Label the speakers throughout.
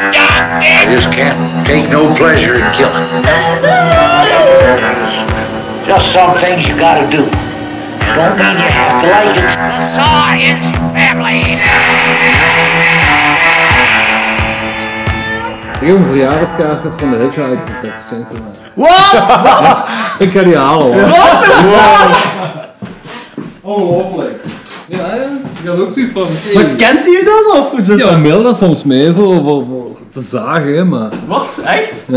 Speaker 1: I just can't take no pleasure in killing. There's Just some things you gotta do. Don't mean you have to like it.
Speaker 2: The Saw is family.
Speaker 3: Ik heb een verjaardagskaart van de Hitchhiker van Texas Chainsaw Massacre.
Speaker 4: Wat?
Speaker 3: Ik ga die halen hoor.
Speaker 4: What the fuck?
Speaker 3: Ongelooflijk. Ja, ja. Ik had ook zoiets van...
Speaker 4: Maar kent hij dan? Of hoe zit
Speaker 3: Ja,
Speaker 4: dat?
Speaker 3: mail dat soms mee zo voor, voor te zagen, hè, maar...
Speaker 5: Wat? Echt?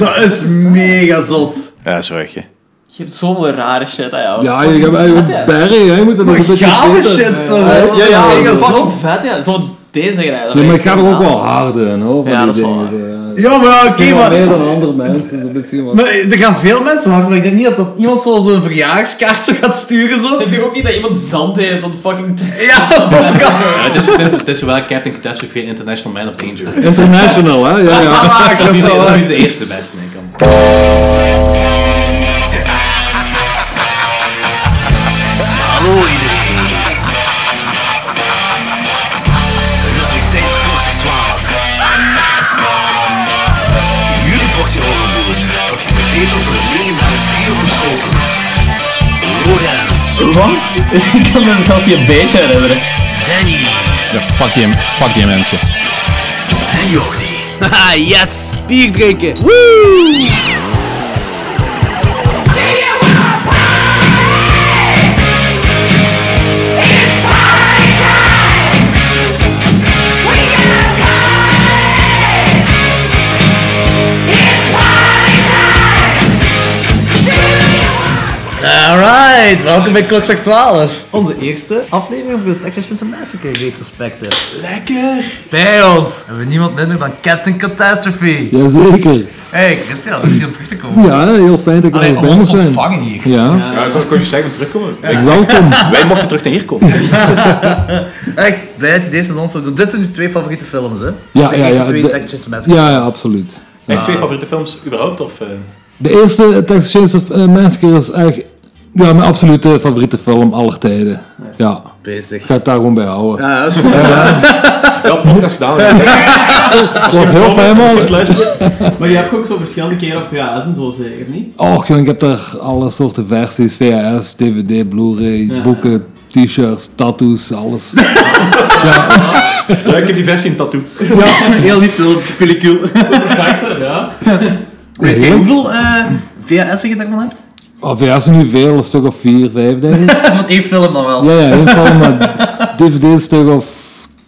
Speaker 4: Dat is mega zot.
Speaker 6: Ja, zo echt, hè.
Speaker 5: Je hebt zoveel rare shit, hè, ja.
Speaker 3: Ja, je hebt eigenlijk bergen, hè. Je moet dat nog een beetje...
Speaker 4: Gave
Speaker 3: filteren.
Speaker 4: shit zo.
Speaker 3: Ja,
Speaker 4: wel.
Speaker 3: ja,
Speaker 5: Ja,
Speaker 3: ja,
Speaker 5: dat
Speaker 4: mega
Speaker 5: is fucking
Speaker 4: zot.
Speaker 5: vet, ja. Zo deze rijden.
Speaker 3: Nee, maar ik ga er ook wel hard in, hoor. van
Speaker 5: Ja,
Speaker 3: die
Speaker 5: dat is
Speaker 3: dingen,
Speaker 5: wel
Speaker 3: zo, ja.
Speaker 4: Ja, maar oké,
Speaker 3: Veel meer
Speaker 4: maar...
Speaker 3: dan andere mensen, dat is misschien wel...
Speaker 4: Maar er gaan veel mensen hard, maar ik denk niet dat, dat iemand zo- zo'n verjaardagskaart zo gaat sturen zo.
Speaker 5: Ik denk ook niet dat iemand zand heeft, zo'n fucking test.
Speaker 4: Ja,
Speaker 6: Ja, het, is, het is wel Captain Catastrophe International Man of Danger. Het
Speaker 3: International, hè. Ja, ja.
Speaker 6: is niet, dat is niet de eerste beste, denk ik. al.
Speaker 7: Hallo iedereen. Het is weer tijd voor klokslag 12. Jullie portie horrorboers participeren tot het dringen naar de stier van Schotens. Lorenz,
Speaker 5: Wat? Ik kan me zelfs niet een beetje herinneren.
Speaker 7: Danny
Speaker 8: Ja, fuck die, fuck die mensen.
Speaker 7: en Jordi.
Speaker 4: Haha, yes! Bier drinken! Woe! Alright, welkom bij Klokzak 12. Onze eerste aflevering van de Texas Chainsaw Massacre retrospective. Lekker! Bij ons hebben we niemand minder dan Captain Catastrophe.
Speaker 3: Jazeker.
Speaker 4: Hey Christian, leuk je om terug te komen.
Speaker 3: Ja, heel fijn dat ik
Speaker 4: Allee,
Speaker 3: er
Speaker 4: om
Speaker 3: bij
Speaker 4: ons
Speaker 3: mag zijn.
Speaker 4: ontvangen hier.
Speaker 3: Ja,
Speaker 6: Ja, ik kon- kon je zeggen, terugkomen?
Speaker 3: welkom.
Speaker 6: Wij mochten terug naar hier komen.
Speaker 4: Echt, blij dat je deze met ons wilt doen. Dit zijn nu twee favoriete films, hè?
Speaker 3: Ja,
Speaker 4: de
Speaker 3: ja,
Speaker 4: eerste
Speaker 3: ja.
Speaker 4: twee
Speaker 3: de-
Speaker 4: Texas Chainsaw Massacre
Speaker 3: Ja, ja,
Speaker 4: films.
Speaker 3: absoluut.
Speaker 6: Echt twee favoriete films, überhaupt? Of, eh?
Speaker 3: De eerste Texas Chainsaw eh, Massacre is echt ja, mijn absolute favoriete film aller tijden. Ja,
Speaker 4: Bezig. Eh,
Speaker 3: ik ga het daar gewoon bij houden.
Speaker 4: Ja, dat is goed.
Speaker 6: Ja, podcast gedaan. Ja.
Speaker 3: Het was heel fijn, man.
Speaker 6: luisteren.
Speaker 5: Maar je hebt ook zo verschillende keren op VHS en zo zeker, niet?
Speaker 3: Och, jong, ik heb daar alle soorten versies. VHS, DVD, Blu-ray, boeken, t-shirts, tattoos, alles.
Speaker 6: Ja, ik heb die versie in tattoo.
Speaker 4: Heel lief film, pellicule.
Speaker 5: Perfect, hè, ja.
Speaker 4: Weet jij
Speaker 3: Heerlijk.
Speaker 4: hoeveel eh VHS'en je daarvan hebt?
Speaker 3: Oh, VHS is nu veel, een stuk of vier, vijf, denk ik.
Speaker 4: Van één film dan wel.
Speaker 3: Ja, ja, in ieder geval maar DVD een stuk of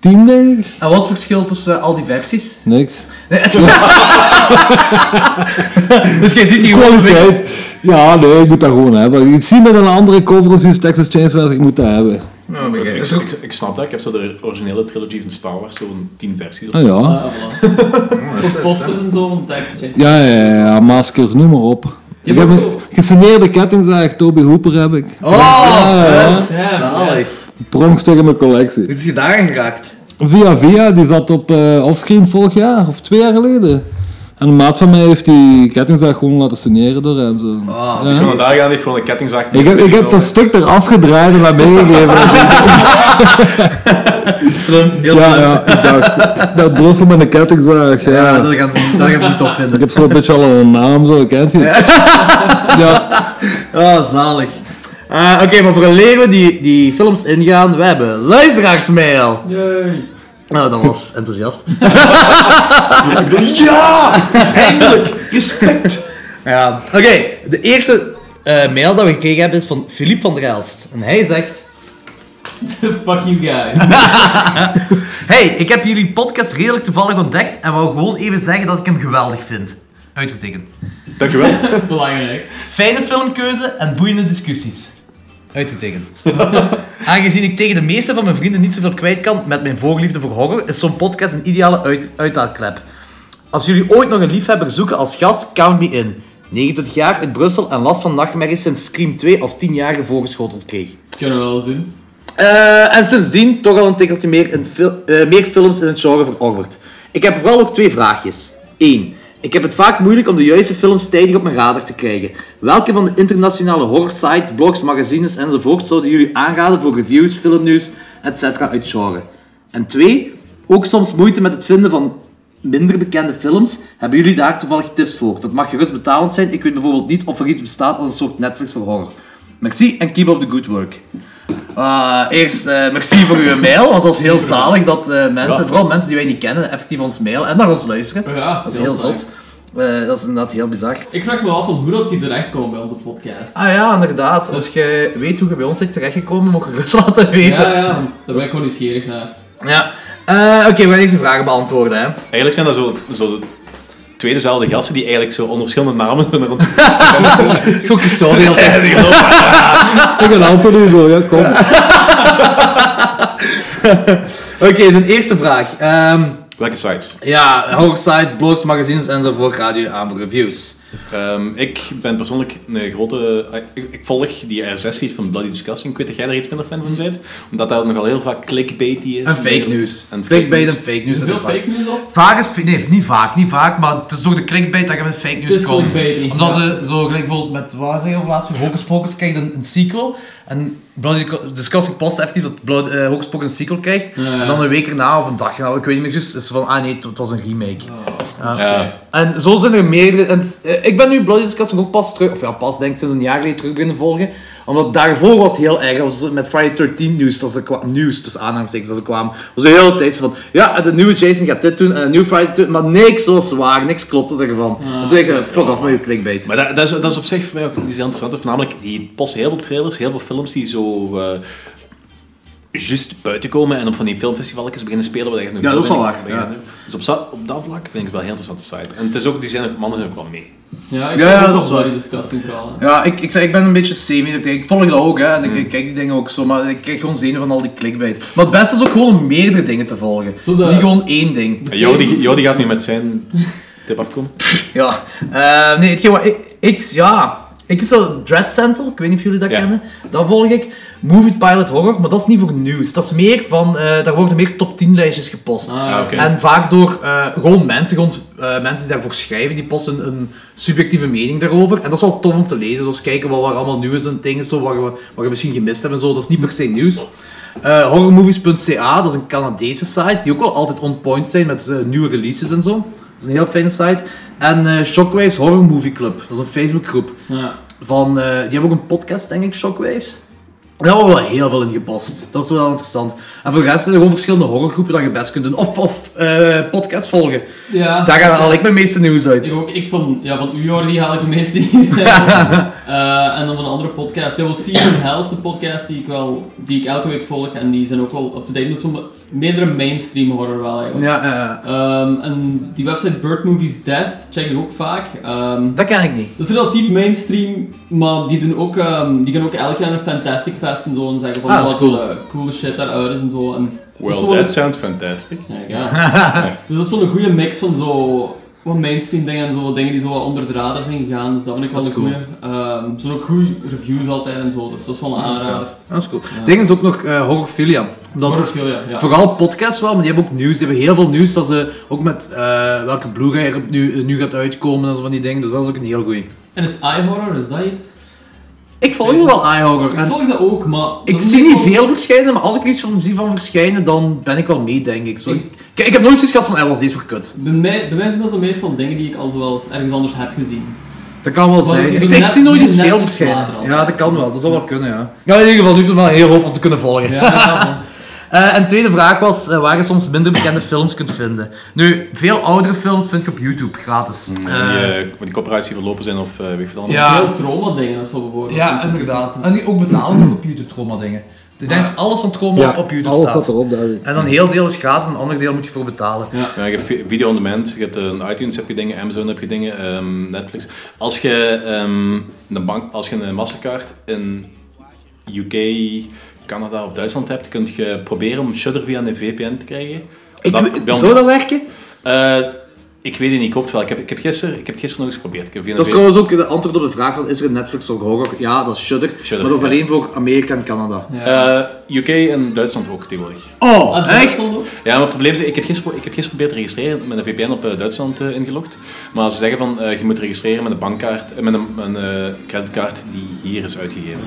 Speaker 3: tien, denk ik.
Speaker 4: En wat is het verschil tussen eh, al die versies?
Speaker 3: Niks.
Speaker 4: dus jij ziet hier gewoon een beetje...
Speaker 3: Kwaliteit. Ja, nee, ik moet dat gewoon hebben. Ik zie met een andere cover als Texas Chainsaw Massacre, ik moet dat hebben.
Speaker 4: Oh, maar jij-
Speaker 6: Ik,
Speaker 4: is ook-
Speaker 6: ik, ik snap dat. Ik heb zo de originele trilogie van Star Wars, zo'n tien versies.
Speaker 3: Nou ja.
Speaker 5: Ah, voilà. Of posters en zo van Texas Chainsaw.
Speaker 3: Ja, ja, ja, ja, maskers, noem maar op. Ik heb
Speaker 4: hebt
Speaker 3: een gesigneerde kettingzaag, Toby Hooper heb ik.
Speaker 4: Oh,
Speaker 3: ja.
Speaker 4: vet.
Speaker 5: Ja,
Speaker 4: Zalig.
Speaker 3: Pronkstuk in mijn
Speaker 4: Hoe
Speaker 3: collectie.
Speaker 4: is je daarin geraakt?
Speaker 3: Via Via, die zat op eh offscreen vorig jaar, of twee jaar geleden. En een maat van mij heeft die kettingzaag gewoon laten signeren door hem. Zo.
Speaker 4: Oh,
Speaker 3: Ja.
Speaker 6: Dus gewoon daar gaan, die heeft gewoon een kettingzaak.
Speaker 3: Ik heb, ik heb dat stuk eraf gedraaid en dat meegegeven.
Speaker 4: Slim, heel
Speaker 3: Ja,
Speaker 4: slim. Ja,
Speaker 3: ja, ik dacht, dat blossen met een kettingzaag. Ja.
Speaker 4: dat, Ah, gaan ze, dat gaan ze niet tof vinden.
Speaker 3: Ik heb zo'n beetje al een naam, zo, kent je? Ja,
Speaker 4: Oh, zalig. Eh, Oké, maar voor we die, die films ingaan, we hebben luisteraarsmail.
Speaker 5: Yay.
Speaker 4: Nou, dat was enthousiast.
Speaker 6: Ja! Eindelijk! Respect!
Speaker 4: Ja. Oké, de eerste eh, mail dat we gekregen hebben is van Philippe van der Elst. En hij zegt...
Speaker 5: Fuck you guys.
Speaker 4: Hey, ik heb jullie podcast redelijk toevallig ontdekt en wou gewoon even zeggen dat ik hem geweldig vind. Uitroepteken.
Speaker 6: Dankjewel.
Speaker 5: Belangrijk.
Speaker 4: Fijne filmkeuze en boeiende discussies. Uitroepteken. Aangezien ik tegen de meeste van mijn vrienden niet zoveel kwijt kan met mijn voorliefde voor horror, is zo'n podcast een ideale uit uitlaatklep. Als jullie ooit nog een liefhebber zoeken als gast, count me in. 29 jaar uit Brussel en last van nachtmerries sinds Scream 2 als 10-jarige voorgeschoteld kreeg.
Speaker 5: Kunnen we wel eens doen.
Speaker 4: Eh, en sindsdien toch al een tikkeltje meer, in fil- eh, meer films in het genre verorberd. Ik heb vooral ook twee vraagjes. 1. Ik heb het vaak moeilijk om de juiste films tijdig op mijn radar te krijgen. Welke van de internationale horror sites, blogs, magazines enzovoort zouden jullie aanraden voor reviews, filmnieuws, etc. uit genre? En 2. Ook soms moeite met het vinden van minder bekende films. Hebben jullie daar toevallig tips voor? Dat mag gerust betalend zijn. Ik weet bijvoorbeeld niet of er iets bestaat als een soort Netflix voor horror. Merci en keep up the good work. Ah, eerst, eh, merci voor uw mail, want dat is heel zalig dat eh, mensen, vooral mensen die wij niet kennen, effectief ons mailen en naar ons luisteren.
Speaker 5: Ja,
Speaker 4: Dat is heel
Speaker 5: saai.
Speaker 4: zot. Eh, dat is inderdaad heel bizar.
Speaker 5: Ik vraag me af van hoe dat die terechtkomen bij onze podcast.
Speaker 4: Ah ja, inderdaad. Als
Speaker 5: Als
Speaker 4: je weet hoe je bij ons bent terechtgekomen, moet je gerust laten weten.
Speaker 5: Ja, ja, want daar ben ik gewoon nieuwsgierig naar.
Speaker 4: Ja. Eh, Oké, we gaan eerst de vragen beantwoorden. Hè.
Speaker 6: Eigenlijk zijn dat zo, zo twee dezelfde gasten die eigenlijk zo onder verschillende namen naar ons...
Speaker 4: Het is ook zo heel
Speaker 3: Ik ben Anthony zo, ja, kom.
Speaker 4: Oké, zijn eerste vraag. Ehm,
Speaker 6: Welke sites?
Speaker 4: ja, horrorsites, blogs, magazines enzovoort, radio aan reviews.
Speaker 6: Ehm, ik ben persoonlijk een grote... eh, ik, ik volg die RSS-feed van Bloody Disgusting. Ik weet dat jij daar iets minder fan van bent. Omdat dat nogal heel vaak clickbaity is.
Speaker 4: En fake news.
Speaker 6: En fake
Speaker 4: Clickbait en
Speaker 6: news.
Speaker 4: fake news.
Speaker 5: Er
Speaker 4: dat
Speaker 5: veel
Speaker 4: is vaak.
Speaker 5: fake news op.
Speaker 4: Vaak is, nee, niet vaak, niet vaak, maar het is door de clickbait dat je met fake
Speaker 5: Het
Speaker 4: news
Speaker 5: is
Speaker 4: komt.
Speaker 5: clickbaity,
Speaker 4: Omdat
Speaker 5: ja.
Speaker 4: ze zo, gelijk bijvoorbeeld met, wat zeggen we laatst, met Hocus Pocus krijgt een, een sequel. En Bloody Disgusting past effectief dat Blood, eh, Hocus Pocus een sequel krijgt.
Speaker 5: Ja, ja.
Speaker 4: En dan een week erna of een dag erna, ik weet niet meer juist, is van, ah nee, het, het was een remake.
Speaker 5: Oh.
Speaker 4: Ja.
Speaker 6: Ja.
Speaker 4: En zo zijn er meerdere. En, het- eh, ik ben nu Bloody Disgusting ook pas terug, of ja, pas denk ik sinds een jaar geleden terug beginnen volgen. Omdat daarvoor was het heel erg. Dat was met Friday 13 nieuws, dat ze kwam, nieuws tussen aanhalingstekens, dat ze kwamen. was de hele tijd zo van, ja, de nieuwe Jason gaat dit doen en de nieuwe Friday 13, maar niks was waar, niks klopte ervan.
Speaker 5: Ah,
Speaker 4: en toen dacht ik, fuck off met je clickbait.
Speaker 6: Maar dat, dat, is, dat is op zich voor mij ook iets heel interessant. Voornamelijk, die post heel veel trailers, heel veel films die zo... eh juist buiten komen en op van die filmfestivalletjes beginnen spelen. Waar je nog
Speaker 4: Ja, dat is wel
Speaker 6: helemaal
Speaker 4: waar,
Speaker 6: niks mee
Speaker 4: ja.
Speaker 6: gaat. Dus op, za- op dat vlak vind ik het wel een heel interessante site. En het is ook, die zijn ook, mannen zijn ook wel mee.
Speaker 5: Ja, ik
Speaker 4: Ja, ja,
Speaker 5: vind ook
Speaker 4: dat is
Speaker 5: wel
Speaker 4: waar.
Speaker 5: die disgusting verhalen.
Speaker 4: Ja, ik, ik, zeg, ik ben een beetje semi. Ik, ik volg dat ook, hè. En ik, ik kijk die dingen ook zo, maar ik krijg gewoon zenuwen van al die clickbait. Maar het beste is ook gewoon meerdere dingen te volgen.
Speaker 5: Zo de-
Speaker 4: Niet gewoon één ding.
Speaker 6: En Jordi, Jordi gaat niet met zijn tip afkomen.
Speaker 4: Ja, eh, nee, hetgeen wat ik, ik- ja, ik is dat Dread Central, ik weet niet of jullie dat
Speaker 6: Ja.
Speaker 4: kennen, dat volg ik. Movie Pilot Horror, maar dat is niet voor nieuws. Dat is meer van, eh, daar worden meer top 10 lijstjes gepost.
Speaker 5: Ah,
Speaker 6: oké.
Speaker 4: En vaak door eh, gewoon mensen, gewoon eh, mensen die daarvoor schrijven, die posten een, een subjectieve mening daarover. En dat is wel tof om te lezen, zoals kijken wat, wat er allemaal nieuw is en dingen, zo, waar, we, waar we misschien gemist hebben en zo. Dat is niet per se nieuws. Eh, horrormovies.ca, dat is een Canadese site, die ook wel altijd on point zijn met eh, nieuwe releases en zo. Dat is een heel fijne site. En eh, Shockwaves Horror Movie Club, dat is een Facebookgroep.
Speaker 5: Ja.
Speaker 4: Van, eh, die hebben ook een podcast, denk ik, Shockwaves. Daar hebben we wel heel veel in gepost. Dat is wel interessant. En voor de rest zijn er gewoon verschillende horrorgroepen dat je best kunt doen. Of, of eh, podcasts volgen.
Speaker 5: ja.
Speaker 4: Daar haal
Speaker 5: Dat
Speaker 4: ik
Speaker 5: is-
Speaker 4: mijn meeste nieuws uit.
Speaker 5: Ik ook, ik van, ja, van u Jordi haal ik de meeste niet. Eh, en dan van een andere podcast. Ja, wel See You in Hell is de podcast die ik, wel, die ik elke week volg. En die zijn ook wel up-to-date met zo'n meerdere mainstream horror wel eigenlijk.
Speaker 4: Ja, eh,
Speaker 5: Ehm, en die website Bird Movies Death check ik ook vaak. Ehm,
Speaker 4: dat ken ik niet.
Speaker 5: dat is relatief mainstream, maar die, doen ook, ehm, die gaan ook elk jaar een Fantastic Fest en zo en zeggen van
Speaker 4: Ah, dat is
Speaker 5: wat
Speaker 4: cool.
Speaker 5: eh, coole shit daaruit is en zo. En dat is
Speaker 6: Well,
Speaker 5: zo wel
Speaker 6: that sounds fantastic.
Speaker 5: een- Ja, ja. dus dat is zo'n goede mix van zo wat mainstream dingen en zo wat dingen die zo wat onder de radar zijn gegaan. Dus dat vind ik wel
Speaker 4: Dat
Speaker 5: een
Speaker 4: is cool.
Speaker 5: goede. Ehm, er zijn ook goede reviews altijd en zo, dus dat is wel een aanrader.
Speaker 4: Dat is cool. Ding is ook nog eh horrorfilia. Dat is
Speaker 5: Horrorfilia, ja.
Speaker 4: vooral podcasts wel, maar die hebben ook nieuws. Die hebben heel veel nieuws dat ze ook met eh, welke Blu-ray er op nu, nu gaat uitkomen en zo van die dingen. Dus dat is ook een heel goeie.
Speaker 5: En is iHorror, is dat iets?
Speaker 4: Ik volg nog wel iHorror.
Speaker 5: Ik
Speaker 4: En
Speaker 5: volg dat ook, maar... dat
Speaker 4: ik
Speaker 5: is
Speaker 4: zie niet
Speaker 5: meestal-
Speaker 4: veel verschijnen, maar als ik er iets van zie van verschijnen, dan ben ik wel mee, denk ik. Zo,
Speaker 5: Ik-
Speaker 4: ik, ik- ik heb nooit iets gehad van, eh, was deze voor kut.
Speaker 5: Bij mij, bij mij zijn dat zo meestal dingen die ik al zo wel eens ergens anders heb gezien.
Speaker 4: Dat kan wel
Speaker 5: Want het
Speaker 4: zijn.
Speaker 5: is
Speaker 4: Ik,
Speaker 5: zo
Speaker 4: ik
Speaker 5: net-
Speaker 4: zie nooit
Speaker 5: het is
Speaker 4: iets
Speaker 5: net
Speaker 4: veel
Speaker 5: iets later
Speaker 4: verschijnen.
Speaker 5: al.
Speaker 4: Ja, dat kan wel. Dat zou wel kunnen, ja. Ja, in ieder geval, nu heeft het wel heel hoop om te kunnen volgen.
Speaker 5: Ja,
Speaker 4: Eh, en tweede vraag was eh, waar je soms minder bekende films kunt vinden. Nu, veel oudere films vind je op YouTube, gratis.
Speaker 5: Mm,
Speaker 6: Die,
Speaker 4: Eh,
Speaker 6: eh, die copyrights die verlopen zijn of eh weet ik veel anders.
Speaker 4: Ja.
Speaker 5: Veel trauma-dingen of zo bijvoorbeeld.
Speaker 4: ja, inderdaad. En die ook betalen op YouTube, trauma dingen. Ik denk dat alles van trauma
Speaker 3: Ja,
Speaker 4: op YouTube
Speaker 3: alles
Speaker 4: staat.
Speaker 3: staat erop, duidelijk.
Speaker 4: En dan een heel deel is gratis, en een ander deel moet je voor betalen.
Speaker 6: Ja, je hebt vi- video on demand, je hebt eh, een iTunes heb je dingen, Amazon heb je dingen, ehm, Netflix. Als je ehm, een bank, als je een Mastercard in UK, Canada of Duitsland hebt, kun je proberen om Shudder via een VPN te krijgen.
Speaker 4: Ik,
Speaker 6: Dat-
Speaker 4: we-
Speaker 6: bij ons-
Speaker 4: zou dat werken?
Speaker 6: Eh, ik weet het niet, ik hoop het wel. Ik heb, ik heb, gisteren, ik heb het gisteren nog eens geprobeerd. Ik heb via
Speaker 4: Dat is
Speaker 6: een VPN
Speaker 4: trouwens ook de antwoord op de vraag van, is er een Netflix of horror? Ja, dat is Shudder.
Speaker 6: Shudder,
Speaker 4: maar dat is
Speaker 6: ja.
Speaker 4: alleen voor Amerika en Canada.
Speaker 6: Eh, UK en Duitsland ook tegenwoordig.
Speaker 4: Oh,
Speaker 5: Ah,
Speaker 4: echt?
Speaker 5: Duitsland ook?
Speaker 6: Ja, maar het probleem is, ik heb gisteren, ik heb gisteren geprobeerd te registreren met een VPN op eh, Duitsland eh, ingelogd. Maar ze zeggen van, eh, je moet registreren met een bankkaart, eh, met een, een eh, creditkaart die hier is uitgegeven.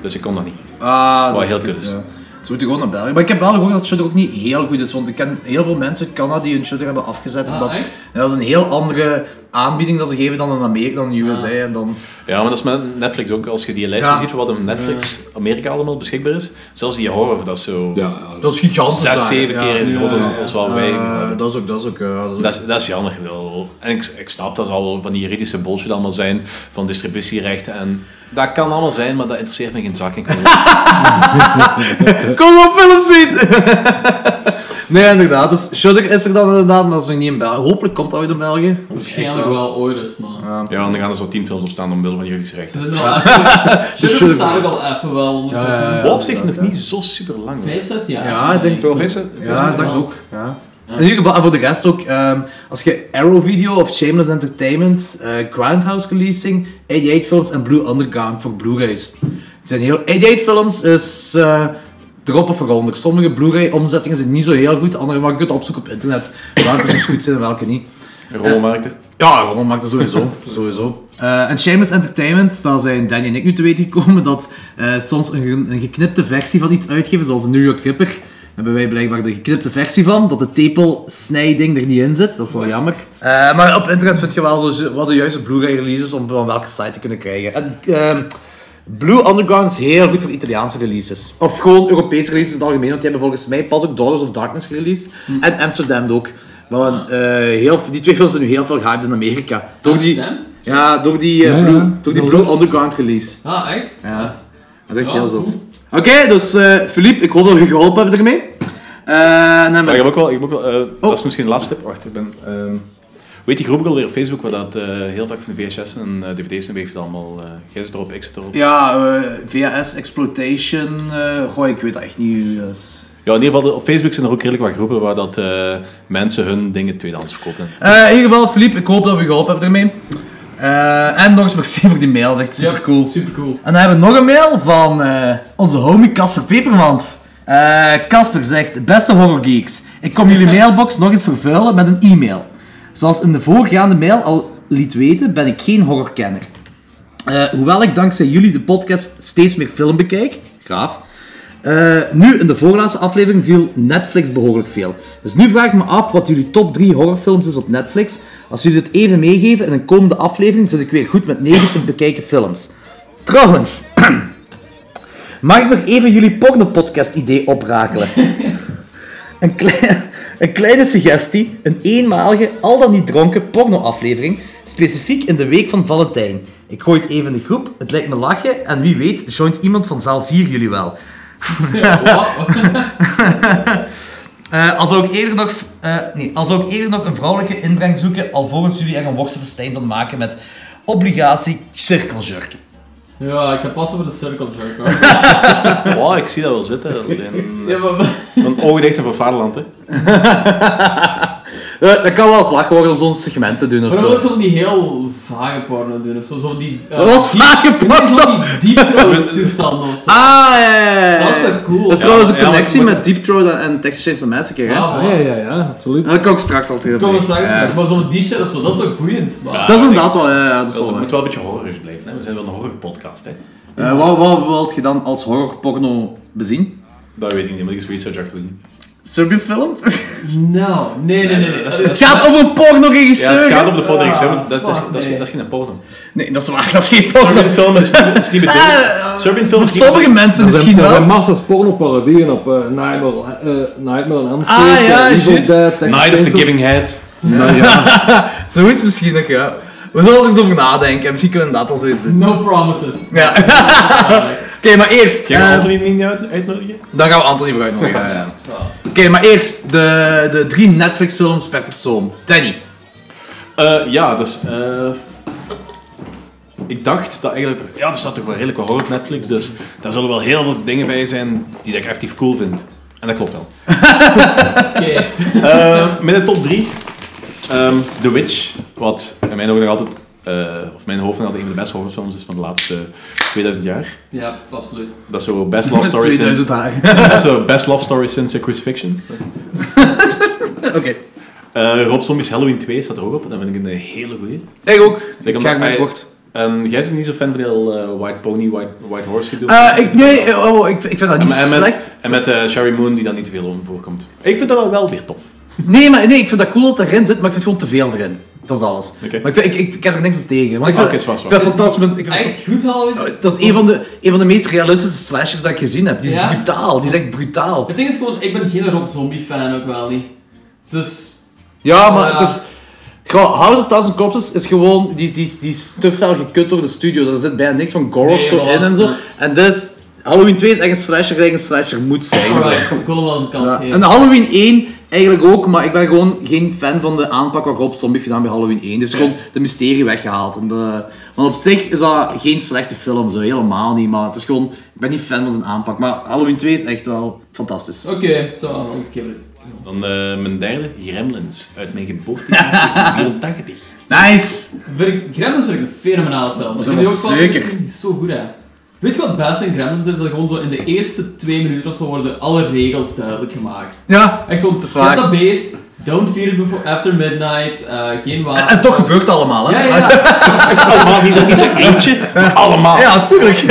Speaker 6: Dus ik kon dat niet.
Speaker 4: Ah,
Speaker 6: Wat
Speaker 4: dat is
Speaker 6: heel
Speaker 4: kut,
Speaker 6: kut.
Speaker 4: ja. Ze moeten gewoon naar België. Maar ik heb wel gehoord dat Shudder ook niet heel goed is, want ik ken heel veel mensen uit Canada die hun Shudder hebben afgezet.
Speaker 5: Ah,
Speaker 4: omdat,
Speaker 5: echt?
Speaker 4: Ja, dat is een heel andere aanbieding dat ze geven dan in Amerika, dan in de USA. En dan,
Speaker 6: Ja, maar dat is met Netflix ook. Als je die lijstje
Speaker 4: Ja.
Speaker 6: ziet wat op Netflix Amerika allemaal beschikbaar is, zelfs die horror, dat is zo
Speaker 3: Ja, ja.
Speaker 4: dat is gigantisch.
Speaker 6: zes,
Speaker 4: daar,
Speaker 6: zeven
Speaker 4: ja.
Speaker 6: keer in de
Speaker 3: Ja,
Speaker 6: ja,
Speaker 3: ja, ja.
Speaker 6: als wat wij
Speaker 4: Eh, dat is ook, dat is ook, ja, dat is ook-
Speaker 6: Dat is, dat is jammer wel. En ik, ik snap dat zal wel van die juridische bullshit allemaal zijn, van distributierechten en... Dat kan allemaal zijn, maar dat interesseert me geen zak. Ik wil-
Speaker 4: Kom op, film zien! nee, inderdaad. Dus Shudder is er dan inderdaad, maar dat is nog niet in België. Hopelijk komt dat ooit in België. Dat is echt
Speaker 5: Waarschijnlijk
Speaker 4: wel-
Speaker 5: wel ooit eens, man.
Speaker 6: ja, en dan gaan er zo tien films op staan omwille van juridische
Speaker 5: Ze
Speaker 6: rechten.
Speaker 5: zijn er al even... Ze
Speaker 4: Shudder
Speaker 5: bestaan ook al even wel ondertussen.
Speaker 4: Ja, ja, ja.
Speaker 6: Wat op zich nog niet zo super lang.
Speaker 5: Vijf, zes jaar.
Speaker 4: Ja, ik denk
Speaker 6: Wel,
Speaker 4: wel.
Speaker 6: vijf, zes-
Speaker 4: Ja, ik dacht ook. Ja. In ieder geval, en voor de rest ook, ehm, als je Arrow Video of Shameless Entertainment, eh Grindhouse Releasing, 88 Films en Blue Underground voor Blu-rays. Die zijn heel... 88 Films is eh erop of eronder. Sommige Blu-ray omzettingen zijn niet zo heel goed, andere maar je kunt opzoeken op internet welke dus goed zijn en welke niet.
Speaker 6: Rollenmarkten.
Speaker 4: Ja, Ronald maakt dat sowieso. sowieso. Eh, en Shameless Entertainment, daar zijn Danny en ik nu te weten gekomen dat eh, soms een, ge- een geknipte versie van iets uitgeven, zoals de New York Ripper. Daar hebben wij blijkbaar de geknipte versie van, dat de tepelsnijding er niet in zit. Dat is wel jammer. Eh, maar op internet vind je wel zo, wat de juiste Blu-ray releases om van welke site te kunnen krijgen. En, ehm, Blue Underground is heel goed voor Italiaanse releases. Of gewoon Europese releases in het algemeen, want die hebben volgens mij pas ook Daughters of Darkness gereleased. En Amsterdam ook. Maar eh, heel, die twee films zijn nu heel veel gehyped in Amerika. Door die,
Speaker 5: Amsterdam?
Speaker 4: ja, door die, eh,
Speaker 3: Ja, ja.
Speaker 4: Blue, Door die
Speaker 3: Dat
Speaker 4: Blue
Speaker 3: was het.
Speaker 4: Underground release.
Speaker 5: Ah, echt? Vet.
Speaker 4: Dat is echt
Speaker 5: Ja,
Speaker 4: heel
Speaker 5: cool.
Speaker 4: zot. Oké, dus eh Philippe, ik hoop dat we je geholpen hebben ermee. Eh, en dan
Speaker 6: Maar
Speaker 4: ben
Speaker 6: ik
Speaker 4: ik...
Speaker 6: heb ook wel... Ik heb ook wel eh,
Speaker 5: Oh.
Speaker 6: Dat is misschien de laatste tip. Wacht, ik ben... ehm, weet die groep ook alweer op Facebook, waar dat eh, heel vaak van de VHS en eh, DVD's en weet je het allemaal... eh jij zit erop, ik zit erop.
Speaker 4: Ja, eh, VHS, Exploitation, eh, goh, ik weet dat echt niet. hoe dat is.
Speaker 6: Ja, in ieder geval, op Facebook zijn er ook redelijk wat groepen waar dat, eh, mensen hun dingen tweedehands verkopen.
Speaker 4: Eh, in ieder geval, Philippe, ik hoop dat we je geholpen hebben ermee. Eh, en nog eens merci voor die mail, dat is echt super cool.
Speaker 5: Super cool.
Speaker 4: En dan hebben we nog een mail van eh, onze homie Casper Pepermans. Eh, Casper zegt, beste horrorgeeks, ik kom jullie mailbox nog eens vervuilen met een e-mail. Zoals in de voorgaande mail al liet weten, ben ik geen horrorkenner. Eh, hoewel ik dankzij jullie de podcast steeds meer film bekijk, graaf, eh, nu, in de voorlaatste aflevering viel Netflix behoorlijk veel. Dus nu vraag ik me af wat jullie top 3 horrorfilms is op Netflix. Als jullie dit even meegeven in een komende aflevering, zit ik weer goed met 9 te bekijken films. Trouwens, mag ik nog even jullie porno-podcast idee oprakelen? een, klein- een kleine suggestie, een eenmalige, al dan niet dronken porno-aflevering, specifiek in de week van Valentijn. Ik gooi het even in de groep, het lijkt me lachen en wie weet joint iemand van zaal 4 jullie wel. Eh, als zou ik eerder nog, eh, nee, als zou ik eerder nog een vrouwelijke inbreng zoeken, alvorens jullie er een worstenfestijn van maken met obligatie cirkeljurk.
Speaker 5: Ja, ik heb pas over de circle jerk hoor.
Speaker 6: Wow, ik zie dat wel zitten. Een,
Speaker 5: Ja, maar...
Speaker 6: een oogdichter voor vaderland, hè.
Speaker 4: Eh, dat kan wel slag worden om zo'n segment te doen of
Speaker 5: Maar dan
Speaker 4: zo.
Speaker 5: moet ze van die heel vage porno doen of zo. zo van die, eh,
Speaker 4: Dat was vage porno!
Speaker 5: Van die deep throat toestanden of zo.
Speaker 4: Ah, ja, ja, ja, ja.
Speaker 5: Dat is toch cool?
Speaker 4: Dat is
Speaker 5: Ja,
Speaker 4: trouwens een
Speaker 6: ja, maar-
Speaker 4: connectie
Speaker 6: maar-
Speaker 4: met Deep Throat en- en Texas Chainsaw Massacre, hè?
Speaker 5: Ah,
Speaker 3: Ah, ja, ja, ja, absoluut.
Speaker 4: Dat kan ik straks altijd
Speaker 5: Kom eens
Speaker 4: opnemen.
Speaker 5: zeggen,
Speaker 4: Ja.
Speaker 5: maar zo'n t-shirt of zo, dat is toch boeiend, man.
Speaker 4: Dat is inderdaad wel, ja, ja, dat is
Speaker 6: Dat
Speaker 4: wel waar.
Speaker 6: Dus moet wel een beetje horrorig blijven. Hè? We zijn wel een horrorpodcast, hè?
Speaker 4: Eh, wat, wat wilt je dan als horrorporno bezien?
Speaker 6: Dat weet ik niet, moet ik eens research achter doen.
Speaker 4: Serbian film?
Speaker 5: Nou, nee, nee, nee. nee.
Speaker 6: dat
Speaker 5: Dat
Speaker 6: is-
Speaker 5: is
Speaker 4: het gaat over een
Speaker 6: Ja, het
Speaker 4: porno-regisseur!
Speaker 6: gaat op de podreeks, hè? want
Speaker 5: Ah,
Speaker 6: Dat, dat, is,
Speaker 5: fuck,
Speaker 6: dat, is,
Speaker 5: nee.
Speaker 6: dat is geen porno.
Speaker 4: Nee, dat is waar, dat is geen porno.
Speaker 6: Serbian film is niet, is niet
Speaker 4: Ah,
Speaker 6: bedoeld. Serbian film
Speaker 4: Voor
Speaker 6: is niet
Speaker 4: sommige mensen
Speaker 3: Er zijn,
Speaker 4: misschien
Speaker 3: er
Speaker 4: wel.
Speaker 3: zijn massa's pornoparodieën op eh, Nightmare, eh Nightmare on Elm Street,
Speaker 4: Ah, ja,
Speaker 3: eh, Evil
Speaker 4: juist.
Speaker 3: Dead, Texas
Speaker 6: Night of the
Speaker 3: Chainsaw-
Speaker 6: Giving Head.
Speaker 3: Nou ja,
Speaker 4: Zoiets misschien nog, ja. We zullen er eens over nadenken. en Misschien kunnen we inderdaad al zoiets doen.
Speaker 5: No promises.
Speaker 4: Ja. Oké, maar eerst...
Speaker 6: Gaan
Speaker 4: eh,
Speaker 6: we Anthony niet uit- uitnodigen?
Speaker 4: dan gaan we Anthony vooruit nog. ja, ja. Oké, maar eerst de, de drie Netflix films per persoon. Danny.
Speaker 6: Eh, ja, dus... eh, ik dacht dat eigenlijk... Ja, er staat toch wel redelijk wat horror op Netflix, dus daar zullen wel heel veel dingen bij zijn die dat ik effectief cool vind. En dat klopt wel.
Speaker 5: Oké.
Speaker 6: Eh, met de top 3. The Witch, wat in mijn ogen nog altijd, eh, of mijn hoofd nog altijd een van de beste horrorfilms is van de laatste 2000 jaar.
Speaker 5: Ja, absoluut.
Speaker 6: Dat is zo best love story
Speaker 4: 2000
Speaker 6: sinds,
Speaker 4: dagen.
Speaker 6: dat is zo best love story sinds eh, Crucifixion.
Speaker 4: Oké.
Speaker 6: Eh, Rob Zombie's Halloween 2 staat er ook op, dat vind ik een hele goeie.
Speaker 4: Ik ook.
Speaker 6: Zeker
Speaker 4: ik ga
Speaker 6: omdat
Speaker 4: hem
Speaker 6: hij-
Speaker 4: kort.
Speaker 6: En Ehm, jij bent niet zo fan van heel eh, White Pony, White, white Horse gedoe.
Speaker 4: Eh ik, nee, eh, oh, ik, ik vind dat niet
Speaker 6: En met-
Speaker 4: slecht.
Speaker 6: En met eh Sherry Moon, die daar niet te veel om voorkomt. Ik vind dat dan wel weer tof.
Speaker 4: Nee, maar, nee, ik vind dat cool dat het erin zit, maar ik vind het gewoon te veel erin. Dat is alles.
Speaker 6: Oké. Ah,
Speaker 4: Maar ik, vind- ik, ik, ik heb er niks op tegen. Want ik vind,
Speaker 6: Oké, is waar, is
Speaker 4: ik
Speaker 6: waar.
Speaker 4: vind fantastisch. Ik vind-
Speaker 5: Echt goed houden.
Speaker 4: dat is een van, de, een van de meest realistische slashers dat ik gezien heb. Die is
Speaker 5: Ja?
Speaker 4: brutaal. Die is echt brutaal.
Speaker 5: Het ding is gewoon, ik ben geen Rob Zombie fan ook wel niet. Dus
Speaker 4: Ja, maar
Speaker 5: Ja.
Speaker 4: het is... Gewoon, House of Thousand Corpses is gewoon... Die, is- die, is- die is te fel gekut door de studio. Daar zit bijna niks van gore of
Speaker 5: Nee,
Speaker 4: zo
Speaker 5: voilà.
Speaker 4: in en zo.
Speaker 5: Ja.
Speaker 4: En dus... Halloween 2 is echt een slasher gelijk een slasher moet zijn. zo.
Speaker 5: alright, ik wil hem wel eens een kans
Speaker 4: Ja.
Speaker 5: geven.
Speaker 4: En Halloween 1 eigenlijk ook, maar ik ben gewoon geen fan van de aanpak waarop Zombie heeft gedaan bij Halloween 1. Dus gewoon de mysterie weggehaald. En de... Want op zich is dat geen slechte film, zo helemaal niet. Maar het is gewoon... Ik ben niet fan van zijn aanpak. Maar Halloween 2 is echt wel fantastisch.
Speaker 5: Oké, zo, I'll give it.
Speaker 6: Dan eh, mijn derde, Gremlins. Uit mijn geboortejaar 84.
Speaker 4: Nice!
Speaker 5: Vind ik- Gremlins vind ik een fenomenale
Speaker 4: Dat
Speaker 5: film. Ik
Speaker 4: is
Speaker 5: heb die ook
Speaker 4: wel
Speaker 5: pas
Speaker 4: zeker.
Speaker 5: gezien, die is zo goed hè. Weet je wat het beste in Gremlins is? Dat gewoon zo in de eerste twee minuten of zo worden alle regels duidelijk gemaakt.
Speaker 4: Ja.
Speaker 5: Echt gewoon,
Speaker 4: is waar.
Speaker 5: skip dat beest, don't feed it before, after midnight, eh, geen
Speaker 4: En,
Speaker 5: wapen.
Speaker 4: en toch gebeurt het allemaal, hè?
Speaker 5: Ja, ja, ja.
Speaker 6: Allemaal, niet zo- niet zo'n eentje, maar allemaal.
Speaker 4: Ja, tuurlijk.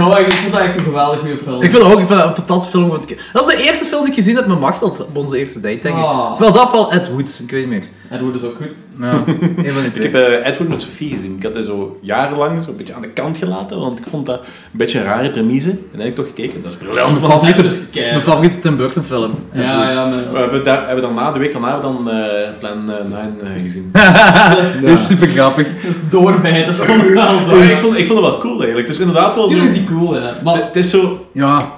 Speaker 5: Oh, ik vond dat echt een geweldig goede film.
Speaker 4: Ik vind dat ook ik vind dat een fantastische film. om te- Dat is de eerste film die ik gezien heb met Machteld op onze eerste date, denk ik.
Speaker 5: Ah.
Speaker 4: Of Wel dat van Ed Wood, ik weet niet meer.
Speaker 5: Edward is dus ook goed.
Speaker 4: Ja, een van die
Speaker 6: Ik
Speaker 4: twee.
Speaker 6: heb eh, Edward met Sophie gezien. Ik had die zo jarenlang zo'n beetje aan de kant gelaten, want ik vond dat een beetje een rare premise. En dan heb ik toch gekeken. Dat is briljant.
Speaker 4: Mijn favoriete-
Speaker 5: Edward is keihard.
Speaker 4: Mijn favoriete Tim Burton film. Ed
Speaker 5: Ja,
Speaker 4: Wood.
Speaker 5: ja,
Speaker 6: We
Speaker 5: maar...
Speaker 6: hebben, daar, hebben daarna, de week daarna, hebben we dan eh, Plan eh, 9 eh, gezien.
Speaker 5: Dat is,
Speaker 4: Dat is super grappig.
Speaker 5: dat is doorbijten, dat is gewoon wel zo.
Speaker 6: ik,
Speaker 4: Dus-
Speaker 6: vond, ik vond het wel cool eigenlijk. Het is inderdaad wel zo...
Speaker 5: Natuurlijk dus- is die cool, hè. Maar
Speaker 6: Het is zo...
Speaker 4: Ja,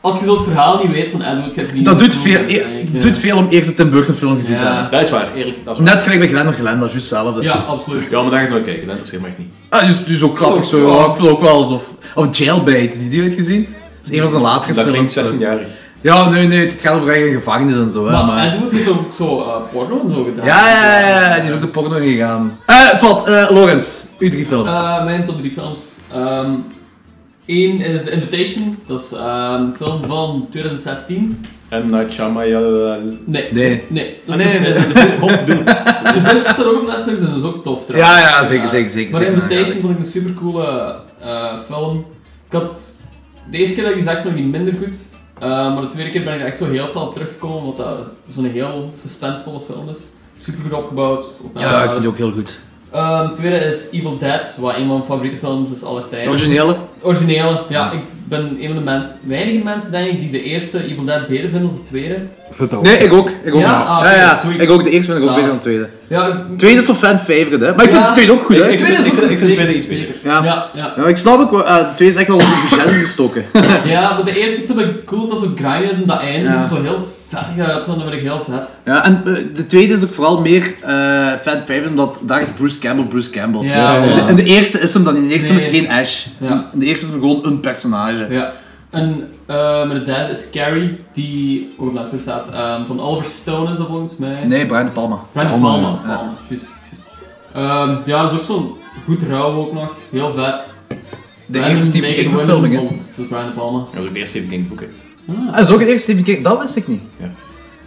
Speaker 5: als je zo het verhaal niet weet van Edward, gaat het niet...
Speaker 4: dat doet
Speaker 5: zo
Speaker 4: veel,
Speaker 5: goed,
Speaker 4: e-
Speaker 5: denk ik, ja.
Speaker 4: doet veel om eerst een Tim Burton film gezien te
Speaker 5: Ja.
Speaker 4: hebben.
Speaker 6: Dat is waar, eerlijk. Dat is waar.
Speaker 4: Net gelijk bij Glenn of Glenn, dat is juist hetzelfde.
Speaker 5: Ja, absoluut.
Speaker 6: Ja, maar daar ga ik nooit kijken. Dat interesseert me echt niet.
Speaker 4: Ah, die is, die is ook grappig
Speaker 5: Oh,
Speaker 4: zo. Ja, ik voel ook wel alsof... Of Jailbait, heb je die ooit gezien? Dat is een van zijn latere
Speaker 6: Dat klinkt
Speaker 4: films. eh,
Speaker 6: 16-jarig.
Speaker 4: Ja, nee, nee, het gaat over eigen gevangenis en zo. hè,
Speaker 5: Maar,
Speaker 4: maar-
Speaker 5: Edward heeft ook zo eh, porno en zo gedaan.
Speaker 4: Ja, ja, ja, ja, die is op de porno ingegaan. Eh, zwart, eh, Lorenz, u drie films.
Speaker 5: Eh, mijn top 3 films. Ehm Eén is The Invitation. Dat is ehm, een film van 2016.
Speaker 6: M. Night Shyamalan...
Speaker 5: Nee.
Speaker 4: Nee.
Speaker 5: Nee.
Speaker 6: Ah,
Speaker 5: Dat is
Speaker 6: nee, nee,
Speaker 5: de,
Speaker 6: nee,
Speaker 5: vis.
Speaker 6: dat is Hof doen.
Speaker 5: de vis is er ook op Netflix en dat is ook tof trouwens.
Speaker 4: ja, ja, zeker, zeker, zeker.
Speaker 5: Maar
Speaker 4: zeker,
Speaker 5: Invitation
Speaker 4: ja,
Speaker 5: vond ik een supercoole eh, film. Ik had... De eerste keer dat ik die zag, vond ik die minder goed. Eh, maar de tweede keer ben ik er echt zo heel veel op teruggekomen, omdat dat zo'n heel suspensevolle film is. Super goed opgebouwd. ook
Speaker 4: Ja, ik
Speaker 5: naar-
Speaker 4: vind die ook heel goed.
Speaker 5: Ehm, tweede is Evil Dead, wat een van mijn favoriete films is aller
Speaker 4: De
Speaker 5: tijden.
Speaker 4: originele?
Speaker 5: Originele, ja. Ik ben een van de mensen, weinige mensen denk ik, die de eerste Evil Dead beter vinden dan de tweede.
Speaker 4: Nee, ik ook. Ik ook.
Speaker 5: Ja?
Speaker 4: Ja,
Speaker 5: Ah,
Speaker 4: ja, ja.
Speaker 5: oké, sweet.
Speaker 4: Ik ook. De eerste vind ik ook
Speaker 5: Zalig.
Speaker 4: beter dan de tweede.
Speaker 5: Ja, ik-
Speaker 4: Tweede is zo'n fan-favorite, hè. Maar ik vind
Speaker 5: Ja.
Speaker 4: de tweede ook goed, hè.
Speaker 6: Ik- ik-
Speaker 5: tweede is ook
Speaker 6: vind-
Speaker 5: goed,
Speaker 6: vind de
Speaker 5: zeker,
Speaker 6: tweede iets
Speaker 5: zeker.
Speaker 4: beter. Ja.
Speaker 5: Ja, ja.
Speaker 4: Ja, ik snap ook, wel, eh, de tweede is echt wel op de budget gestoken.
Speaker 5: ja, maar de eerste ik vind ik cool dat dat zo grimy is en dat einde
Speaker 4: Ja.
Speaker 5: ziet er zo heel vettig uit, want dat vind ik heel vet.
Speaker 4: ja, en eh, de tweede is ook vooral meer eh fan-favorite, omdat daar is Bruce Campbell Bruce Campbell.
Speaker 5: Ja,
Speaker 4: En,
Speaker 5: ja.
Speaker 4: de, en de eerste is hem dan, in de eerste
Speaker 5: Nee.
Speaker 4: is geen Ash.
Speaker 5: Ja.
Speaker 4: In de eerste is hem gewoon een personage.
Speaker 5: Ja. En eh maar de derde is Carrie, die ook op Netflix staat, ehm, van Oliver Stone is dat volgens mij.
Speaker 4: Nee, Brian De Palma.
Speaker 5: Brian De
Speaker 3: Palma,
Speaker 5: Palma. Palma, juist. juist. Ehm, ja, dat is ook zo'n goed rouw ook nog, heel vet.
Speaker 4: De eerste Stephen King verfilming, hè.
Speaker 5: Dat is Brian De Palma.
Speaker 6: Dat was ook de eerste Stephen King boek. hè.
Speaker 4: Ah, dat is ook het eerste Stephen King. Dat wist ik niet.
Speaker 6: Ja.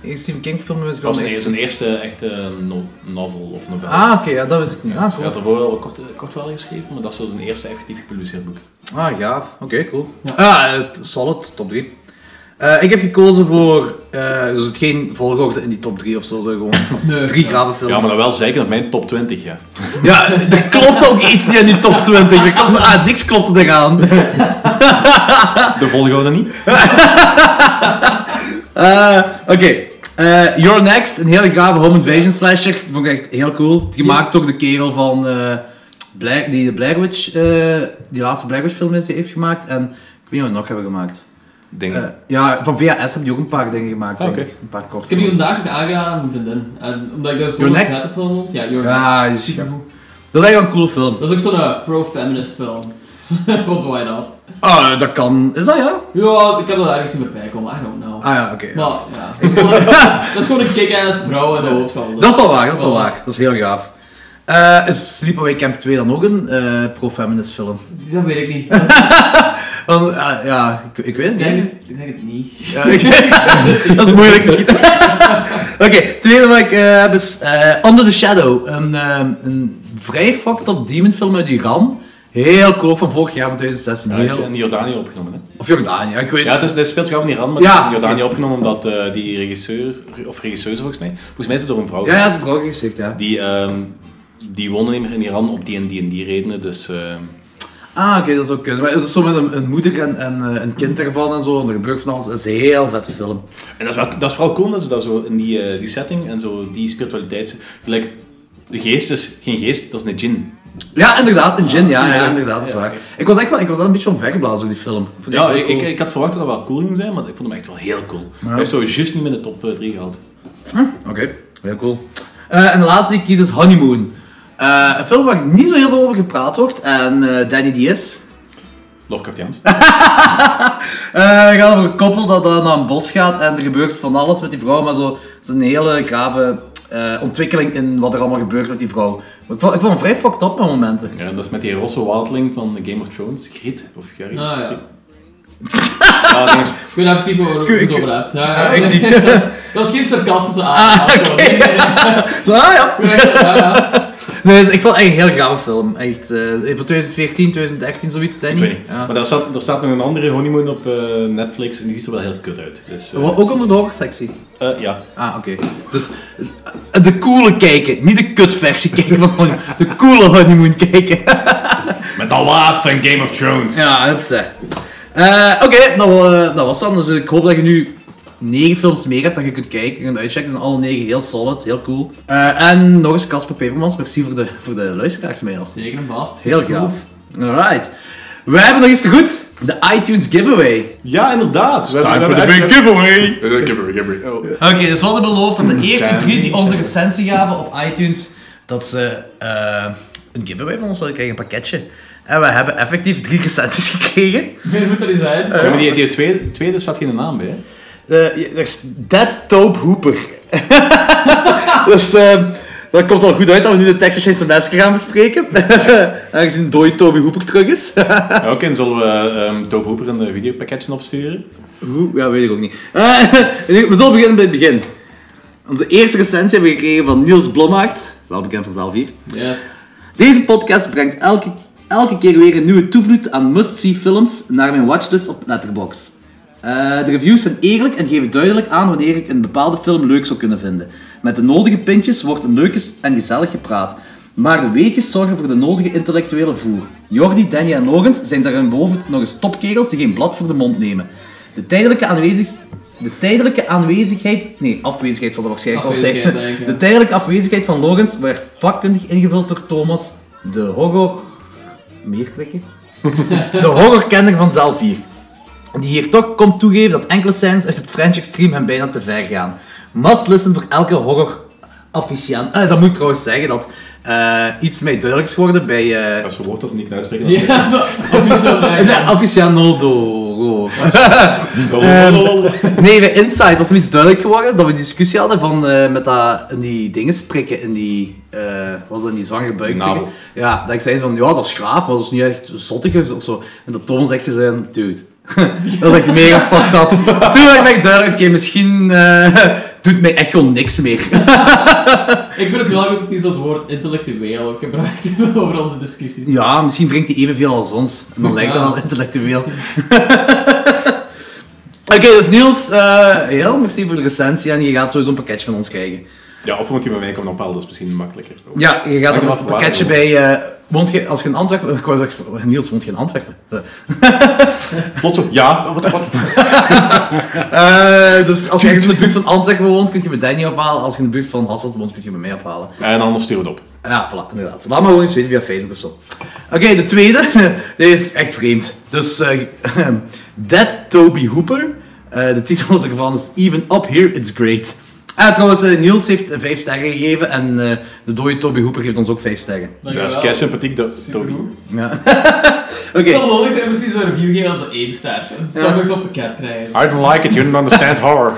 Speaker 4: De eerste Stephen King film wist ik wel
Speaker 6: Dat was
Speaker 4: niet.
Speaker 6: zijn eerste echte no- novel of novelle.
Speaker 4: Ah, oké, ja, dat wist ik niet. Ah,
Speaker 6: Hij
Speaker 4: cool.
Speaker 6: had daarvoor al kort, eh, kort wel geschreven, maar dat is zo zijn eerste effectief gepubliceerd boek.
Speaker 4: Ah, gaaf. Oké, cool. Ah, eh, solid, top 3. ik heb gekozen voor, eh, dus het geen volgorde in die top 3 of zo, zo gewoon drie gave films.
Speaker 6: Ja, maar dan wel zeker dat mijn top 20, ja.
Speaker 4: Ja, er klopt ook iets niet in die top 20. Er klopt, ah, niks klopt eraan.
Speaker 6: De volgorde niet.
Speaker 4: Eh, Oké. Eh, You're Next, een hele gave home invasion slasher. Die vond ik echt heel cool. Gemaakt door de kerel van eh, Blair- die de Blair Witch, eh, die laatste Blair Witch film is, die heeft gemaakt. En ik weet niet wat we nog hebben gemaakt.
Speaker 6: Dingen.
Speaker 4: Eh, ja, van VHS heb je ook een paar dingen gemaakt,
Speaker 6: Ah,
Speaker 4: denk
Speaker 6: oké.
Speaker 4: ik. Een paar korte
Speaker 5: Ik heb die
Speaker 4: films.
Speaker 5: vandaag nog aangeraden aan mijn vriendin. En omdat ik daar zo'n
Speaker 4: Your Next?
Speaker 5: vette film vond. Ja, Your
Speaker 4: Ja,
Speaker 5: Next.
Speaker 4: die is Dat is echt wel een coole film.
Speaker 5: Dat is ook zo'n eh, pro-feminist film. Vond why not?
Speaker 4: Ah, dat kan... Is dat ja?
Speaker 5: Ja, ik heb dat ergens zien voorbij komen, I don't know.
Speaker 4: Ah ja, oké.
Speaker 5: Maar ja, dat is gewoon een, dat is gewoon een kick-ass vrouw in de hoofdrol. dus-
Speaker 4: Dat is wel waar, dat is wel
Speaker 5: Voilà.
Speaker 4: waar. Dat is heel gaaf. Eh, is Sleepaway Camp 2 dan ook een eh, pro-feminist film?
Speaker 5: Dat weet ik niet. Dat is-
Speaker 4: Want, eh, ja, ik, ik weet het
Speaker 5: ik,
Speaker 4: niet.
Speaker 5: denk, het- ik denk het niet.
Speaker 4: Ja, ik- dat is moeilijk misschien. Oké, tweede wat ik eh, heb is eh, Under the Shadow. Een, ehm, een vrij fucked up demonfilm uit Iran. Heel koop van vorig jaar van 2016.
Speaker 6: Hij is
Speaker 4: Heel-
Speaker 6: in Jordanië opgenomen, hè?
Speaker 4: Of Jordanië, ik weet
Speaker 6: Ja, het is, dit speelt zich af in Iran, maar
Speaker 4: Ja.
Speaker 6: het is in Jordanië opgenomen omdat eh, die regisseur, of regisseuse volgens mij, volgens mij is het door een vrouw.
Speaker 4: Ja, ja, het is vooral gezegd, ja.
Speaker 6: Die, ehm die woonde niet meer in Iran op die en die en die redenen, dus... ehm,
Speaker 4: Ah, oké, dat zou kunnen. Maar het is zo met een, een moeder en, en eh, een kind ervan en zo. En er gebeurt van alles. Het is een heel vette film.
Speaker 6: En dat is, wel- dat is vooral cool dat ze dat zo in die, eh, die setting en zo die spiritualiteit. Gelijk, de geest is geen geest, dat is een djinn.
Speaker 4: Ja, inderdaad. Een gin, ja,
Speaker 6: ja.
Speaker 4: ja, inderdaad, dat is
Speaker 6: Ja,
Speaker 4: waar.
Speaker 6: oké.
Speaker 4: Ik was echt wel, ik was wel een beetje onvergeblazen door die film. Ik vond die
Speaker 6: Ja,
Speaker 4: echt wel
Speaker 6: ik,
Speaker 4: cool.
Speaker 6: ik, ik had verwacht dat dat wel cool ging zijn, maar ik vond hem echt wel heel cool. Hij heeft zo juist niet meer in de top 3 gehaald.
Speaker 4: Oké, heel cool. Eh, en de laatste die ik kies is Honeymoon. Eh, een film waar niet zo heel veel over gepraat wordt. En eh, Danny Diaz
Speaker 6: Lovecraftiaans.
Speaker 4: Eh, Het gaat over een koppel dat eh, naar een bos gaat en er gebeurt van alles met die vrouw, maar zo het is een hele grave eh, ontwikkeling in wat er allemaal gebeurt met die vrouw. Maar ik, vond, ik vond hem vrij fucked up met momenten.
Speaker 6: Ja, dat is met die rosse wildling van Game of Thrones, Griet of Gerrit.
Speaker 5: Ah, ja.
Speaker 6: Ja, dat is-
Speaker 5: Ik weet even niet hoe
Speaker 4: Ik- ik-
Speaker 5: goed over uit. Ja, ja.
Speaker 4: ik niet.
Speaker 5: dat is geen sarcastische aandacht. of zo.
Speaker 4: oké.
Speaker 5: Nee, nee, nee.
Speaker 4: Zo, ah, ja.
Speaker 5: Ja, ja.
Speaker 4: Nee, dus ik vond het echt een heel grave film. Echt, eh, van 2014, 2013, zoiets,
Speaker 6: ik
Speaker 4: Danny.
Speaker 6: weet niet.
Speaker 4: Ja.
Speaker 6: Maar daar staat, daar staat nog een andere honeymoon op eh, Netflix en die ziet er wel heel kut uit. Dus, eh,
Speaker 4: Ook onder de horrorsectie.
Speaker 6: eh, ja.
Speaker 4: Ah, oké. Dus eh, de coole kijken, niet de kutversie kijken van Honeymoon. De coole honeymoon kijken.
Speaker 6: Met de laaf van Game of Thrones.
Speaker 4: Ja, hupsa. Eh Oké, dat, wa- dat was dan. Dus ik hoop dat je nu negen films meer hebt dat je kunt kijken. Je kunt uitchecken. Ze zijn alle negen heel solid, heel cool. Eh, en nog eens Casper Pepermans. Merci voor de, voor de luisteraarsmails.
Speaker 5: Zeker en vast.
Speaker 4: Heel gaaf. Alright. We hebben nog eens te goed de iTunes giveaway.
Speaker 6: Ja, inderdaad. We hebben- we hebben-
Speaker 8: giveaway!
Speaker 4: Oké, dus we hadden beloofd dat de eerste drie die onze recensie gaven op iTunes, dat ze eh, een giveaway van ons zouden krijgen, een pakketje. En we hebben effectief drie recensies gekregen.
Speaker 5: Meer moet er niet zijn.
Speaker 6: Ja, maar die, die tweede, tweede staat geen naam bij. hè?
Speaker 4: Eh, ja, er is Dead Taupe Hooper. dus ehm, dat komt wel goed uit dat we nu de Texas Chainsaw Massacre gaan bespreken. Aangezien dode Toby Hooper terug is.
Speaker 6: Ja, Oké, dan zullen we ehm Tobe Hooper een eh, videopakketje opsturen.
Speaker 4: Hoe? Ja, weet ik ook niet. Eh, we zullen beginnen bij het begin. Onze eerste recensie hebben we gekregen van Niels Blommaert. Wel bekend van zelf hier.
Speaker 5: Yes.
Speaker 4: Deze podcast brengt elke, elke keer weer een nieuwe toevloed aan must-see films naar mijn watchlist op Letterboxd. Eh, de reviews zijn eerlijk en geven duidelijk aan wanneer ik een bepaalde film leuk zou kunnen vinden. Met de nodige pintjes wordt een leuke s- en gezellig gepraat. Maar de weetjes zorgen voor de nodige intellectuele voer. Jordi, Danny en Logans zijn daarboven nog eens topkerels die geen blad voor de mond nemen. De tijdelijke, aanwezig... de tijdelijke aanwezigheid... Nee, afwezigheid zal er waarschijnlijk al zijn.
Speaker 5: Afwezigheid, denk ik, ja.
Speaker 4: De tijdelijke afwezigheid van Logans werd vakkundig ingevuld door Thomas de horror... Meer klikken? de horrorkenner van Zelfier die hier toch komt toegeven dat enkele scènes uit het French Extreme hem bijna te ver gaan. Must listen voor elke horror officiant. Eh, dat moet ik trouwens zeggen dat eh, iets mij duidelijk is geworden bij eh
Speaker 6: Als we woord dat niet kunnen uitspreken, dan...
Speaker 5: Ja, zo. Of iets zo lijkt.
Speaker 4: de aficionado.
Speaker 6: Blablabla.
Speaker 4: Nee, bij Inside was me iets duidelijk geworden dat we discussie hadden van eh, met dat in die dingen prikken in die eh, was dat in die zwangere buik. prikken?
Speaker 6: Navel.
Speaker 4: Ja, dat ik zei van ja, dat is graaf, maar dat is niet echt zottig of zo. En dat Thomas echt zei, dude, dat is echt mega fucked up. Toen werd ik echt duidelijk, oké, misschien eh, doet mij echt gewoon niks meer.
Speaker 5: Ik vind het wel goed dat hij zo het woord intellectueel ook gebruikt over onze discussies.
Speaker 4: Ja, misschien drinkt hij evenveel als ons. En dan lijkt dat
Speaker 5: Ja.
Speaker 4: wel intellectueel. Oké, dus Niels, eh, heel merci voor de recensie en je gaat sowieso een pakketje van ons krijgen.
Speaker 6: Ja, of moet hij bij mij komen ophalen, dat is misschien makkelijker.
Speaker 4: Ja, je gaat
Speaker 6: Hangt
Speaker 4: er
Speaker 6: er af
Speaker 4: een
Speaker 6: waar
Speaker 4: pakketje
Speaker 6: je
Speaker 4: bij. eh, woont je, als je in Antwerpen. Ik wou zeggen, Niels woont je in Antwerpen. Eh,
Speaker 6: Plots zo, ja.
Speaker 4: eh, dus als je ergens in de buurt van Antwerpen woont, kun je bij Danny ophalen. Als je in de buurt van Hasselt woont, kun je bij mij ophalen.
Speaker 6: En anders sturen we het op.
Speaker 4: Ja, voilà, inderdaad. Laat maar gewoon eens weten via Facebook of zo. Oké, de tweede. Deze is echt vreemd. Dus, eh Dead Toby Hooper. Eh, de titel ervan is Even Up Here It's Great. En trouwens, eh, Niels heeft eh, vijf sterren gegeven en eh, de dode Toby Hooper geeft ons ook vijf sterren.
Speaker 5: Dank
Speaker 6: Ja, dat
Speaker 5: je
Speaker 6: is
Speaker 5: wel.
Speaker 6: kei sympathiek, dat, Toby.
Speaker 4: Ja.
Speaker 5: Het
Speaker 4: Oké.
Speaker 5: zal lollig zijn als die zo'n review geven dat ze één ster. Dat nog zo'n pakket krijgen.
Speaker 6: I don't like it, you don't understand horror.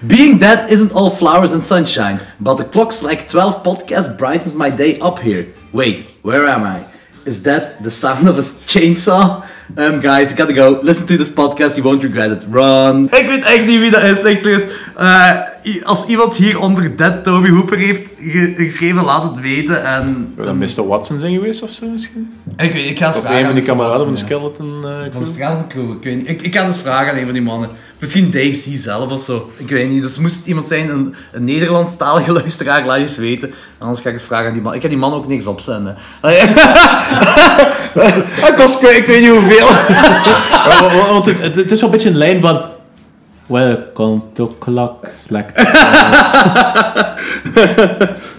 Speaker 4: Being dead isn't all flowers and sunshine, but the clock's like 12 podcast brightens my day up here. Wait, where am I? Is that the sound of a chainsaw? Um, guys, gotta go. Listen to this podcast, you won't regret it. Run. Ik weet echt niet wie dat is, echt serieus. Eh, i- als iemand hieronder Dead Toby Hooper heeft ge- geschreven, laat het weten. En
Speaker 6: Zou dat Mr. Watson zijn geweest of zo misschien?
Speaker 7: Ik weet, ik ga eens
Speaker 6: Of
Speaker 7: vragen
Speaker 6: een
Speaker 7: aan
Speaker 6: van
Speaker 7: de
Speaker 6: die kameraden van de
Speaker 7: Sebastian.
Speaker 6: skeleton eh, crew?
Speaker 7: Van de Skeleton Crew, ik weet niet. Ik, ik ga eens vragen aan een van die mannen. Misschien Dave C zelf of zo. Ik weet niet. Dus moest het iemand zijn, een, een Nederlandstalige luisteraar, laat eens weten. Anders ga ik het vragen aan die man. Ik ga die man ook niks opzenden. Dat kost ik weet niet hoeveel.
Speaker 6: Ja, wa- wa- Oh, Want het, het- het is wel een beetje een lijn van... Welcome to Clock Slack.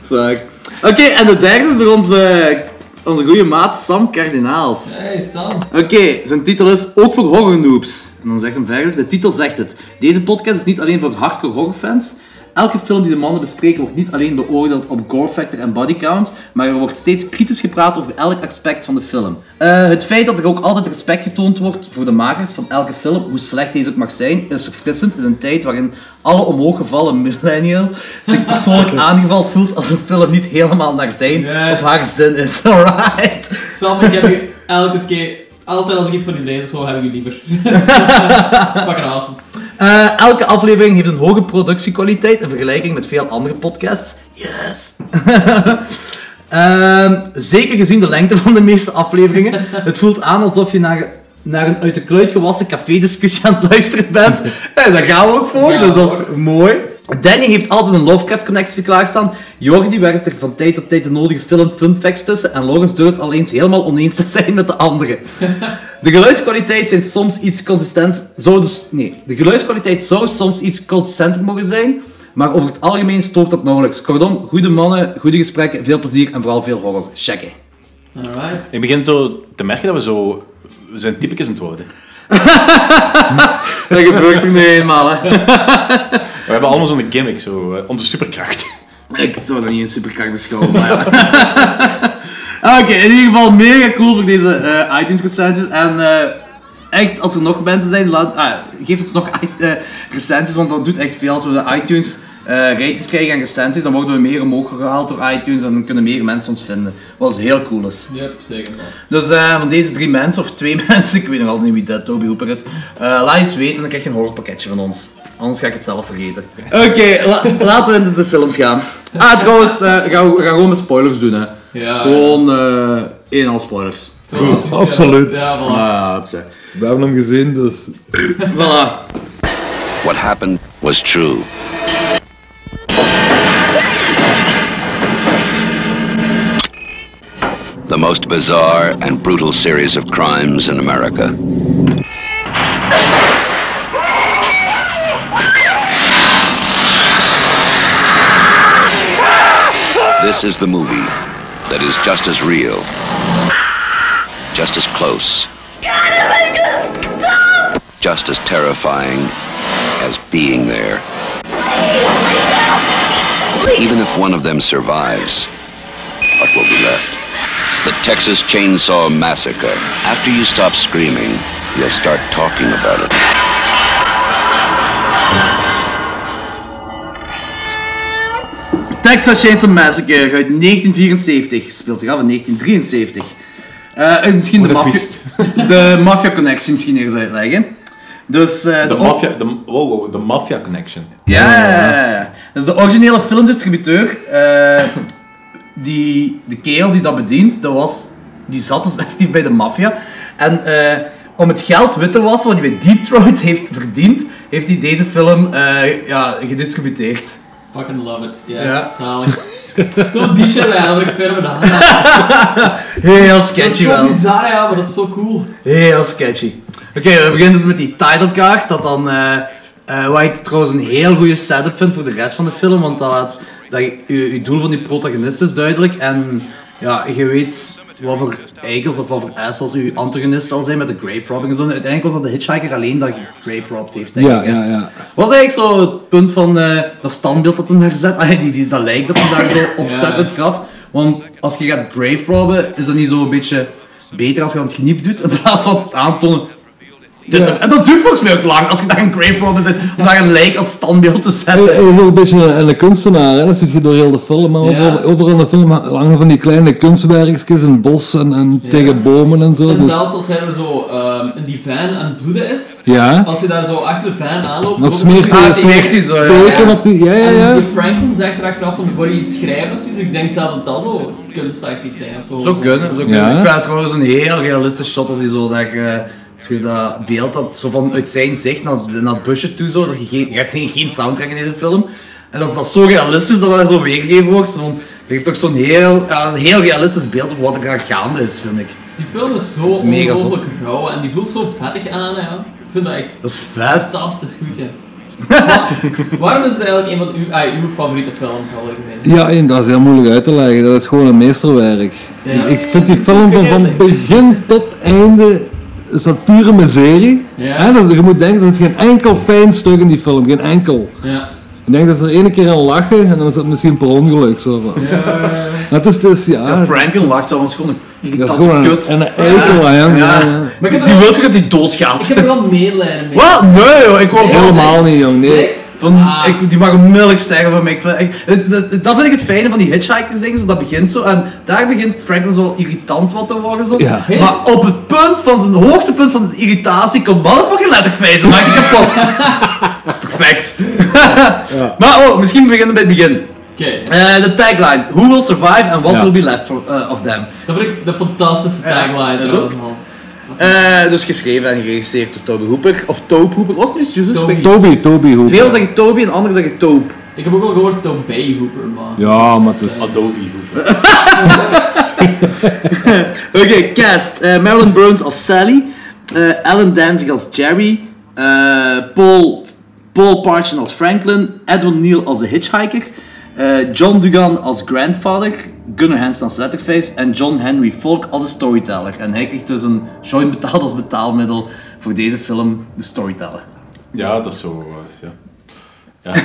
Speaker 4: Zaak. Oké, en de derde is door onze, onze goede maat Sam Kardinaals.
Speaker 5: Hey Sam.
Speaker 4: Oké, zijn titel is Ook voor horror noobs. En dan zegt hem verder, de titel zegt het. Deze podcast is niet alleen voor hardcore horrorfans. Elke film die de mannen bespreken wordt niet alleen beoordeeld op gore factor en body count, maar er wordt steeds kritisch gepraat over elk aspect van de film. Eh, het feit dat er ook altijd respect getoond wordt voor de makers van elke film, hoe slecht deze ook mag zijn, is verfrissend in een tijd waarin alle omhooggevallen millennial zich persoonlijk aangevallen voelt als een film niet helemaal naar zijn
Speaker 5: Yes.
Speaker 4: of haar zin is. Alright.
Speaker 5: Sam, ik heb je elke keer, altijd als ik iets van je lees, zo heb ik je liever. Dus, eh, Fucking awesome.
Speaker 4: Eh, elke aflevering heeft een hoge productiekwaliteit in vergelijking met veel andere podcasts. Yes! Ehm, zeker gezien de lengte van de meeste afleveringen. Het voelt aan alsof je naar, naar een uit de kluit gewassen café-discussie aan het luisteren bent. En daar gaan we ook voor,
Speaker 5: Ja,
Speaker 4: dus dat is mooi. Danny heeft altijd een Lovecraft-connectie klaarstaan. Jordi werkt er van tijd tot tijd de nodige film-fun facts tussen. En Lawrence durft al eens helemaal oneens te zijn met de anderen. De geluidskwaliteit zijn soms iets consistent. Zou dus, nee, de geluidskwaliteit zou soms iets consistenter mogen zijn. Maar over het algemeen stoort dat nauwelijks. Kortom, goede mannen, goede gesprekken, veel plezier en vooral veel horror. Checken.
Speaker 5: Alright.
Speaker 6: Ik begin zo te merken dat we zo... We zijn typicus aan het worden.
Speaker 4: Dat gebeurt er nu eenmaal, hè.
Speaker 6: We hebben allemaal zo'n gimmick, zo, eh, onze superkracht.
Speaker 4: Ik zou dat niet een superkracht beschouwen, maar ja. Ah, Oké, in ieder geval mega cool voor deze eh, iTunes recensies. En eh, echt, als er nog mensen zijn, laat, ah, geef ons nog i- eh, recensies, want dat doet echt veel. Als we de iTunes eh ratings krijgen en recensies, dan worden we meer omhoog gehaald door iTunes en dan kunnen meer mensen ons vinden. Wat dus heel cool is.
Speaker 5: Yep, zeker. wel.
Speaker 4: Dus eh, van deze drie mensen, of twee mensen, ik weet nog altijd niet wie dat Toby Hooper is, eh, laat eens weten en dan krijg je een horrorpakketje van ons. Anders ga ik het zelf vergeten. Oké, la- laten we in de films gaan. Ah, trouwens, eh, gaan we we gaan gewoon met spoilers doen, hè.
Speaker 5: Ja.
Speaker 4: Gewoon eh één al spoilers.
Speaker 3: Absoluut.
Speaker 5: Ja, voilà.
Speaker 4: Ah, opzij.
Speaker 3: We hebben hem gezien, dus...
Speaker 4: Voilà.
Speaker 9: What happened was true. The most bizarre and brutal series of crimes in America. This is the movie that is just as real, just as close, just as terrifying as being there. Even if one of them survives, what will be left? The Texas Chainsaw Massacre. After you stop screaming, you'll start talking about it.
Speaker 4: Texas Chainsaw Massacre uit 1974. Speelt zich af in 1973. Eh, en misschien de
Speaker 6: Wat een
Speaker 4: maffia...
Speaker 6: twist.
Speaker 4: De maffia-connectie misschien eerst uitleggen. Dus eh,
Speaker 6: De
Speaker 4: op-
Speaker 6: maffia... De, wow, wow, de maffia connection.
Speaker 4: Ja, ja, ja. Dus de originele filmdistributeur, eh, die, de kerel die dat bedient, dat was, die zat dus effectief bij de maffia. En eh, om het geld wit te wassen wat hij bij Deep Throat heeft verdiend, heeft hij deze film eh, ja, gedistribueerd.
Speaker 5: Fucking love it. Yes,
Speaker 4: Ja.
Speaker 5: zalig. Zo die shit eigenlijk verder dan. Dat
Speaker 4: Heel
Speaker 5: is
Speaker 4: sketchy
Speaker 5: zo
Speaker 4: wel.
Speaker 5: bizar, ja, maar dat is zo cool.
Speaker 4: Heel sketchy. Oké, we beginnen dus met die titlecard, dat dan... eh, eh, wat ik trouwens een heel goede setup vind voor de rest van de film, want dat laat... Dat je, je, doel van die protagonist is duidelijk en... Ja, je weet wat voor eikels of wat voor assels uw antagonist zal zijn met de grave robbing. en zo. Uiteindelijk was dat de hitchhiker alleen dat grave robbed heeft, denk
Speaker 3: Ja,
Speaker 4: ik. hè.
Speaker 3: ja, ja.
Speaker 4: Was eigenlijk zo het punt van eh, dat standbeeld dat hem daar zet, ah, die, die, dat lijkt dat hem daar zo opzet
Speaker 5: Ja.
Speaker 4: uit het graf. Want als je gaat grave robben, is dat niet zo een beetje beter als je aan het geniep doet, in plaats van het aantonen. Dit- En dat duurt volgens mij ook lang, als je daar een grave robber zit, om daar een lijk als standbeeld te
Speaker 3: Hij
Speaker 4: zetten.
Speaker 3: hij is ook een beetje een, een kunstenaar, hè? dat zit je door heel de film. Maar
Speaker 5: Ja.
Speaker 3: overal, overal in de film hangen van die kleine kunstwerkjes in het bos en, en tegen bomen en zo.
Speaker 5: En
Speaker 3: dus-
Speaker 5: zelfs als hij er zo ehm, in die van aan het bloeden is,
Speaker 3: ja,
Speaker 5: als hij daar zo achter de van aanloopt...
Speaker 3: dan
Speaker 5: eh, zo-
Speaker 3: smeert
Speaker 4: Ah,
Speaker 3: hij
Speaker 4: smeert hij zo, ja.
Speaker 3: teken op die... Ja, ja,
Speaker 5: En
Speaker 3: ja.
Speaker 5: die Franklin zegt er achteraf van, wil je iets schrijven of zoiets? Ik denk zelf dat dat zo kunstachtig zijn of zo.
Speaker 4: Zo kunnen, zo kunnen.
Speaker 3: Ja.
Speaker 4: Ik vind het trouwens een heel realistisch shot als hij zo dat je, als je dat beeld dat zo vanuit zijn zicht naar, naar het busje toe zo, dat je geen, je hebt geen, geen soundtrack in deze film. En dat is dat zo realistisch dat dat zo weergegeven wordt. Zo, dat geeft ook zo'n heel, ja, een heel realistisch beeld van wat er aan gaande is, vind ik.
Speaker 5: Die film is zo
Speaker 4: Mega zot.
Speaker 5: ongelooflijk rauw en die voelt zo vettig aan, ja. Ik vind dat echt
Speaker 4: Dat is vet.
Speaker 5: fantastisch goed, ja. Maar waarom is het eigenlijk een van uw, ah, uw favoriete films? Al algemeen?
Speaker 3: Ja, en dat is heel moeilijk uit te leggen. Dat is gewoon een meesterwerk. Ik- Ik vind die film van, van begin tot einde is dat pure miserie.
Speaker 5: Ja.
Speaker 3: Hè, dat- je moet denken, er zit geen enkel fijn stuk in die film. Geen enkel.
Speaker 5: Ja.
Speaker 3: Ik denk dat ze er ene keer aan lachen en dan is dat misschien per ongeluk. Zo. van. Maar het is dus, ja...
Speaker 4: Ja, Franklin lacht wel, maar is gewoon een
Speaker 3: dat is
Speaker 4: irritante
Speaker 3: gewoon
Speaker 4: kut.
Speaker 3: een, een eikel, hè. Ja,
Speaker 4: Ja.
Speaker 3: ja.
Speaker 5: Maar ik heb
Speaker 4: Die
Speaker 5: er
Speaker 4: wil
Speaker 5: wel,
Speaker 4: toch dat hij doodgaat?
Speaker 5: ik heb er wel medelijden mee.
Speaker 4: Wat? Nee joh, ik wou
Speaker 5: Ja.
Speaker 3: Helemaal niet, jong. Nee.
Speaker 5: Niks?
Speaker 4: Van,
Speaker 5: Ah.
Speaker 4: ik, die mag onmiddellijk stijgen van mij. Ik vind- ik- het- het- dat vind ik het fijne van die hitchhikers dingen. Zo, dat begint zo. En daar begint Franklin zo irritant wat te worden. Zo.
Speaker 3: Ja.
Speaker 5: Yes.
Speaker 4: Maar op het punt van zijn hoogtepunt van de irritatie komt motherfucking letterface. Dan maak ik kapot. Perfect. Maar oh, misschien beginnen bij het begin.
Speaker 5: Oké,
Speaker 4: Eh, De tagline. Who will survive and what
Speaker 3: Ja.
Speaker 4: will be left for- eh, of them.
Speaker 5: dat vind ik de fantastische tagline
Speaker 4: dat is
Speaker 5: trouwens,
Speaker 4: ook.
Speaker 5: man.
Speaker 4: Eh, dus geschreven en geregisseerd door Toby Hooper. Of Tobe Hooper. Was het nu?
Speaker 5: Tobe.
Speaker 3: Toby, Toby Hooper.
Speaker 4: Veel zeggen Toby en anderen zeggen Tobe.
Speaker 5: Ik heb ook al gehoord Tobey Hooper, man.
Speaker 3: Ja, maar het is...
Speaker 6: Adobe.
Speaker 4: Oké, cast. Eh, Marilyn Burns als Sally. eh, Alan Danzig als Jerry. eh, Paul, Paul Parchin als Franklin. Edwin Neal als de Hitchhiker. eh, John Dugan als Grandfather. Gunnar Hansen als Letterface. En John Henry Falk als de Storyteller. En hij kreeg dus een joint betaald als betaalmiddel voor deze film, de Storyteller.
Speaker 6: Ja, dat is zo. eh, ja.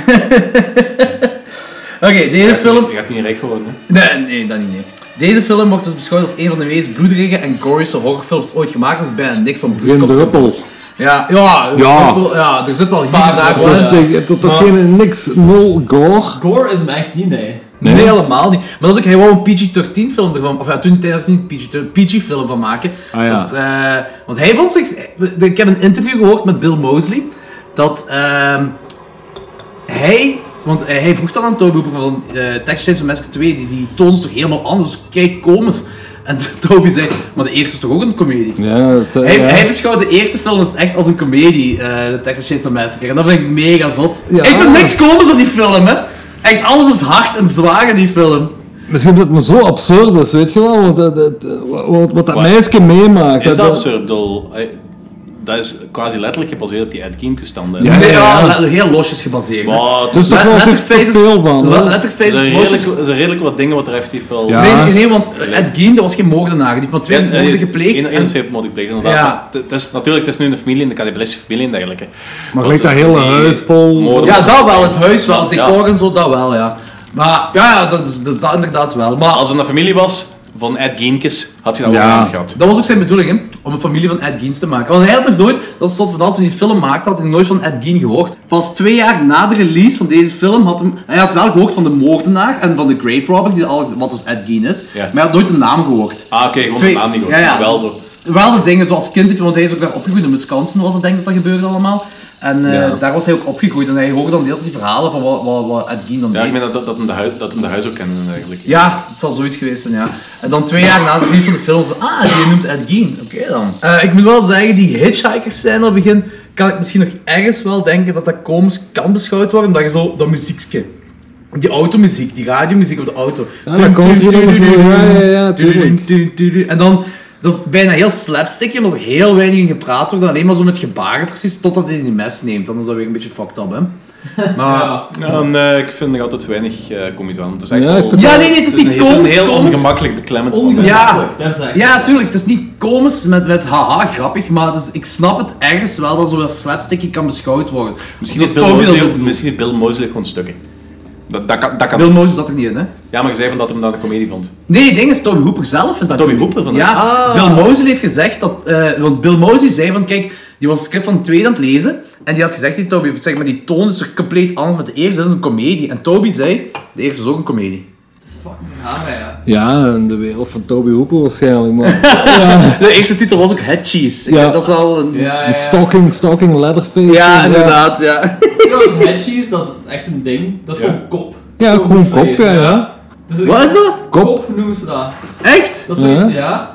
Speaker 4: Oké, deze film...
Speaker 6: Je gaat niet rijk geworden, hè?
Speaker 4: Nee, nee, dat niet, nee. Deze film wordt dus beschouwd als een van de meest bloederige en goryste horrorfilms ooit gemaakt. Dat is bijna niks van bloed.
Speaker 3: Geen
Speaker 4: komt er
Speaker 3: druppel.
Speaker 4: Ja, ja,
Speaker 3: Ja.
Speaker 4: ik bedoel, ja, er zit wel hier en daar wel.
Speaker 3: Dat is, je hebt er toch geen niks, nul gore.
Speaker 5: Gore is me echt niet, nee.
Speaker 4: Nee, helemaal niet. Maar dat is ook hij wou een PG-13 film ervan, of ja, toen tijdens niet PG-13, PG-film van maken.
Speaker 3: Ah, ja.
Speaker 4: want, eh, want hij vond zich, ik heb een interview gehoord met Bill Mosley, dat ehm, hij, want eh, hij vroeg dan aan Toby Hooper van eh Texas Chainsaw Massacre 2, die, die toon is toch helemaal anders, kijk komisch. En Toby zei, maar de eerste is toch ook een comedie?
Speaker 3: Ja, dat zijn,
Speaker 4: Hij,
Speaker 3: ja.
Speaker 4: hij beschouwt de eerste film dus echt als een komedie, eh de Texas Chainsaw Massacre. En dat vind ik mega zot.
Speaker 3: Ja.
Speaker 4: Ik vind niks komisch aan die film, hè. Echt, alles is hard en zwaar in die film.
Speaker 3: Misschien dat het me zo absurd is, weet je wel? Want dat, dat, wat, wat dat meisje meemaakt.
Speaker 6: Is dat
Speaker 3: dat-
Speaker 6: absurd? Ik bedoel, eh, Dat is quasi letterlijk gebaseerd op die Ed Gein toestanden.
Speaker 3: Ja,
Speaker 4: Nee,
Speaker 3: ja.
Speaker 4: ja, le- heel losjes gebaseerd. hè.
Speaker 6: Maar
Speaker 3: Dus
Speaker 4: Le-
Speaker 3: daar was ik
Speaker 4: Letterface
Speaker 3: te
Speaker 4: is-
Speaker 3: veel van.
Speaker 4: Le-
Speaker 3: hè.
Speaker 6: er
Speaker 4: Letterface
Speaker 6: zijn
Speaker 4: is
Speaker 6: redelijk,
Speaker 4: losjes...
Speaker 6: er zijn redelijk wat dingen wat er effectief wel...
Speaker 3: Ja.
Speaker 4: Nee, nee, nee, want Ed Gein, dat was geen moordenaar. Die heeft maar twee
Speaker 6: En, eh,
Speaker 4: moorden gepleegd.
Speaker 6: één- één
Speaker 4: En,
Speaker 6: of twee moorden gepleegd, inderdaad.
Speaker 4: Ja.
Speaker 6: Maar het- Het is, natuurlijk, het is nu een familie, een cannibalistische familie en dergelijke.
Speaker 3: Maar
Speaker 6: Dat
Speaker 3: gelijk dat
Speaker 6: is-
Speaker 3: hele
Speaker 6: die
Speaker 3: huis vol...
Speaker 6: moorden-
Speaker 4: ja, dat wel. Het huis wel, het
Speaker 6: Ja.
Speaker 4: decor en zo, dat wel, ja. Maar ja, ja, dat is, dat is dat inderdaad wel. Maar
Speaker 6: Als het een familie was van Ed Geinkes, had hij dat
Speaker 3: Ja.
Speaker 6: wel aan gehad.
Speaker 4: Dat was ook zijn bedoeling, hè? om een familie van Ed Gein te maken. Want hij had nog nooit, dat stond vanaf toen hij die film maakte, had hij nooit van Ed Gein gehoord. Pas twee jaar na de release van deze film had hem, hij had wel gehoord van de moordenaar en van de grave robber, die al, wat dus Ed Gein is,
Speaker 6: Ja.
Speaker 4: maar hij had nooit de naam gehoord.
Speaker 6: Ah, oké, gewoon de naam niet gehoord, maar wel zo.
Speaker 4: Wel de dingen zoals kind, heeft- want hij is ook daar opgegroeid in Wisconsin, was dat denk ik dat dat gebeurde allemaal. En eh,
Speaker 3: Ja.
Speaker 4: daar was hij ook opgegroeid en hij hoorde dan de hele tijd die verhalen van wat, wat, wat Ed Gein dan
Speaker 6: Ja,
Speaker 4: deed.
Speaker 6: ik meen dat, dat, dat, hem de huis, dat hem de huis ook kennen en dergelijke.
Speaker 4: Ja, het zal zoiets geweest zijn, ja. En dan twee jaar na de release van de film, zo, ah, die noemt Ed Gein. Oké dan. Eh, ik moet wel zeggen, die hitchhikers zijn op het begin, kan ik misschien nog ergens wel denken dat dat komisch kan beschouwd worden, omdat je zo dat muziekje, die automuziek, die radiomuziek op de auto.
Speaker 3: Ja, dat komt hier nog voor. Ja, ja, ja, tuurlijk.
Speaker 4: Tudu, tudu. En dan, dat is bijna heel slapstick, omdat er heel weinig in gepraat wordt, alleen maar zo met gebaren precies, totdat hij die mes neemt. Dan is dat weer een beetje fucked up, hè. Maar...
Speaker 5: Ja.
Speaker 6: Ja, en, eh, ik vind er altijd weinig eh komisch aan. Het is echt
Speaker 3: Ja, ik
Speaker 6: wel-
Speaker 3: vind-
Speaker 4: Ja, nee, nee, het is
Speaker 6: een
Speaker 4: niet
Speaker 6: heel-
Speaker 4: komisch,
Speaker 6: heel
Speaker 4: komisch.
Speaker 6: ongemakkelijk beklemmend.
Speaker 5: Ongemakkelijk, daar zeg ik.
Speaker 4: Ja, tuurlijk. Het is niet komisch met, met haha, grappig, maar het is, ik snap het ergens wel dat zo wel slapsticky kan beschouwd worden.
Speaker 6: Misschien
Speaker 4: Dat
Speaker 6: heeft Bill,
Speaker 4: Toby dat
Speaker 6: Mosley,
Speaker 4: ook bedoelt.
Speaker 6: misschien heeft Bill Mosley gewoon stukken. Dat, dat kan, dat kan.
Speaker 4: Bill Moses zat er niet in, hè?
Speaker 6: Ja, maar je zei van dat hij hem dat een comedie vond.
Speaker 4: Nee, het ding is, Toby Hooper zelf vindt dat
Speaker 6: Toby
Speaker 4: goed.
Speaker 6: Hooper van-
Speaker 4: Ja,
Speaker 6: Ah.
Speaker 4: Bill Mosley heeft gezegd dat... eh, want Bill Mosley zei van, kijk, Die was het script van de tweede aan het lezen. En die had gezegd, die Toby, zeg maar, die toon is toch compleet anders met de eerste. Dat is een komedie. En Toby zei, de eerste is ook een komedie.
Speaker 5: Het is fucking raar, hè, ja.
Speaker 3: Ja, en de wereld van Toby Hooper waarschijnlijk, maar...
Speaker 4: De eerste titel was ook Head Cheese. Ik
Speaker 3: Ja.
Speaker 4: denk, dat is wel een... Ja,
Speaker 5: Ja,
Speaker 3: Een
Speaker 5: ja.
Speaker 3: stalking, stalking Leatherface.
Speaker 4: inderdaad, ja.
Speaker 5: Trouwens, headcheese, dat is echt een ding. Dat is
Speaker 6: Ja.
Speaker 5: gewoon kop.
Speaker 3: Ja,
Speaker 5: Zo
Speaker 3: gewoon
Speaker 5: noemen ze
Speaker 3: kop,
Speaker 5: hier.
Speaker 3: ja, ja.
Speaker 5: Dus
Speaker 4: Wat is dat?
Speaker 5: Kop?
Speaker 3: Kop?
Speaker 5: noemen ze dat.
Speaker 4: Echt?
Speaker 5: Dat is zoiets-
Speaker 3: Ja.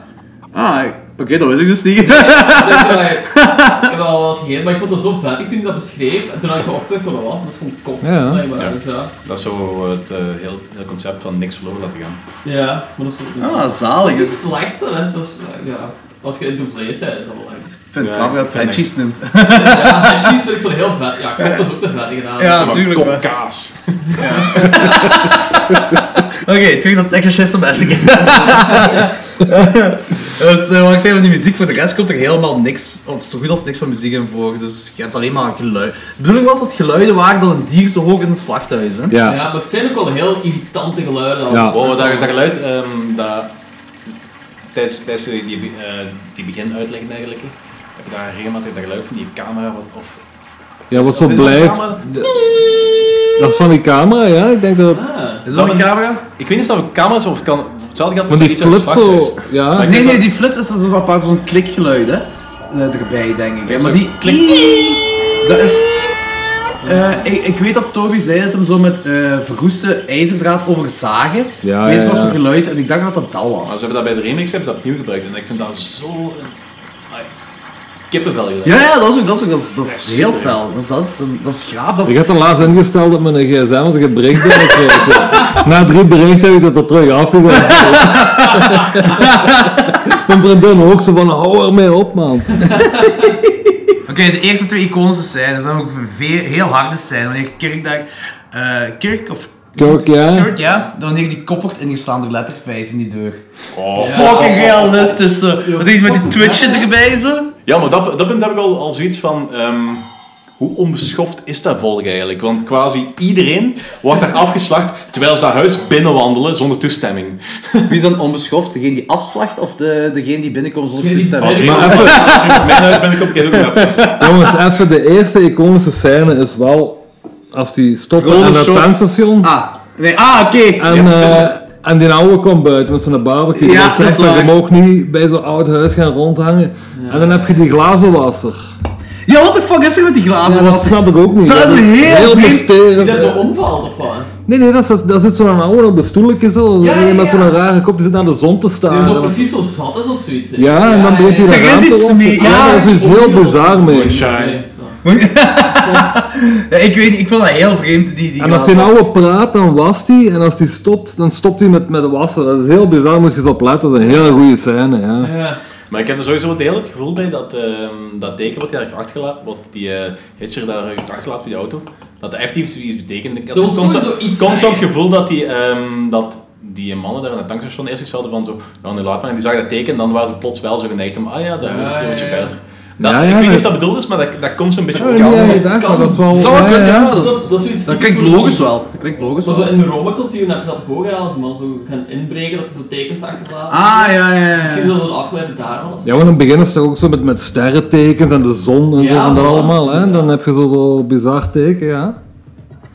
Speaker 5: ja.
Speaker 4: Ah, oké, dat wist ik dus niet.
Speaker 5: Zeker, maar ik ik heb dat al wel eens gegeten, maar ik vond dat zo vettig toen hij dat beschreef. En toen had ik zo opgezegd wat dat was, en dat is gewoon kop.
Speaker 3: Ja.
Speaker 5: blijkbaar,
Speaker 6: Ja.
Speaker 5: Dus ja.
Speaker 6: Dat is zo het eh, heel, heel concept van niks verloren laten gaan.
Speaker 5: ja, maar dat is zo... ja.
Speaker 4: Ah,
Speaker 5: dat is
Speaker 4: zalig.
Speaker 5: het
Speaker 4: Ik
Speaker 5: slechtste, hè. Dat is, eh, ja. Als je into vlees bent, is dat wel leuk.
Speaker 4: vind het
Speaker 6: Ja,
Speaker 4: grappig
Speaker 6: ik
Speaker 4: dat Head
Speaker 6: vind niks.
Speaker 4: Cheese noemt.
Speaker 5: Ja, headcheese vind ik zo heel vet. Ja, kop is ook de vettige naam.
Speaker 4: Ja,
Speaker 6: Maar
Speaker 4: natuurlijk. maar-
Speaker 6: Kopkaas.
Speaker 4: Oké, terug naar het Exorcist van Essingen. dus eh, wat ik zei van die muziek, voor de rest komt er helemaal niks, of zo goed als niks van muziek in voor. Dus je hebt alleen maar geluid. De bedoeling was dat geluiden waren dan een dier zo hoog in een slachthuis. Hè?
Speaker 3: Ja.
Speaker 5: Ja, maar het zijn ook wel heel irritante geluiden. als-
Speaker 3: Ja.
Speaker 6: Wow, dat, dat geluid, ehm, dat, tijdens, tijdens die, die, eh, die beginuitleg en dergelijke, heb je daar regelmatig dat geluid van die camera wat, of...
Speaker 3: Ja, wat zo
Speaker 6: Is dat een
Speaker 3: blijft.
Speaker 6: camera?
Speaker 3: Dat is van die camera, ja. Ik denk dat.
Speaker 5: Ah.
Speaker 4: Is dat een
Speaker 6: Dat een-
Speaker 4: camera?
Speaker 6: Ik weet niet of dat een camera is of het kan... voor Hetzelfde gaat
Speaker 3: Want die flits zo. Ja.
Speaker 6: Nee,
Speaker 4: Nee, nee, die flits is dus dan zo'n paar zo'n klikgeluid hè? Eh, erbij, denk ik. hè. Maar die Dat is. Eh, ik, ik weet dat Toby zei dat hem zo met eh, verroeste ijzerdraad over zagen.
Speaker 3: Ja,
Speaker 4: Deze
Speaker 3: ja,
Speaker 4: was
Speaker 3: ja.
Speaker 4: voor geluid en ik dacht dat dat dat was.
Speaker 6: Maar ze hebben dat bij de remix hebben ze dat opnieuw gebruikt en ik vind dat zo...
Speaker 5: Oh,
Speaker 6: Een, ai, kippenvel geluid.
Speaker 4: Ja, ja, dat is ook, dat is, ook, dat is, dat
Speaker 6: Dat
Speaker 4: is
Speaker 6: is
Speaker 4: heel
Speaker 6: super.
Speaker 4: fel. Dat is, dat is, dat is, dat is gaaf. Dat
Speaker 3: Ik
Speaker 4: is,
Speaker 3: had er laatst ingesteld dat mijn gsm als ik een bericht binnenkreeg. ja. Na drie berichten heb ik dat er terug afgezet. mijn vriendin ook zo van, hou ermee op man.
Speaker 4: Oké, de eerste twee iconische scènes zijn ook veel, heel harde scènes. Wanneer Kirk daar... eh, Kirk of...
Speaker 3: Kirk, ja.
Speaker 4: Kirk, ja. Dan wanneer die koppert en die slaan er letterfijs in die deur.
Speaker 6: Oh,
Speaker 4: Fucking realistisch. zo. Wat is met die twitchen erbij zo?
Speaker 6: Ja, maar dat, dat punt heb ik al, al zoiets van... ehm, hoe onbeschoft is dat volk eigenlijk? Want quasi iedereen wordt daar afgeslacht terwijl ze naar huis binnenwandelen zonder toestemming.
Speaker 4: Wie is dan onbeschoft? Degene die afslacht of de, degene die binnenkomt zonder toestemming?
Speaker 6: Als ik
Speaker 3: Maar
Speaker 6: maar
Speaker 3: even-
Speaker 6: mijn huis ben ik op keer ook even.
Speaker 3: Jongens, even de eerste iconische scène is wel als die stopt
Speaker 4: Golden
Speaker 3: aan het
Speaker 4: Shore.
Speaker 3: tandstation
Speaker 4: Ah, nee. Ah, oké.
Speaker 3: en,
Speaker 6: Ja,
Speaker 3: eh,
Speaker 6: dus-
Speaker 3: en die oude komt buiten met zijn barbecue.
Speaker 4: Ja,
Speaker 3: en
Speaker 4: dat
Speaker 3: zegt
Speaker 4: is
Speaker 3: dat je
Speaker 4: waar.
Speaker 3: mag niet bij zo'n oud huis gaan rondhangen. En dan heb je die glazenwasser.
Speaker 4: Ja, what the fuck is er met die glazen
Speaker 3: Ja, dat
Speaker 4: was?
Speaker 3: snap ik ook niet.
Speaker 4: Dat is een heel vreemd-
Speaker 3: mysterie.
Speaker 5: Die daar zo omvalt, of wat?
Speaker 3: Nee, nee, dat, is, dat zit zo'n oude op een stoeltje zo.
Speaker 5: Ja, ja,
Speaker 3: Iemand met
Speaker 5: ja.
Speaker 3: zo'n rare kop die zit aan de zon te
Speaker 5: Die
Speaker 3: staan.
Speaker 5: is zo precies zo zat is of zoiets. hè.
Speaker 3: Ja, en dan begint hij
Speaker 5: ja,
Speaker 3: daar
Speaker 4: Er
Speaker 3: aan
Speaker 4: is
Speaker 3: te
Speaker 4: iets
Speaker 3: wassen.
Speaker 4: mee,
Speaker 3: Ja,
Speaker 4: ja.
Speaker 3: dat is iets heel bizar mee.
Speaker 5: ja.
Speaker 6: Moonshine.
Speaker 5: Nee, zo.
Speaker 4: Ja, ik weet niet, ik vond dat heel vreemd. Die, die
Speaker 3: En als die
Speaker 4: glazen
Speaker 3: oude praat, dan wast hij. En als die stopt, dan stopt hij met, met wassen. Dat is heel bizar, moet je eens op letten. Dat is een hele goede scène, ja.
Speaker 5: Ja.
Speaker 6: Maar ik heb er sowieso deel het gevoel bij dat ehm, dat teken wat hij daar heeft achtergelaten, wat die eh Hitcher daar heeft achtergelaten bij die auto, dat dat effectief iets betekent. Ik had
Speaker 5: Dat
Speaker 6: zo'n
Speaker 5: moet sowieso iets
Speaker 6: constant
Speaker 5: zijn.
Speaker 6: gevoel dat die, ehm, dat die mannen daar aan het tankstation eerst iets hadden van zo, nou nu laat maar, en die zagen dat teken en dan waren ze plots wel zo geneigd om, ah ja, daar
Speaker 5: Ja,
Speaker 6: is een beetje
Speaker 5: ja, ja.
Speaker 6: verder. Dat,
Speaker 3: Ja, ja,
Speaker 6: ik weet niet
Speaker 3: dat-
Speaker 6: of dat bedoeld is, maar dat, dat komt zo'n beetje
Speaker 3: Ik heb er niet aan gedacht, maar dat is wel...
Speaker 4: Zou
Speaker 3: ja,
Speaker 4: kunnen,
Speaker 3: ja.
Speaker 4: ja.
Speaker 5: Dat is, dat is zoiets
Speaker 4: Dat
Speaker 5: typisch
Speaker 4: klinkt
Speaker 5: voor
Speaker 4: logisch
Speaker 5: zo'n-
Speaker 4: wel. Dat klinkt logisch
Speaker 5: Maar
Speaker 4: wel.
Speaker 5: zo in de Rome-cultuur heb je dat ook gehad, als mannen zo gaan inbreken, dat ze zo tekens achterlaten.
Speaker 4: Ah, ja, ja, ja.
Speaker 5: Misschien dat het afgeleid daarvan is.
Speaker 3: Ja, want in het begin is het toch ook zo met, met sterrentekens en de zon en
Speaker 5: Ja,
Speaker 3: zo van dat
Speaker 5: voilà.
Speaker 3: allemaal. Hè? En dan heb je zo- zo'n bizar teken, ja.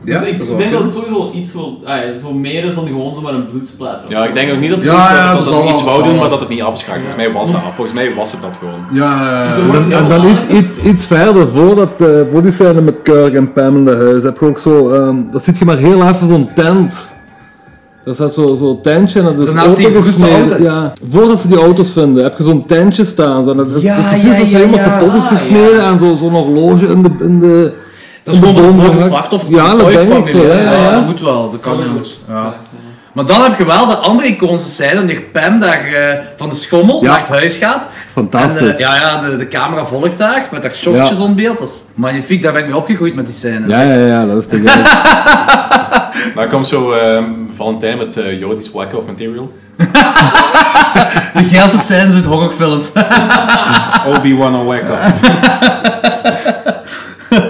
Speaker 4: Ja,
Speaker 5: dus ik
Speaker 4: dat zou
Speaker 5: denk dat
Speaker 4: kunnen.
Speaker 5: het sowieso wel iets wil, ah, ja, zo meer is dan gewoon zo maar een bloedsplaat.
Speaker 6: Ja, ik denk ook niet dat het
Speaker 4: Ja,
Speaker 6: iets-
Speaker 4: ja, dat
Speaker 6: dat het
Speaker 4: zal wel,
Speaker 6: iets
Speaker 4: dat
Speaker 6: wou
Speaker 4: zal
Speaker 6: doen,
Speaker 4: wel.
Speaker 6: maar dat het niet afschakelt. Volgens mij was dat, volgens mij was het dat gewoon.
Speaker 4: Ja, ja, ja.
Speaker 5: wordt
Speaker 3: En,
Speaker 5: heel
Speaker 3: en dan
Speaker 5: laat,
Speaker 3: iets,
Speaker 5: dat
Speaker 3: iets,
Speaker 5: is-
Speaker 3: iets verder, voor, dat, eh, voor die scène met Kirk en Pam in de huis, heb je ook zo, ehm, dat zit je maar heel even zo'n tent. Dat is dat zo- zo'n tentje en dat is
Speaker 4: Daarnaast die
Speaker 3: opengesneden.
Speaker 4: verroeste auto.
Speaker 3: Ja. Voordat ze die auto's vinden, heb je zo'n tentje staan. Zo. en Dat, dat-
Speaker 4: Ja,
Speaker 3: dat is
Speaker 4: ja,
Speaker 3: precies als
Speaker 4: ja,
Speaker 3: ze helemaal
Speaker 4: ja.
Speaker 3: kapot is
Speaker 5: Ah,
Speaker 3: gesneden en zo- zo'n horloge in de... In de
Speaker 4: Dat is
Speaker 3: in de
Speaker 4: gewoon
Speaker 3: boom
Speaker 4: voor de
Speaker 3: gehakt.
Speaker 4: slachtoffers.
Speaker 3: Ja,
Speaker 4: van
Speaker 3: dat
Speaker 4: de
Speaker 3: denk ik zo.
Speaker 4: Soy-familie.
Speaker 3: Ja, ja, ja.
Speaker 4: dat moet wel. Dat kan
Speaker 5: Sorry,
Speaker 4: niet.
Speaker 5: goed.
Speaker 4: Ja. Maar dan heb je wel de andere iconische scène, wanneer Pam daar eh, van de schommel
Speaker 3: Ja.
Speaker 4: naar het huis gaat.
Speaker 3: Fantastisch.
Speaker 4: En, eh, ja, ja de, de camera volgt daar, met haar shotjes
Speaker 3: Ja.
Speaker 4: on beeld. Dat is magnifiek, daar ben ik mee opgegroeid met die scène.
Speaker 3: ja, ja, ja, dat is te gek.
Speaker 6: Daar komt zo ehm Valentijn met eh Jodi's Whack of Material.
Speaker 4: De geilste scènes uit horrorfilms.
Speaker 6: Obi-Wan on Whack Off.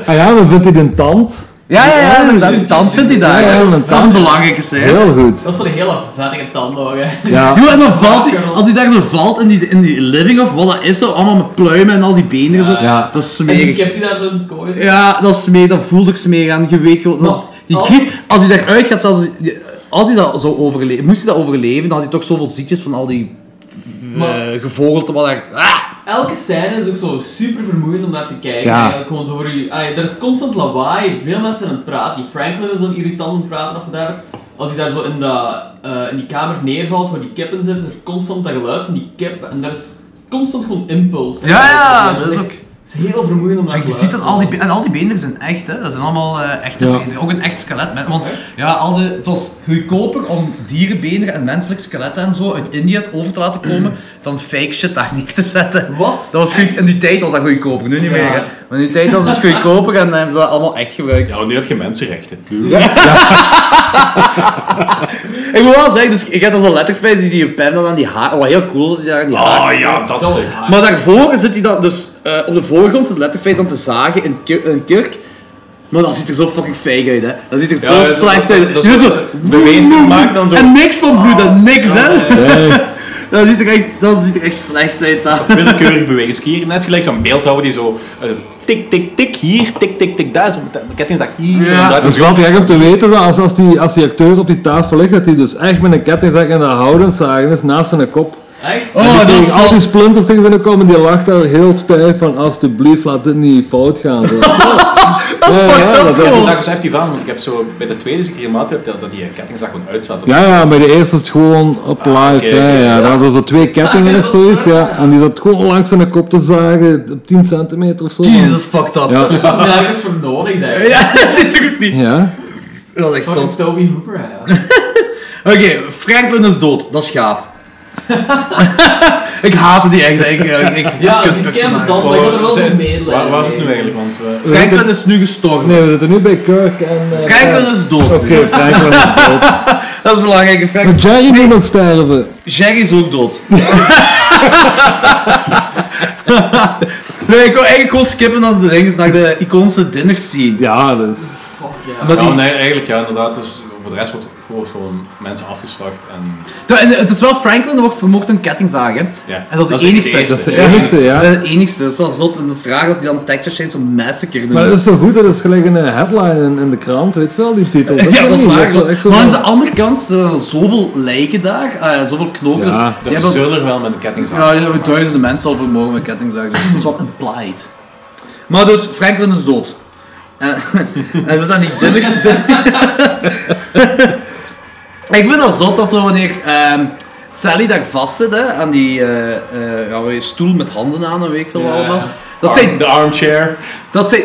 Speaker 3: Ah ja, dan vindt hij een tand.
Speaker 4: Ja, ja, ja,
Speaker 3: Ja,
Speaker 4: inderdaad,
Speaker 3: juist,
Speaker 4: die tand vindt hij daar.
Speaker 3: Ja, ja, een
Speaker 4: dat is
Speaker 3: tand.
Speaker 4: het belangrijkste. hè.
Speaker 3: Heel goed.
Speaker 5: Dat is wel een hele vettige tand nog, hè.
Speaker 3: Ja.
Speaker 4: Joh, en dan valt hij, als hij daar zo valt in die, in die living of wat dat is, zo, allemaal met pluimen en al die benen. Zo.
Speaker 3: Ja.
Speaker 4: Dat is
Speaker 5: En die
Speaker 4: smerig.
Speaker 5: kip die daar zo in die kooi zit.
Speaker 4: Ja, dat is smerig, dat voelde ik smerig aan. Je weet gewoon, dat is- die
Speaker 5: als-
Speaker 4: griep, als hij daaruit gaat, zelfs, als hij dat zou overleven, moest hij dat overleven, dan had hij toch zoveel ziektes van al die
Speaker 5: Maar-
Speaker 4: eh gevogelte, wat daar... Ah!
Speaker 5: Elke scène is ook zo super vermoeiend om naar te kijken.
Speaker 3: Ja.
Speaker 5: Eigenlijk gewoon zo voor je. ah, er is constant lawaai, veel mensen aan het praten. Die Franklin is dan irritant aan het praten of daar. Als hij daar zo in, dat, eh, in die kamer neervalt waar die kippen zitten, is er constant dat geluid van die kip en daar is constant gewoon impuls.
Speaker 4: Ja, ja,
Speaker 5: En
Speaker 4: dat is
Speaker 5: echt-
Speaker 4: ook-
Speaker 5: Het is heel vermoeiend om naar
Speaker 4: En
Speaker 5: te
Speaker 4: je ziet dat al die, be-
Speaker 5: luisteren.
Speaker 4: en al die beenderen zijn echt, hè? dat zijn allemaal eh, echte
Speaker 3: Ja.
Speaker 4: beenderen. Ook een echt skelet. met- Want
Speaker 5: Echt?
Speaker 4: ja, al de, het was goedkoper om dierenbeenderen en menselijk skeletten en zo uit India over te laten komen dan fake shit daar neer te zetten.
Speaker 5: Wat?
Speaker 4: Dat was goed, in die tijd was dat goedkoper, nu niet meer. Hè? Maar in die tijd was het dus goedkoper en hebben ze dat allemaal echt gebruikt.
Speaker 6: Ja, nu heb je mensenrechten.
Speaker 4: Ik moet wel zeggen, dus, ik had dat zo'n letterface die die pen dan aan die haar, wat heel cool is, die daar aan die haar.
Speaker 6: Oh ja, dat,
Speaker 5: Dat was
Speaker 6: stuk.
Speaker 5: hard.
Speaker 4: Maar daarvoor zit hij dan dus eh, op de voorgrond, het letterface dan te zagen in ki- een kerk. Maar dat ziet er zo fucking fake uit, hè. Dat ziet er zo
Speaker 6: Ja, dat-
Speaker 4: slecht
Speaker 6: dat-
Speaker 4: uit.
Speaker 6: dat
Speaker 4: Je
Speaker 6: is
Speaker 4: ziet
Speaker 6: wat ze bewezen
Speaker 4: woem, woem,
Speaker 6: maken dan zo. Ah.
Speaker 4: En niks van bloed, en niks, hè.
Speaker 3: Nee.
Speaker 4: Dat ziet er echt, dat ziet er echt slecht uit, dat.
Speaker 6: Willekeurig bewegen. Skier, net gelijk zo'n beeldhouwer die zo eh, tik, tik, tik hier, tik, tik, tik daar. Zo met de met de kettingzaak hier.
Speaker 4: Ja.
Speaker 6: en daar.
Speaker 3: Dat is wel te gek om te weten, dat als, als, die, als die acteur op die tafel ligt, dat hij dus echt met een kettingzak en de houdend zagen is naast zijn kop.
Speaker 5: Echt?
Speaker 4: Oh,
Speaker 3: en
Speaker 4: dat
Speaker 3: die
Speaker 4: is
Speaker 3: kreeg al
Speaker 4: zot.
Speaker 3: die splinters tegen zijn kop en die lacht daar heel stijf van alsjeblieft, laat dit niet fout gaan. Zo.
Speaker 4: Dat is
Speaker 3: Ja,
Speaker 4: fucked
Speaker 3: ja,
Speaker 4: up,
Speaker 3: dat- dat
Speaker 6: De
Speaker 4: gewoon.
Speaker 6: zaak was echt die van, want ik heb zo bij de tweede keer maat geteld dat die kettingzaak gewoon uitzat.
Speaker 3: Ja, ja, bij de eerste is het gewoon op live.
Speaker 6: oké,
Speaker 3: hè,
Speaker 6: oké,
Speaker 3: ja. Daar hadden ze twee kettingen
Speaker 5: Ja,
Speaker 3: of
Speaker 5: dat is
Speaker 3: zoiets.
Speaker 5: waar.
Speaker 3: Ja. En die zat gewoon langs zijn kop te zagen, op 10 centimeter of zo.
Speaker 4: Jezus, dat is fucked up.
Speaker 3: Ja.
Speaker 5: Dat is ook nergens voor nodig, denk ik.
Speaker 4: Ja, natuurlijk niet.
Speaker 3: Ja.
Speaker 4: Dat is echt
Speaker 5: Fucking
Speaker 4: zot.
Speaker 5: Toby Hooper, hè.
Speaker 4: Oké, Franklin is dood. Dat is gaaf. ik haatte die echt, hè. ik, ik, ik
Speaker 5: Ja,
Speaker 4: kut
Speaker 5: die
Speaker 4: personage.
Speaker 5: scam dan, maar ik had er wel zo'n medelijden
Speaker 6: Waar was het
Speaker 5: mee.
Speaker 6: nu eigenlijk? Want we...
Speaker 4: Franklin is nu gestorven.
Speaker 3: Nee, we zitten nu bij Kirk en... eh,
Speaker 4: Franklin is dood.
Speaker 3: Oké, Franklin is dood.
Speaker 4: Dat is belangrijk.
Speaker 3: Maar
Speaker 4: Franklin...
Speaker 3: Jerry moet nog sterven.
Speaker 4: Jerry is ook dood. nee, ik wil eigenlijk gewoon skippen naar de dingen, naar de iconische dinner scene.
Speaker 3: Ja, dat is...
Speaker 5: Fuck, ja.
Speaker 4: Maar
Speaker 6: Ja,
Speaker 4: die-
Speaker 6: nee, eigenlijk ja, inderdaad. Dus voor de rest wordt wordt gewoon mensen afgeslacht en...
Speaker 4: Ja, en het is wel Franklin dat wordt vermoord door een kettingzaag, hè.
Speaker 6: Ja,
Speaker 4: En dat is de enigste.
Speaker 3: Dat is de
Speaker 6: Ja.
Speaker 3: enigste, ja.
Speaker 4: Eh, Het enigste, dat is wel zot. En dat is raar dat hij dan Texas Chainsaw Massacre noemt.
Speaker 3: Maar dat is zo goed, dat is gelijk een eh, headline in, in de krant, weet je wel, die titel.
Speaker 4: ja, dat is
Speaker 3: niet,
Speaker 4: waar.
Speaker 3: wel echt zo-
Speaker 4: maar aan de andere kant zijn er zoveel lijken daar, eh, zoveel knopen.
Speaker 3: Ja,
Speaker 4: dus die
Speaker 6: Er
Speaker 4: hebben-
Speaker 6: zullen er wel met een kettingzaak.
Speaker 4: Ja, die hebben duizenden mensen al vermogen met kettingzagen. Dus het is wat implied. Maar dus, Franklin is dood. En hij zit aan die dinner... Ik vind dat zot dat zo wanneer ehm, Sally daar vast zit, hè, aan die eh, eh, ja, wat is het, stoel met handen aan en weet ik veel wat allemaal. Dat
Speaker 6: Arm-
Speaker 4: zijn...
Speaker 6: Ah, De armchair.
Speaker 4: Dat zijn...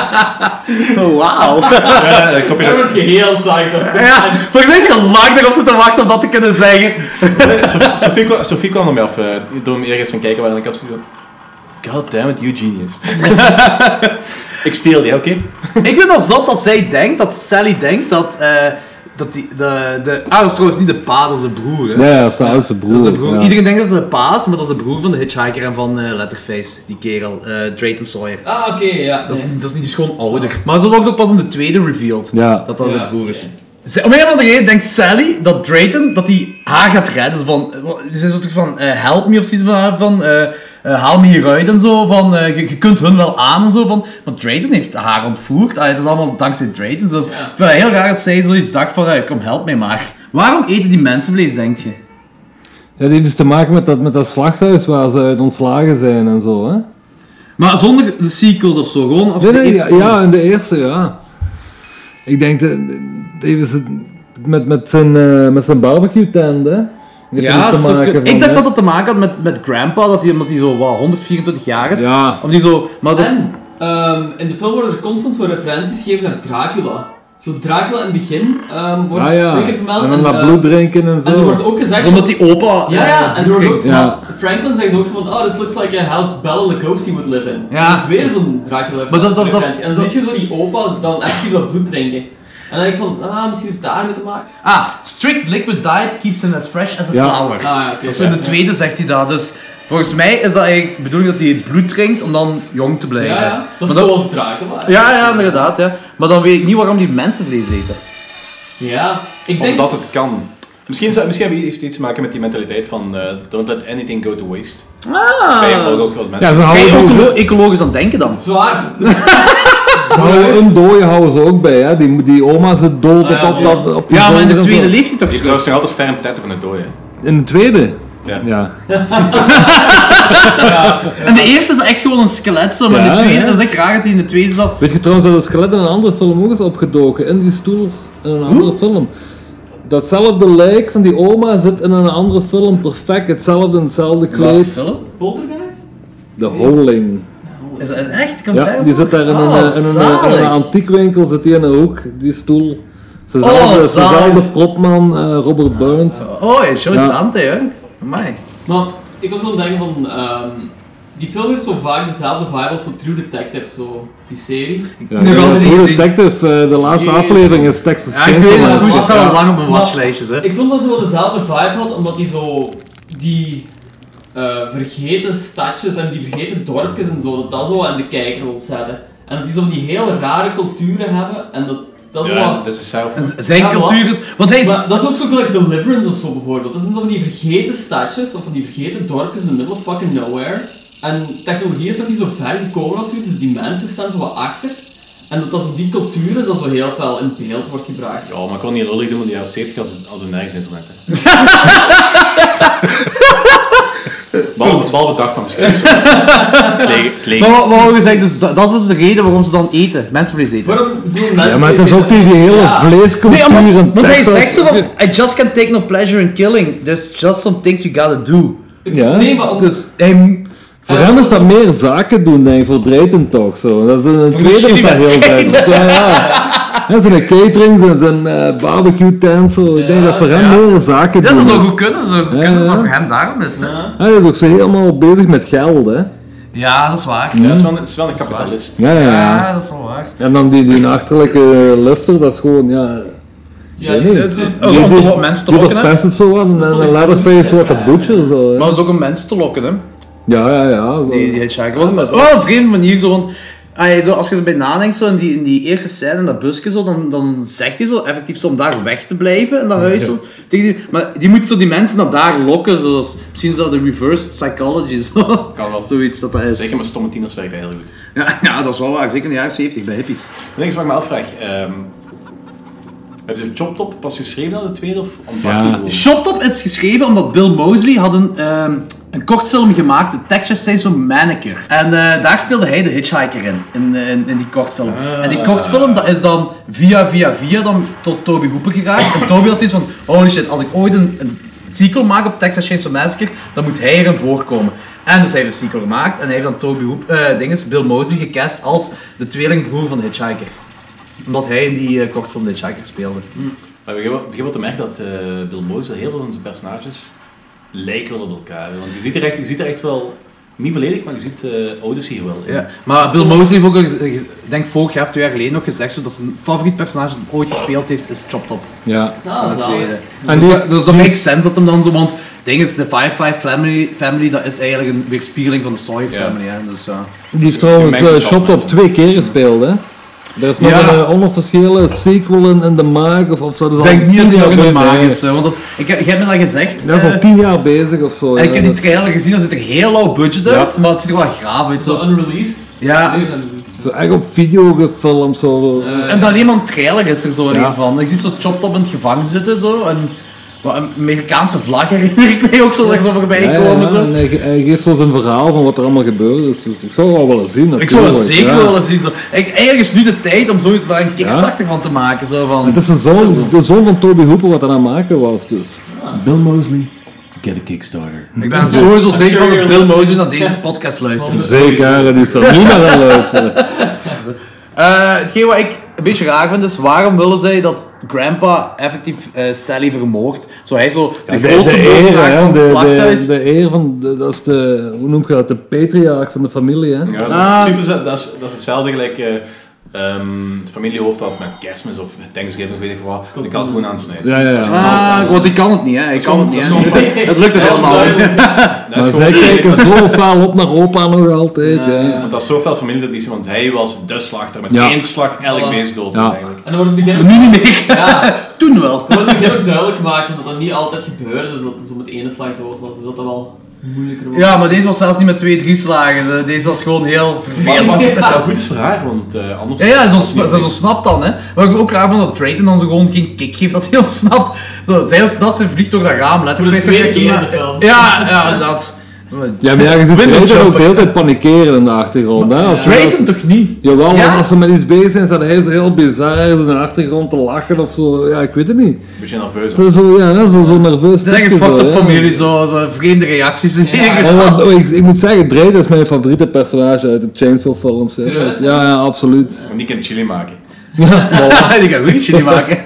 Speaker 4: Wauw.
Speaker 6: Ja, dat Eh, kopje
Speaker 5: Daar word je heel psyched op.
Speaker 4: Ja, volgens mij heb je lang erop zitten wachten om dat te kunnen zeggen.
Speaker 6: Sof- Sophie kwam- Sophie kwam naar mij af eh, door me ergens gaan kijken waar ik had zoiets van... God damn it, you genius. ik steel die, oké?
Speaker 4: Ik vind dat zat dat zij denkt, dat Sally denkt dat. eh, dat die, de, de, ah, dat is trouwens niet de pa, dat is de broer. Hè?
Speaker 3: Ja, ja, dat is de oudste broer.
Speaker 4: Dat is de broer.
Speaker 3: ja.
Speaker 4: Iedereen denkt dat het de pa is, maar dat is de broer van de Hitchhiker en van eh, Letterface, die kerel, eh Drayton Sawyer.
Speaker 5: Ah, oké, ja.
Speaker 4: Dat is,
Speaker 5: nee.
Speaker 4: dat is niet, die is gewoon ouder. Maar dat wordt ook pas in de tweede revealed
Speaker 3: Ja.
Speaker 4: dat dat
Speaker 5: Ja,
Speaker 4: de broer is.
Speaker 5: oké.
Speaker 4: Ze- Om een of andere reden denkt Sally dat Drayton dat hij haar gaat redden. Zo Van, eh, wat- die zijn soort van eh, help me of zoiets van, haar, van eh, eh, haal me hieruit en zo. Van, eh, je, je kunt hun wel aan en zo. Van, maar Drayton heeft haar ontvoerd. Ah, het is allemaal dankzij Drayton. Dus ik vind het heel raar dat zij zoiets dacht van eh, kom help mij maar. Waarom eten die mensenvlees denk je?
Speaker 3: Ja, dit heeft dus te maken met dat, met dat slachthuis waar ze uit ontslagen zijn en zo, hè?
Speaker 4: Maar zonder de sequels of zo. Gewoon als
Speaker 3: Nee,
Speaker 4: je de
Speaker 3: nee, ja,
Speaker 4: eerste film-
Speaker 3: ja, in de eerste, ja. Ik denk dat Davis het met, met zijn, eh, met zijn barbecue tent, hè? Heeft
Speaker 4: Ja,
Speaker 3: er
Speaker 4: dat
Speaker 3: iets te
Speaker 4: zou
Speaker 3: maken
Speaker 4: kunnen.
Speaker 3: van,
Speaker 4: ik dacht
Speaker 3: hè?
Speaker 4: dat het te maken had met, met Grandpa, dat hij, omdat hij zo wat, 124 jaar is.
Speaker 3: Ja.
Speaker 4: Om die zo, maar dat is,
Speaker 5: En ehm, in de film worden er constant zo referenties gegeven naar Dracula. Zo Dracula in het begin ehm wordt
Speaker 3: Ah, ja.
Speaker 5: twee keer vermeld.
Speaker 3: En dan dat
Speaker 5: eh,
Speaker 3: bloed drinken en zo.
Speaker 5: En er wordt ook gezegd...
Speaker 4: dat is omdat Ah, die opa...
Speaker 5: Ja, ja, en er wordt ook...
Speaker 3: Ja.
Speaker 5: Franklin zegt ook zo van, oh, this looks like a house Bella Lugosi would live in.
Speaker 4: Ja.
Speaker 5: Dat is weer zo'n Dracula
Speaker 4: Maar dat- dat- dat-
Speaker 5: referentie. En dan
Speaker 4: dat-
Speaker 5: zie je zo die opa dan effectief dat bloed drinken. En dan denk ik van, ah, misschien heeft het daarmee te maken.
Speaker 4: Ah, strict liquid diet keeps him as fresh as a
Speaker 3: Ja.
Speaker 4: flower.
Speaker 5: Ah, ja, oké.
Speaker 4: Dat is in de
Speaker 5: ja.
Speaker 4: tweede zegt hij dat, dus...
Speaker 7: Volgens mij is dat eigenlijk de bedoeling dat hij bloed drinkt om dan jong te blijven.
Speaker 5: Ja, ja. Dat is
Speaker 7: Maar
Speaker 5: zoals Dracula.
Speaker 7: Ja, ja, inderdaad. Ja. Maar dan weet ik niet waarom die mensenvlees eten.
Speaker 5: Ja, ik denk...
Speaker 6: Omdat het kan. Misschien, zou- misschien heeft het iets te maken met die mentaliteit van eh, don't let anything go to waste.
Speaker 7: Ah,
Speaker 6: Kan je ook ook wel
Speaker 3: Ja,
Speaker 6: mensen.
Speaker 3: ze
Speaker 7: Kan je
Speaker 3: houden, ook,
Speaker 7: ecolo- ecologisch aan denken dan?
Speaker 5: Zwaar.
Speaker 3: ze houden een dooie houden ze ook bij, hè. Die, die oma zit dood op,
Speaker 5: Ah, ja,
Speaker 3: op,
Speaker 5: ja.
Speaker 3: dat- op die
Speaker 7: Ja, maar
Speaker 3: zolder
Speaker 7: in de
Speaker 3: en zo.
Speaker 7: tweede leeft hij toch
Speaker 6: Die heeft
Speaker 7: terug.
Speaker 6: trouwens nog altijd ferm tetten van het dooien.
Speaker 3: In de tweede?
Speaker 6: Ja.
Speaker 3: Ja.
Speaker 4: En de eerste is echt gewoon een skelet, zo, maar
Speaker 3: Ja,
Speaker 4: de tweede
Speaker 3: ja.
Speaker 4: is echt raar dat hij in de tweede zat.
Speaker 3: Weet je trouwens dat het skelet in een andere film ook is opgedoken? In die stoel, in een andere film. Datzelfde lijk van die oma zit in een andere film, perfect. Hetzelfde, in hetzelfde kleed.
Speaker 5: Poltergeist?
Speaker 3: De Holing.
Speaker 4: Is dat echt? Kan Oh,
Speaker 3: Ja, die zit daar in
Speaker 7: Oh,
Speaker 3: een, eh, in een, eh, in een antiekwinkel, zit die in een hoek, die stoel.
Speaker 7: Oh,
Speaker 3: Zijnzelfde
Speaker 4: zalig.
Speaker 3: zijnzelfde propman, eh, Robert Burns.
Speaker 4: Oh, je show
Speaker 3: Ja.
Speaker 4: tante, hè? Amai.
Speaker 5: Maar ik was wel aan het denken van... ehm, die film heeft zo vaak dezelfde vibe als van True Detective, zo. Die serie.
Speaker 3: Ja,
Speaker 4: Nu
Speaker 3: ik
Speaker 4: gaan we
Speaker 3: heb
Speaker 4: niet
Speaker 3: True
Speaker 4: zien.
Speaker 3: Detective, eh, de laatste
Speaker 5: Nee.
Speaker 3: aflevering is Texas
Speaker 4: weet
Speaker 3: Chainsaw
Speaker 4: het,
Speaker 3: Massacre.
Speaker 4: dat staat al lang op mijn
Speaker 5: Maar-
Speaker 4: waslijstjes, hè?
Speaker 5: Ik vond dat ze wel dezelfde vibe had, omdat die zo... Die eh, vergeten stadjes en die vergeten dorpjes en zo, dat dat zo aan de kijker wil zetten. En dat die zo van die heel rare culturen hebben, en dat, dat is wel...
Speaker 6: Ja, dat is hetzelfde.
Speaker 4: Z- Zijn
Speaker 5: Ja,
Speaker 4: cultuur is... Want hij is...
Speaker 5: Maar dat is ook zo gelijk Deliverance of zo bijvoorbeeld. Dat zijn zo van die vergeten stadjes of van die vergeten dorpjes in the middle of fucking nowhere. En technologie is nog niet zo ver gekomen of zoiets, dus die mensen staan zo wat achter. En dat dat zo die cultuur is dat zo heel fel in beeld wordt gebracht.
Speaker 6: Ja, maar ik kon niet lullig doen, want die jaren 70 als als er nergens internet. hè. Behalve behalve dag, maar misschien. Klegen- klegen.
Speaker 4: Maar wat wat wou je zeggen, dus dat, dat is dus de reden waarom ze dan eten, mensenvlees eten.
Speaker 5: Waarom zullen mensen...
Speaker 3: Ja, maar het is ook tegen die hele
Speaker 5: Ja.
Speaker 3: vleescultuur
Speaker 4: Nee,
Speaker 3: in
Speaker 4: omdat, want hij
Speaker 3: Texas.
Speaker 4: zegt zo van, I just can take no pleasure in killing, there's just some things you gotta do.
Speaker 3: Ja.
Speaker 5: Nee, maar ook...
Speaker 4: Dus hij...
Speaker 3: Voor hem is dat meer zaken doen, denk ik, voor Drayton toch zo. Dat is een tweede is
Speaker 4: shitty
Speaker 3: dat heel
Speaker 4: wedstrijd.
Speaker 3: duidelijk. Ja, ja. En zijn caterings en zijn eh, barbecue tent, zo. Ik denk dat voor hem meer zaken doen. is.
Speaker 4: goed kunnen, zo goed
Speaker 3: kunnen dat voor
Speaker 4: hem daarom is.
Speaker 3: Hij is ook zo helemaal bezig met geld, hè.
Speaker 4: Ja, dat is waar.
Speaker 6: Ja, dat is wel een, dat is wel een kapitalist.
Speaker 3: Ja, ja, ja.
Speaker 4: Ja, dat is wel waar.
Speaker 3: En dan die, die achterlijke lufter, dat is gewoon, ja...
Speaker 5: ja, die zijn-
Speaker 3: Oh,
Speaker 4: Ook om te lo- mensen te
Speaker 3: Die
Speaker 4: lokken, hè?
Speaker 3: verpest het zo aan en
Speaker 5: is
Speaker 3: een
Speaker 5: een
Speaker 3: leatherface
Speaker 5: kunst,
Speaker 3: wordt
Speaker 5: hè.
Speaker 3: een butcher, zo. hè.
Speaker 4: Maar dat is ook om mensen te lokken, hè?
Speaker 3: Ja, ja, ja. Zo.
Speaker 4: Die, die hitchhiker. Wat een- Wel een vreemde manier, zo, want ah, zo, als je erbij nadenkt, zo, in, die, in die eerste scène in dat busje, zo, dan, dan zegt hij zo effectief zo, om daar weg te blijven in dat huis. Zo, tegen die, maar die moet zo die mensen naar daar lokken, zo, dat is- misschien is dat de reverse psychology. Zo.
Speaker 6: Kan wel.
Speaker 4: Zoiets dat dat is.
Speaker 6: Zeker met stomme tieners werkt dat heel goed.
Speaker 4: Ja, ja, dat is wel waar, zeker in de jaren 70 bij hippies.
Speaker 6: Het enige wat ik me afvraag, ehm hebben ze Choptop pas geschreven na de tweede of ontbrak
Speaker 3: Ja.
Speaker 6: die gewoon?
Speaker 4: Shoptop is geschreven omdat Bill Mosley had een, ehm, een kort film gemaakt, de Texas Chainsaw Manicure. En eh, daar speelde hij de hitchhiker in, in, in, in die kortfilm. En die kortfilm dat is dan via via via dan tot Toby Hooper geraakt. En Toby had zoiets van, holy shit, als ik ooit een, een sequel maak op Texas Chainsaw Massacre, dan moet hij erin voorkomen. En dus hij heeft een sequel gemaakt en hij heeft dan Toby Hoop, eh, dinges, Bill Mosley gecast als de tweelingbroer van de hitchhiker. Omdat hij in die eh, kortfilm de hitchhiker speelde.
Speaker 6: Maar we beginnen- we beginnen wel te merken dat eh, Bill Moseley heel veel van zijn personages lijken wel op elkaar. hè. Want je ziet er echt, je ziet er echt wel, niet volledig, maar je ziet eh Odyssey wel in.
Speaker 4: Ja, maar Bill Moseley heeft ook, al gez- gez- denk vorig jaar of twee jaar geleden nog gezegd, zo dat zijn favoriet personage dat hij ooit gespeeld heeft, is Chop Top.
Speaker 3: Ja.
Speaker 5: Ah,
Speaker 4: de
Speaker 5: zalig.
Speaker 4: tweede.
Speaker 3: En
Speaker 4: En
Speaker 3: die-
Speaker 4: dus, dat- dus dat makes sense dat hem dan zo, want ding is, de Firefly family, family, dat is eigenlijk een weerspiegeling van de Sawyer
Speaker 6: Ja.
Speaker 4: family, hè, dus ja.
Speaker 3: Die heeft trouwens
Speaker 6: Je merkt
Speaker 3: eh
Speaker 6: het als
Speaker 3: Shot Top
Speaker 6: mensen.
Speaker 3: twee keer gespeeld, hè? Er is nog
Speaker 4: Ja.
Speaker 3: een eh, onofficiële sequel in, in de maak, of, of zo. Dat is
Speaker 4: Ik denk
Speaker 3: al
Speaker 4: niet dat
Speaker 3: tien
Speaker 4: hij nog in
Speaker 3: jaar
Speaker 4: de maag
Speaker 3: bezig.
Speaker 4: is, hè, want dat is, ik, heb- jij hebt me dat gezegd.
Speaker 3: Dat is al
Speaker 4: eh,
Speaker 3: tien jaar bezig of zo.
Speaker 4: en
Speaker 3: ja,
Speaker 4: ik heb die
Speaker 3: dat-
Speaker 4: trailer gezien, dat zit er heel lauw budget uit, maar het ziet er wel graaf uit.
Speaker 5: Zo
Speaker 4: Zo.
Speaker 5: unreleased.
Speaker 4: Ja.
Speaker 5: Nee, unreleased.
Speaker 3: Zo echt op video gefilmd, zo.
Speaker 4: En dat alleen maar een trailer is er zo een van. Ik zie zo Chop Top in het gevangen zitten, zo, en wat, een Amerikaanse vlag herinner ik mij ook zo, dat er zo voorbij
Speaker 3: Ja, ja,
Speaker 4: komen,
Speaker 3: ja,
Speaker 4: zo.
Speaker 3: en hij, ge- hij geeft zo zijn verhaal van wat er allemaal gebeurd is. Dus ik zou wel willen zien.
Speaker 4: Ik zou dat
Speaker 3: natuurlijk,
Speaker 4: zeker
Speaker 3: ja.
Speaker 4: willen zien. Zo. Ik, eigenlijk is nu de tijd om zoiets daar een kickstarter van te maken. Zo van,
Speaker 3: Het is de zoon, de zoon van Toby Hooper wat er aan het maken was, dus.
Speaker 6: Bill Moseley, get a Kickstarter.
Speaker 4: ik ben sowieso zeker van dat
Speaker 5: you're
Speaker 4: Bill
Speaker 5: listening.
Speaker 4: Moseley naar deze podcast luistert.
Speaker 3: Zeker, die zal niet naar gaan luisteren.
Speaker 4: Eh, hetgeen wat ik een beetje raar vind is, waarom willen zij dat grandpa effectief eh, Sally vermoordt? Zo hij zo de
Speaker 3: De,
Speaker 4: grootste
Speaker 3: de eer,
Speaker 4: doorbraak
Speaker 3: hè,
Speaker 4: van het
Speaker 3: de,
Speaker 4: slachthuis.
Speaker 3: de, de eer van, de- dat is de, hoe noem je dat, de patriarch van de familie, hè.
Speaker 6: Ja, dat,
Speaker 4: Ah.
Speaker 6: in principe is dat, dat, is, dat is hetzelfde gelijk eh, ehm, het familiehoofd had met kerstmis of Thanksgiving, weet ik veel wat, die kalkoen aansnijdt.
Speaker 3: Ja, ja, ja.
Speaker 6: Dat is gewoon alles
Speaker 4: Ah,
Speaker 6: aan-
Speaker 4: want ik kan het niet, hè. Ik
Speaker 6: is
Speaker 4: kan het
Speaker 6: gewoon-
Speaker 4: niet,
Speaker 6: dat is gewoon
Speaker 4: hè. Het lukt er helemaal niet.
Speaker 6: dat
Speaker 3: Maar
Speaker 6: is
Speaker 3: zij
Speaker 6: gewoon-
Speaker 3: kijken zo fel op naar opa nog altijd. Ja, ja.
Speaker 6: Want dat is zoveel familie dat is, want hij was de slachter. Met
Speaker 3: Ja.
Speaker 6: één slag elk
Speaker 5: Voilà.
Speaker 6: beest dood.
Speaker 3: Ja.
Speaker 6: Eigenlijk.
Speaker 5: En dan wordt het begin ook,
Speaker 4: Nu niet meer.
Speaker 5: ja,
Speaker 4: Toen wel.
Speaker 5: dan wordt het begin ook duidelijk gemaakt dat dat niet altijd gebeurde, dus dat het zo met ene slag dood was, dus dat dat wel moeilijker wordt.
Speaker 4: Ja, maar deze was zelfs niet met twee, drie slagen. Deze was gewoon heel
Speaker 6: Maar
Speaker 4: vervelend.
Speaker 6: wat wel goed is voor haar, want eh, anders...
Speaker 4: Ja, ja, ze ontsna- ze is ontsnapt dan, hè. Wat ik ook raar vond, dat Drayton dan zo gewoon geen kick geeft dat hij ontsnapt. Zo, zij ontsnapt, ze vliegt door dat raam. Letterlijk
Speaker 5: Voor de
Speaker 4: zij
Speaker 5: tweede
Speaker 4: zegt,
Speaker 5: keer in de
Speaker 4: ja,
Speaker 5: film.
Speaker 4: Ja, ja, inderdaad. Zo,
Speaker 3: Ja, maar ja, je ziet
Speaker 4: Window
Speaker 3: Drayton ook
Speaker 4: jumper.
Speaker 3: de hele tijd panikeren in de achtergrond. Hè? Als je-
Speaker 4: Drayton toch niet?
Speaker 3: Jawel,
Speaker 4: Ja?
Speaker 3: maar als ze met iets bezig zijn, staat hij zo heel bizar in de achtergrond te lachen of zo. Ja, ik weet het niet.
Speaker 6: Een beetje nerveus.
Speaker 3: Ze is zo, ja, zo, zo nerveus.
Speaker 4: Dat is echt
Speaker 3: type
Speaker 4: een fucked
Speaker 3: zo,
Speaker 4: up
Speaker 3: ja.
Speaker 4: familie, zo, zo vreemde reacties in ieder
Speaker 3: En
Speaker 4: geval.
Speaker 3: wat, oh, ik, ik moet zeggen, Drayton is mijn favoriete personage uit de Chainsaw films. hè.
Speaker 5: Serieus?
Speaker 3: Ja, ja, absoluut.
Speaker 6: Want die kan chili maken.
Speaker 4: Die gaat ruzie niet maken.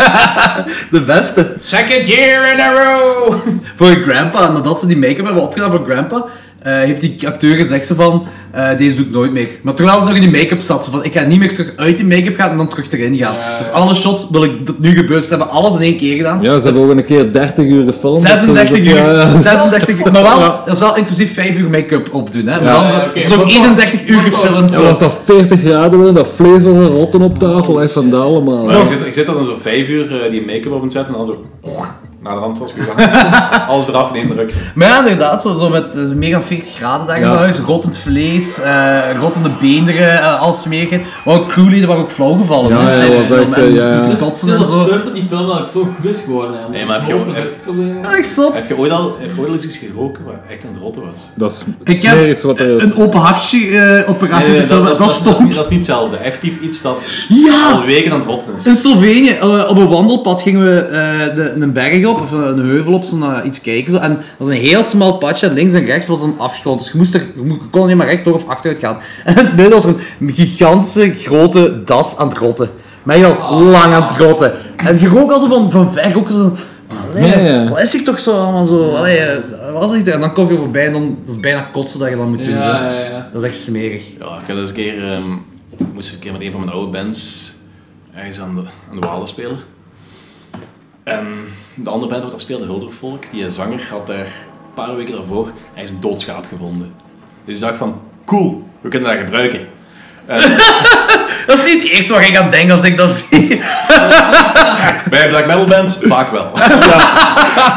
Speaker 4: De beste.
Speaker 7: Second year in a row!
Speaker 4: Voor grandpa, nadat ze die make-up hebben opgedaan voor grandpa, eh, heeft die acteur gezegd zo van, eh, deze doe ik nooit meer. Maar terwijl het nog in die make-up zat, ze van, ik ga niet meer terug uit die make-up gaan en dan terug erin gaan. Dus alle shots wil ik dat nu gebeurt. Ze hebben alles in één keer gedaan.
Speaker 3: Ja, ze hebben ook een keer 30 uur gefilmd.
Speaker 4: 36
Speaker 3: Dus,
Speaker 4: uur.
Speaker 3: ja, ja.
Speaker 4: 36 uur. Maar wel,
Speaker 3: Ja.
Speaker 4: dat is wel inclusief 5 uur make-up opdoen. Hè. Maar dan,
Speaker 5: Ja, ja,
Speaker 4: het is
Speaker 5: oké.
Speaker 4: nog 31 uur gefilmd.
Speaker 3: Ja,
Speaker 4: zo.
Speaker 3: was dat 40 graden worden, dat vlees was een rotten op tafel, echt van dat allemaal.
Speaker 6: Maar ik,
Speaker 4: is-
Speaker 6: zit, ik zit dan zo vijf uur eh, die make-up op het zetten en dan zo... Naar de rand was gegaan. Alles eraf in één druk.
Speaker 4: Maar ja, inderdaad, zo, zo met eh, meer dan 40 graden daar in
Speaker 3: Ja.
Speaker 4: het huis. Rottend vlees, eh, rottende beenderen, eh, alles meer. Maar ook crewleden waren ook flauw gevallen.
Speaker 3: Ja,
Speaker 4: hè,
Speaker 3: ja,
Speaker 4: tijdens
Speaker 3: dat
Speaker 4: de
Speaker 3: was
Speaker 4: film.
Speaker 3: echt,
Speaker 4: En
Speaker 3: ja, ja.
Speaker 4: moeten
Speaker 5: Het is,
Speaker 4: kotsen
Speaker 5: het is
Speaker 4: en zo.
Speaker 5: absurd dat die film eigenlijk zo goed is geworden, hè.
Speaker 6: Nee, maar heb je
Speaker 5: Zo'n
Speaker 6: ook-
Speaker 5: productieprobleem.
Speaker 4: Ja, Echt zot.
Speaker 6: Heb je ooit al, heb je ooit al eens iets geroken waar echt aan het rotten was?
Speaker 3: Dat is
Speaker 4: Ik
Speaker 3: het
Speaker 4: heb
Speaker 3: smerigste wat er is.
Speaker 4: een open hartje eh, operatie
Speaker 6: Nee,
Speaker 4: moeten filmen. Dat,
Speaker 6: dat, dat, dat, is Oh,
Speaker 4: stonk.
Speaker 6: niet, dat is niet hetzelfde. Effectief iets dat al
Speaker 4: Ja!
Speaker 6: weken aan het rotten is.
Speaker 4: In Slovenië, eh, op een wandelpad gingen we eh, de, een berg op, of een heuvel op, zo naar iets kijken. Zo. En dat was een heel smal padje, en links en rechts was een afgrond. Dus je, moest er, je mo- je kon alleen maar rechtdoor of achteruit gaan. En in het midden was er een gigantische grote das aan het rotten. Maar heel lang aan het rotten. En je rook alsof van, van ver ook zo... Allee,
Speaker 3: Ja, ja.
Speaker 4: Wat is hier toch zo allemaal zo? Allee, eh, wat is hier? En dan kom je voorbij en dan dat is bijna kotsen dat je dan moet doen. zo.
Speaker 5: Ja, ja, ja.
Speaker 4: Dat is echt smerig.
Speaker 6: Ja, ik had eens een keer, ehm, ik moest een keer met een van mijn oude bands ergens aan de, aan de Walen spelen. En de andere band wat daar speelde, Huldervolk, die zanger had daar een paar weken daarvoor hij is een doodschaap gevonden. Dus ik dacht van, cool, we kunnen dat gebruiken.
Speaker 4: Dat is niet het eerste waar ik aan denk als ik dat zie.
Speaker 6: Bij black metal bands vaak wel.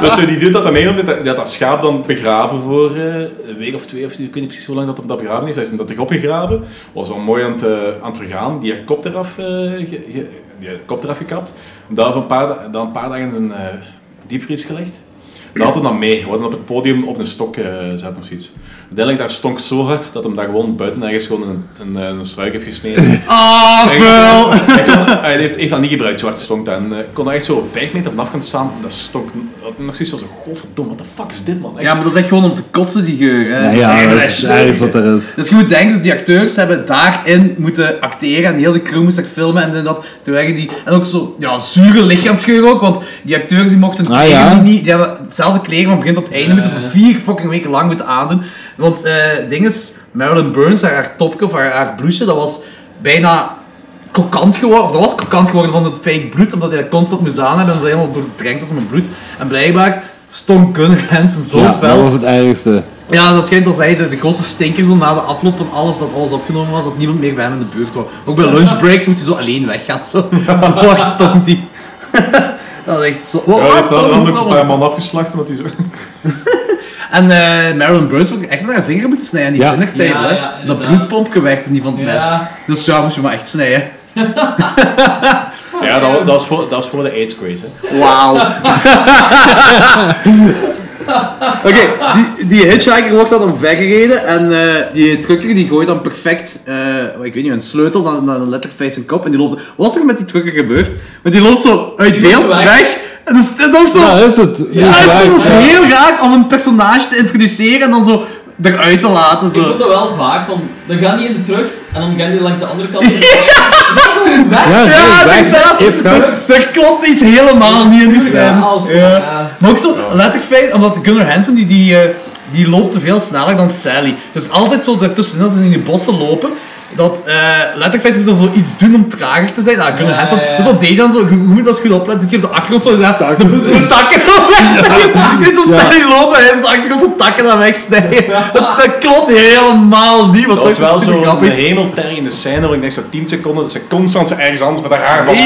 Speaker 6: Dus eh, die doet dat dan mee, omdat dat, dat, dat schaap dan begraven voor eh, een week of twee, of ik weet niet precies hoe lang dat hem dat begraven heeft. Hij heeft hem dat erop gegraven, was al mooi aan het, eh, aan het vergaan, die heeft kop eraf, eh, ge- ge- die heeft kop eraf gekapt, daar een paar, da- dan een paar dagen in zijn eh, diepvries gelegd. Dat had hij dan mee, worden op het podium op een stok eh zetten of zoiets. Uiteindelijk, daar stonk zo hard dat hem daar gewoon buiten ergens gewoon een, een, eh, een struik heeft gesmeten.
Speaker 4: Ah, vuil!
Speaker 6: Hij, kon- hij heeft, heeft dat niet gebruikt, zwart stonk dat. En eh, ik kon daar echt zo vijf meter vanaf gaan staan. en Dat stonk had nog zoiets van zo, godverdomme, what the fuck is dit man? Echt.
Speaker 4: Ja, maar dat is echt gewoon om te kotsen, die geur. Hè.
Speaker 3: Nou Ja, ja, dat is het ergste wat er is.
Speaker 4: Dus je moet denken, dus die acteurs hebben daarin moeten acteren en heel de crew moest dat filmen en dat. Terwijl die, en ook zo, ja, zure lichaamsgeur ook, want die acteurs die mochten
Speaker 3: Ah,
Speaker 4: kleren
Speaker 3: ja.
Speaker 4: die niet, die hebben hetzelfde kleren van begin tot einde moeten voor vier fucking weken lang moeten aandoen. Want eh ding is, Marilyn Burns, haar, haar topje of haar, haar blouseje, dat was bijna kokant geworden, of dat was kokant geworden van het fake bloed, omdat hij dat constant moest aan hebben en dat hij helemaal doordrenkt was met bloed. En blijkbaar stonk Gunnar Hansen zo
Speaker 3: Ja,
Speaker 4: fel.
Speaker 3: dat was het ergste.
Speaker 4: Ja, dat schijnt als hij de, de grootste stinker zo na de afloop van alles dat alles opgenomen was, dat niemand meer bij hem in de buurt was. Ook bij lunchbreaks moest hij zo alleen weggaan. Zo, zo hard stond hij. dat is echt zo. Wow,
Speaker 6: Ja, hij
Speaker 4: Oh, wat
Speaker 6: heeft daar
Speaker 4: dan?
Speaker 6: dan ook een paar man afgeslacht, omdat hij zo...
Speaker 4: En eh Marilyn Burns ook echt naar haar vinger moeten snijden in die
Speaker 3: Ja.
Speaker 4: kindertijd.
Speaker 5: Ja,
Speaker 4: hè.
Speaker 5: ja,
Speaker 4: dat
Speaker 5: inderdaad.
Speaker 4: bloedpompje werkte niet van het
Speaker 5: Ja.
Speaker 4: mes. Dus ja, moest je maar echt snijden.
Speaker 6: Ja, dat, wa- dat, was voor, dat was voor de AIDS craze. Hè.
Speaker 4: Wauw. Oké, die, die hitchhiker wordt dan omvergereden en eh, die trucker die gooit dan perfect, eh, ik weet niet, een sleutel naar, naar een letterface en kop en die loopt... Wat is er met die trucker gebeurd? Want die loopt zo uit beeld,
Speaker 5: weg.
Speaker 4: weg. En dat is dit ook zo...
Speaker 3: Ja,
Speaker 4: Ja,
Speaker 3: is het.
Speaker 4: is, dat is
Speaker 3: ja.
Speaker 4: heel raar om een personage te introduceren en dan zo eruit te laten.
Speaker 5: Ik vond
Speaker 4: Zo.
Speaker 5: dat wel vaak, van, dan gaan die in de truck en dan gaan die langs de andere kant. Ja, weg!
Speaker 3: Ja,
Speaker 4: Ja,
Speaker 3: weg,
Speaker 4: inderdaad.
Speaker 3: heeft gehad.
Speaker 4: Er- Er klopt iets helemaal niet in die scène.
Speaker 5: als-
Speaker 4: Ja.
Speaker 5: ja.
Speaker 4: Maar ook zo, letterlijk, omdat Gunnar Hansen, die, die, eh, die loopt te veel sneller dan Sally. Dus altijd zo daartussen, als ze in die bossen lopen, dat eh Letterface moest dan zoiets doen om trager te zijn. Nou, kunnen
Speaker 5: Ja,
Speaker 4: Hansen.
Speaker 5: ja.
Speaker 4: Dus wat deed hij dan zo? Je je moet dat eens goed opletten. Zit je op de achtergrond zo ja, de, de, de takken zo wegsnijden? Je is zo snel niet lopen en hij is op de achtergrond zo takken aan wegsnijden. Dat, dat klopt helemaal niet, want
Speaker 6: Dat was
Speaker 4: dat,
Speaker 6: wel
Speaker 4: is super
Speaker 6: zo'n
Speaker 4: grappig.
Speaker 6: hemeltergende scène waar ik denk zo 10 seconden dat ze constant zo ergens anders met haar haar vast.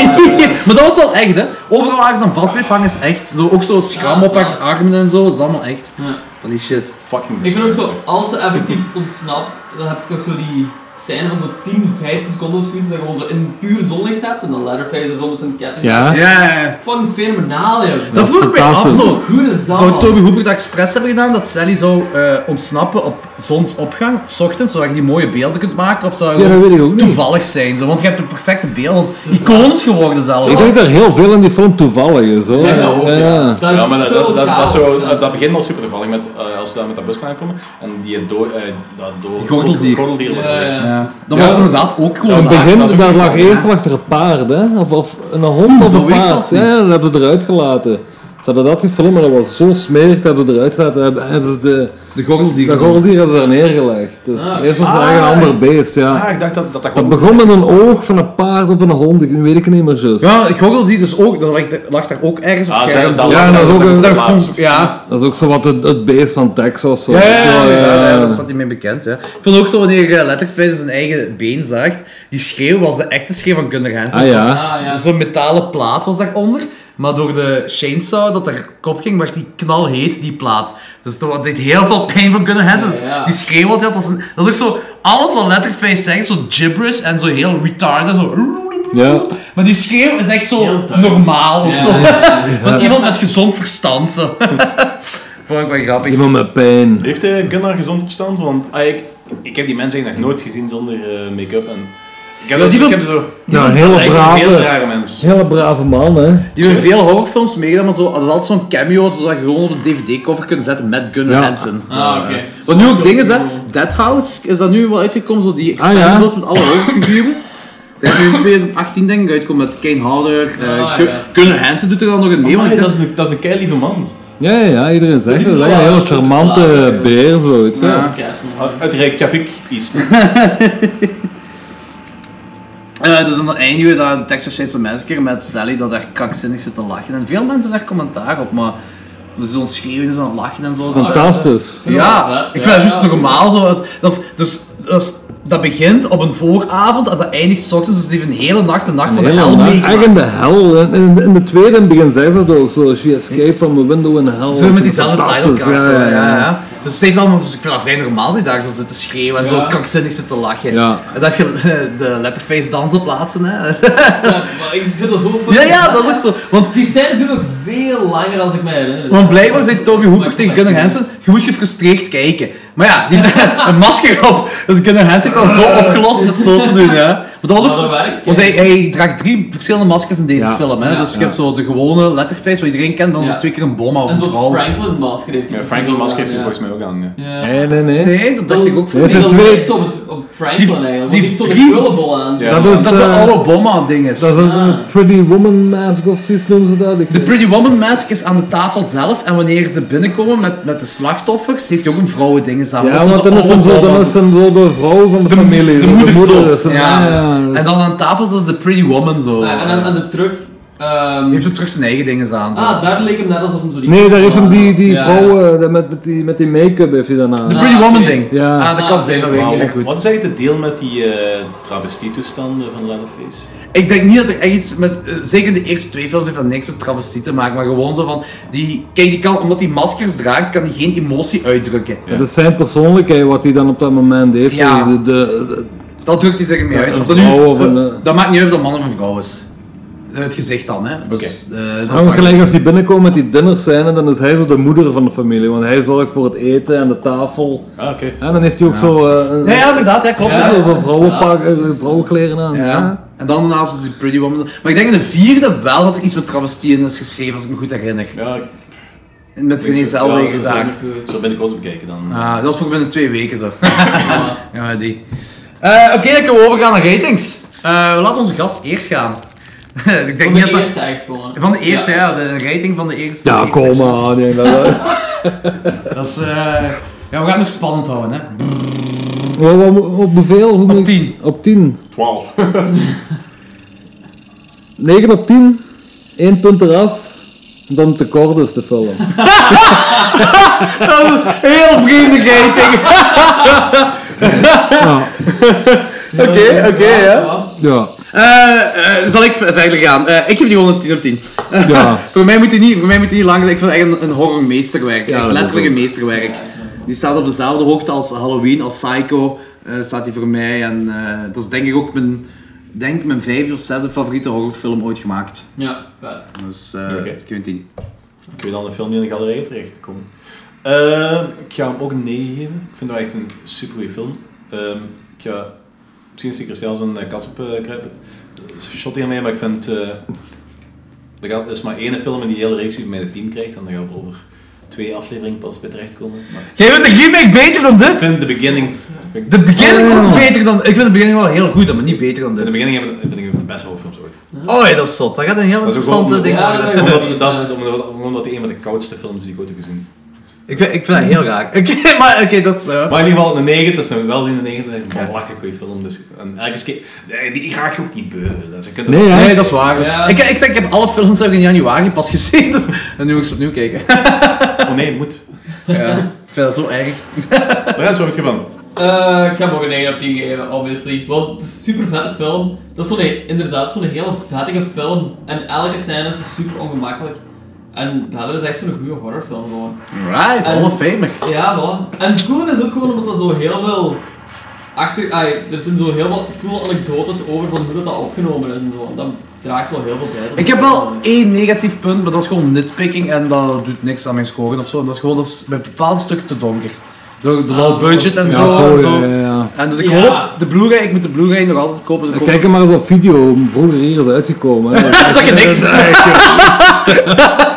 Speaker 4: maar dat was wel echt, hè. Overal waar ze aan vast bleef hangen is echt. Zo, ook zo schram op haar armen en zo, dat is allemaal echt.
Speaker 5: Ja.
Speaker 4: Van die shit.
Speaker 6: Fucking
Speaker 5: Ik vind ook zo, als ze effectief ontsnapt, dan heb je toch zo die scène van zo 10, 15 seconden of zoiets, dat je gewoon zo in puur zonlicht hebt en dan Leatherface is onder zijn ketting.
Speaker 3: Ja.
Speaker 4: Ja,
Speaker 5: Fucking fenomenaal, joh.
Speaker 4: dat vroeg ik mij af
Speaker 3: fantastisch.
Speaker 4: zo.
Speaker 5: Hoe goed is dat,
Speaker 4: Zou
Speaker 5: man?
Speaker 4: Toby Hooper dat expres hebben gedaan, dat Sally zou eh, ontsnappen op zonsopgang, s ochtends, zodat je die mooie beelden kunt maken? Of zou je
Speaker 3: Ja, dat
Speaker 4: gewoon
Speaker 3: weet ik ook niet.
Speaker 4: toevallig zijn? Zo, want je hebt een perfecte beeld, want iconisch geworden zelfs.
Speaker 3: Ik denk dat er heel veel in die film toevallig is hoor.
Speaker 5: Ik denk dat ook, ja.
Speaker 3: ja.
Speaker 5: Dat is
Speaker 6: Ja, maar dat, dat, dat, dat, is
Speaker 5: totaal
Speaker 6: zo,
Speaker 5: gaaf.
Speaker 6: dat begint al super toevallig met eh, als ze daar met dat bus gaan komen en die door, eh dat door
Speaker 4: Die gordeldier.
Speaker 6: gordeldier wordt
Speaker 5: Ja,
Speaker 6: gelegd.
Speaker 5: ja.
Speaker 4: Ja. Dat
Speaker 3: Ja.
Speaker 4: was inderdaad ook gewoon
Speaker 6: Ja,
Speaker 3: In
Speaker 6: maar-
Speaker 4: daar.
Speaker 3: het
Speaker 6: dat is
Speaker 3: begin,
Speaker 6: ook
Speaker 3: daar
Speaker 6: niet
Speaker 3: lag
Speaker 6: waar,
Speaker 3: eerst achter een paard, hè? Of, of een hond of
Speaker 4: dat
Speaker 3: een
Speaker 4: weet ik
Speaker 3: paard.
Speaker 4: zelfs niet.
Speaker 3: Ja, dat hebben ze eruit gelaten. Ze hadden dat gefilmd, maar dat was zo smerig, dat hebben ze eruit gelaten. Hebben, hebben ze de,
Speaker 4: De gordeldier.
Speaker 3: dat gordeldier hebben ze daar neergelegd. Dus eerst was het
Speaker 6: Ah.
Speaker 3: eigenlijk een ander beest,
Speaker 6: Ah,
Speaker 3: ja.
Speaker 6: ik dacht dat dat, dat
Speaker 3: Dat
Speaker 6: gewoon...
Speaker 3: begon met een oog van een paard of van een hond, ik weet ik niet meer juist.
Speaker 4: Ja, de gordeldier dus ook, dat lag, daar- lag daar ook ergens
Speaker 6: Ah,
Speaker 4: waarschijnlijk.
Speaker 6: dat-
Speaker 3: Ja, dat is ook een-
Speaker 6: de
Speaker 4: Zijn we
Speaker 6: plaats.
Speaker 4: gewoon- ja.
Speaker 3: Dat is ook zo wat het, het beest van Texas. Zo. eh,
Speaker 4: Ja, ja, ja, ja, ja,
Speaker 3: ja.
Speaker 4: daar staat hij mee bekend. Ja. Ik vond ook zo wanneer eh, Letterface zijn eigen been zaagt, die schreeuw was de echte schreeuw van Gunnar Hansen.
Speaker 3: Ah ja.
Speaker 5: Ah, ja.
Speaker 4: Zo'n metalen plaat was daaronder. Maar door de chainsaw dat er kop ging, werd die knalheet, die plaat. Dus dat deed heel veel pijn voor Gunnar Hansen. Dus
Speaker 5: Ja.
Speaker 4: Die schreeuw wat hij had, was een, dat is ook zo... Alles wat Letterface zegt, zo gibberish en zo heel retarded. Zo...
Speaker 3: Ja.
Speaker 4: Maar die schreeuw is echt zo
Speaker 5: Heel duidelijk.
Speaker 4: normaal ook
Speaker 5: Ja,
Speaker 4: zo.
Speaker 5: ja,
Speaker 4: Want iemand met gezond verstand zo. Vond ik wel grappig.
Speaker 3: Iemand met pijn.
Speaker 6: Heeft eh, Gunnar gezond verstand? Want ah, ik, ik heb die mensen eigenlijk nog nooit gezien zonder eh, make-up en... Ik heb,
Speaker 4: Ja,
Speaker 6: dat,
Speaker 4: die
Speaker 6: ik
Speaker 4: wil-
Speaker 6: heb zo...
Speaker 3: Ja, een
Speaker 6: Eigenlijk
Speaker 3: hele
Speaker 6: Een heel
Speaker 3: brave,
Speaker 6: rare mens.
Speaker 3: hele brave man, hè.
Speaker 4: Die hebben veel horrorfilms meegedaan, maar zo, dat is altijd zo'n cameo zodat je gewoon op de DVD-cover kunt zetten met Gunnar
Speaker 3: Ja.
Speaker 4: Hansen. Zo,
Speaker 5: Ah, oké.
Speaker 4: eh. Wat nu ook ding is, hè. Dead House is dat nu wel uitgekomen, zo die
Speaker 3: Ah, ja.
Speaker 4: expendables met alle horrorfiguren. Dat is nu in 2018 denk ik uitgekomen met Kane Hodder, eh,
Speaker 5: Ah,
Speaker 4: Gun-
Speaker 5: ja.
Speaker 4: Gunnar Hansen doet er dan nog een mee, want
Speaker 3: Ah,
Speaker 6: Amai,
Speaker 4: ik
Speaker 6: Ah, dat
Speaker 4: denk-
Speaker 6: is een, dat is een keilieve man.
Speaker 3: Ja, ja, ja, iedereen zegt dat.
Speaker 5: is iets
Speaker 3: Dat is
Speaker 5: wel
Speaker 3: een hele
Speaker 5: anders dan de
Speaker 3: charmante
Speaker 5: laatste.
Speaker 3: beer, zo, weet je.
Speaker 5: Ja,
Speaker 3: Ja.
Speaker 5: dat is kerstman.
Speaker 6: Uit uit Reykjavik is.
Speaker 4: Eh, dus dan eindigen we daar de Texas Chainsaw Massacre met Sally dat daar krankzinnig zit te lachen. En veel mensen hebben daar commentaar op, maar zo'n schreeuwen en zo'n lachen en zo.
Speaker 3: Fantastisch.
Speaker 4: Ja,
Speaker 5: Vet,
Speaker 4: ik vind
Speaker 5: ja.
Speaker 4: dat juist
Speaker 5: Ja,
Speaker 4: normaal zo. Dat, is- dat is, dus, dat, is, dat begint op een vooravond en dat eindigt 's ochtends, dus die heeft een hele nacht, de nacht van de
Speaker 3: Hele
Speaker 4: hel
Speaker 3: nacht.
Speaker 4: meegemaakt.
Speaker 3: Echt in de hel. In, in, in de tweede in het begin zei ze dat ook zo. She escaped from the window in hell.
Speaker 4: Zo met diezelfde
Speaker 3: Fantastisch,
Speaker 4: titelkaart.
Speaker 3: ja, ja, ja.
Speaker 4: Dus het heeft allemaal, dus ik vind dat vrij normaal die daar zo zitten schreeuwen en
Speaker 5: Ja.
Speaker 4: zo krankzinnig zitten lachen.
Speaker 3: Ja.
Speaker 4: En dat je eh, de letterface dansen plaatsen. Hè.
Speaker 5: Ja, maar ik vind dat zo fijn.
Speaker 4: ja, ja, dat is ook zo. Want
Speaker 5: Die scène duurt ook veel langer dan ik mij herinner.
Speaker 4: Want blijkbaar zei Toby Hooper
Speaker 5: Maar-
Speaker 4: tegen Gunnar Hansen, je moet gefrustreerd kijken. Maar ja, die heeft een masker op. Dus Gunnar Hansen heeft dat zo opgelost met zo te doen. Hè. Maar dat was ook
Speaker 5: Maar
Speaker 4: zo,
Speaker 5: dat werkt,
Speaker 4: want hij,
Speaker 5: hè.
Speaker 4: hij draagt drie verschillende maskers in deze
Speaker 3: Ja.
Speaker 4: film. Hè.
Speaker 5: Ja,
Speaker 4: dus je
Speaker 5: ja.
Speaker 4: hebt zo de gewone letterface, wat iedereen kent, dan
Speaker 5: Ja.
Speaker 4: zo twee keer een bomma of
Speaker 5: En
Speaker 4: een
Speaker 5: zo'n
Speaker 4: vrouw.
Speaker 5: Franklin-masker heeft hij.
Speaker 6: Ja,
Speaker 5: precies
Speaker 6: Franklin Musk
Speaker 5: gedaan,
Speaker 6: heeft hij
Speaker 5: ja.
Speaker 6: volgens mij ook aan. ja.
Speaker 5: Ja.
Speaker 3: Nee, nee, nee.
Speaker 4: Nee, dat dacht ik ook
Speaker 5: voor
Speaker 4: voor.
Speaker 3: heeft
Speaker 5: mij.
Speaker 3: er twee-
Speaker 5: lijkt zo op, op Franklin
Speaker 4: Die-
Speaker 5: eigenlijk. want
Speaker 4: die
Speaker 5: Die heeft zo'n
Speaker 4: drie-
Speaker 5: krullenbol aan.
Speaker 6: Ja.
Speaker 3: Dat
Speaker 4: Dat
Speaker 3: is,
Speaker 4: is een
Speaker 3: eh,
Speaker 4: oude bomma-dinges.
Speaker 3: dat is een eh, pretty woman mask of zoiets noemen ze dat. Ik
Speaker 4: De Pretty Woman mask is aan de tafel zelf en wanneer ze binnenkomen met, met de slachtoffers, heeft hij ook een vrouwendinges aan. Dat
Speaker 3: ja,
Speaker 4: is
Speaker 3: want
Speaker 4: de
Speaker 3: dan is
Speaker 4: oude
Speaker 3: hem zo, dan
Speaker 4: bomma's.
Speaker 3: is hem zo de vrouw van de, familie.
Speaker 4: de
Speaker 3: zo,
Speaker 4: moeder zo.
Speaker 3: is hem,
Speaker 4: Ja.
Speaker 3: ja. ja, dat is-
Speaker 4: En dan aan tafel zat de Pretty Woman zo.
Speaker 5: Ja, Ah, en aan, aan de truck. ehm,
Speaker 4: Die heeft ook terug zijn eigen dingen aan. Zo.
Speaker 5: ah, daar leek hem net alsof hem zo die
Speaker 3: Nee, daar heeft hem die, die
Speaker 5: Ja.
Speaker 3: vrouw eh, dat met, met die, met die make-up heeft hij daarna.
Speaker 4: de Pretty
Speaker 5: ah,
Speaker 4: Woman
Speaker 5: oké.
Speaker 4: ding.
Speaker 3: Ja.
Speaker 4: Ah, dat kan
Speaker 5: Ah,
Speaker 4: zijn, dat
Speaker 5: oké.
Speaker 4: weet ik
Speaker 6: Maar
Speaker 4: niet meer
Speaker 6: wat- Wat
Speaker 4: goed.
Speaker 6: is eigenlijk het deel met die eh travestietoestanden van Leatherface?
Speaker 4: Ik denk niet dat er echt iets met, eh, zeker in de eerste twee films, heeft dat niks met travestie te maken, maar gewoon zo van, die, kijk, die kan, omdat hij maskers draagt, kan hij geen emotie uitdrukken.
Speaker 3: Dat is zijn persoonlijkheid wat hij dan op dat moment heeft.
Speaker 4: Ja.
Speaker 3: De, de, de-
Speaker 4: Dat drukt hij zich ermee uit.
Speaker 3: een
Speaker 4: Of dat, nu,
Speaker 3: vrouw of een,
Speaker 4: eh,
Speaker 3: eh,
Speaker 4: dat maakt niet uit of dat man of een vrouw is. Eh, Het gezicht dan, hè. Dus, eh, dat
Speaker 3: Ja, maar
Speaker 4: maakt-
Speaker 3: gelijk als die binnenkomen met die dinners zijn, dan is hij zo de moeder van de familie, want hij zorgt voor het eten en de tafel.
Speaker 6: Ah, oké.
Speaker 3: En dan heeft hij ook zo eh, een,
Speaker 4: Ja, ja, inderdaad, ja, klopt.
Speaker 3: ja,
Speaker 4: ja.
Speaker 3: zo'n vrouwenpak, eh, vrouwenkleren aan. Ja.
Speaker 4: Ja. En dan naast de Pretty Woman. Maar ik denk in de vierde wel dat er iets met travestie in is geschreven, als ik me goed herinner.
Speaker 6: Ja, ik-
Speaker 4: Met René
Speaker 6: ja,
Speaker 4: Zellweger
Speaker 6: zo-
Speaker 4: daar.
Speaker 6: Zo ben ik wel eens bekijken dan.
Speaker 4: Ah, dat was voor binnen twee weken zo. ja, die. Eh, Oké, dan kunnen we overgaan naar ratings. Eh, we laten onze gast eerst gaan. ik denk
Speaker 5: Van
Speaker 4: niet
Speaker 5: de
Speaker 4: dat dat-
Speaker 5: eerste echt gewoon.
Speaker 4: Van de eerste, ja. de rating van de eerste.
Speaker 3: Ja,
Speaker 4: van de eerste.
Speaker 3: kom maar. nee, dat-
Speaker 4: Dat is, eh, ja, we gaan het nog spannend houden, hè.
Speaker 3: Wel, wel, op hoeveel? Hoe moet ik-
Speaker 7: tien.
Speaker 3: Op 10.
Speaker 6: 12.
Speaker 3: 9 op 10. 1 punt eraf. Dan te kort is de film.
Speaker 4: Heel vreemde gating. Oké, oké, ja.
Speaker 3: Ja,
Speaker 4: Eh, eh, zal ik ver- verder gaan? Eh, ik heb die gewoon een 10 op 10.
Speaker 3: ja.
Speaker 4: Voor mij moet die niet, voor mij moet die niet lang zijn. Ik vind het echt een, een horror meesterwerk.
Speaker 3: Ja,
Speaker 4: echt
Speaker 3: dat
Speaker 4: letterlijk
Speaker 3: ook.
Speaker 4: een meesterwerk. Die staat op dezelfde hoogte als Halloween, als Psycho. eh, staat die voor mij. En eh, dat is denk ik ook mijn, denk mijn vijfde of zesde favoriete horrorfilm ooit gemaakt.
Speaker 5: Ja, vet.
Speaker 4: Dus eh
Speaker 6: Oké.
Speaker 4: ik geef een 10.
Speaker 6: Ik weet al een film die in de galerij terechtkomt. Eh, ik ga hem ook een 9 geven. Ik vind het echt een super goede film. Ehm, ik ga misschien stiekem zelfs een eh, kat op eh, kruipen. Dat is een shot hiermee, maar ik vind. eh, er, gaat, er is maar één film in die hele reeks die van mij de 10 krijgt. En dan gaan we over twee afleveringen pas bij terechtkomen. Maar
Speaker 4: Jij vindt de remake beter dan
Speaker 6: ik
Speaker 4: dit?
Speaker 6: vind de beginning.
Speaker 4: De beginning ook beter dan... Ik vind de beginning wel heel goed, maar niet beter dan
Speaker 6: In de
Speaker 4: dit.
Speaker 6: beginning hebben- vind ik een van de beste horrorfilms ooit.
Speaker 4: Oh ja, dat is zot. Dat gaat een heel
Speaker 6: Dat is ook
Speaker 4: interessante
Speaker 6: wel-
Speaker 4: ding
Speaker 5: Ja,
Speaker 4: worden.
Speaker 5: dat-
Speaker 6: Omdat, dat is, omdat, omdat het een van de koudste films die ik ooit heb gezien.
Speaker 4: Ik vind, ik vind dat heel raar. Oké, maar oké, dat is... eh,
Speaker 6: Maar in ieder geval een 9, dat is nou wel in de 9, dat is een belachelijk goede film. Dus, en elke keer, nee, die raak je ook niet beu. Dus je kunt er-
Speaker 3: Nee, hè?
Speaker 4: Nee, dat is waar.
Speaker 5: Ja.
Speaker 4: Ik, ik, zeg, ik heb alle films heb ik in januari pas gezien, dus en nu moet ik ze opnieuw kijken.
Speaker 6: Oh nee, het moet.
Speaker 4: Ja, ik vind dat zo erg.
Speaker 6: Lorenzo, wat heb je van?
Speaker 5: Eh, ik heb ook een 9 op 10 gegeven, obviously. Want het is een super vette film. Dat is zo'n, inderdaad zo'n hele vettige film. En elke scène is zo super ongemakkelijk. En daardoor is het echt zo'n goede horrorfilm gewoon.
Speaker 4: Right,
Speaker 5: En-
Speaker 4: Hall of Famer.
Speaker 5: Ja, voilà. En het coole is ook gewoon omdat er zo heel veel... Achter, ai, er zijn zo heel veel coole anekdotes over van hoe dat, dat opgenomen is en zo. En dat draagt wel heel veel bij. tot
Speaker 4: Ik
Speaker 5: de
Speaker 4: heb wel
Speaker 5: film.
Speaker 4: één negatief punt, maar dat is gewoon nitpicking en dat doet niks aan mijn scoren of zo. En dat is gewoon dat is bij bepaalde stukken te donker. Door de
Speaker 5: Ah,
Speaker 4: low
Speaker 5: zo.
Speaker 4: budget en
Speaker 3: Ja,
Speaker 4: zo.
Speaker 3: zo,
Speaker 4: en
Speaker 3: ja, ja, ja.
Speaker 4: En dus ik
Speaker 5: Ja.
Speaker 4: hoop, de Blu-ray, ik moet de Blu-ray nog altijd kopen. Dus ik
Speaker 3: Kijk
Speaker 4: hoop-
Speaker 3: er maar eens op video, hoe vroeger hier is uitgekomen. hè.
Speaker 4: dat zeg je niks.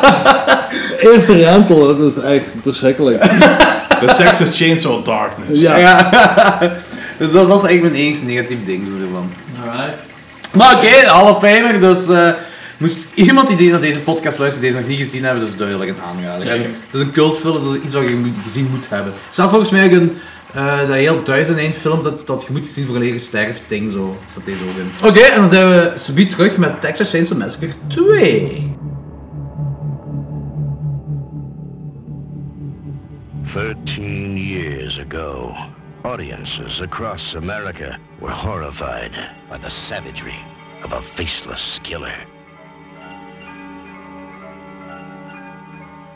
Speaker 3: Eerste rental, dat is echt verschrikkelijk.
Speaker 6: The Texas Chainsaw Darkness.
Speaker 3: Ja.
Speaker 4: dus dat is, dat is eigenlijk mijn enigste negatief ding zo ervan.
Speaker 5: Alright.
Speaker 4: Maar oké, Hall of Famer, dus... eh, moest iemand die deze- naar deze podcast luistert, deze nog niet gezien hebben, dus duidelijk een aanrader. En Het is een cultfilm, dat is iets wat je moet- gezien moet hebben. Zelf volgens mij ook een... eh, dat heel duizend en één film dat, dat je moet zien voor een lege sterft ding zo. Staat deze ook in. Oké, en dan zijn we subiet terug met Texas Chainsaw Massacre 2.
Speaker 9: Thirteen years ago, audiences across America were horrified by the savagery of a faceless killer.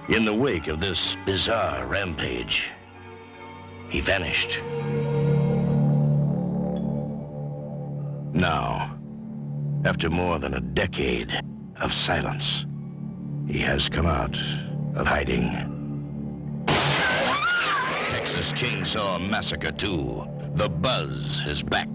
Speaker 9: In the wake of this bizarre rampage, he vanished. Now, after more than a decade of silence, he has come out of hiding. Texas Chainsaw Massacre 2. The Buzz is back.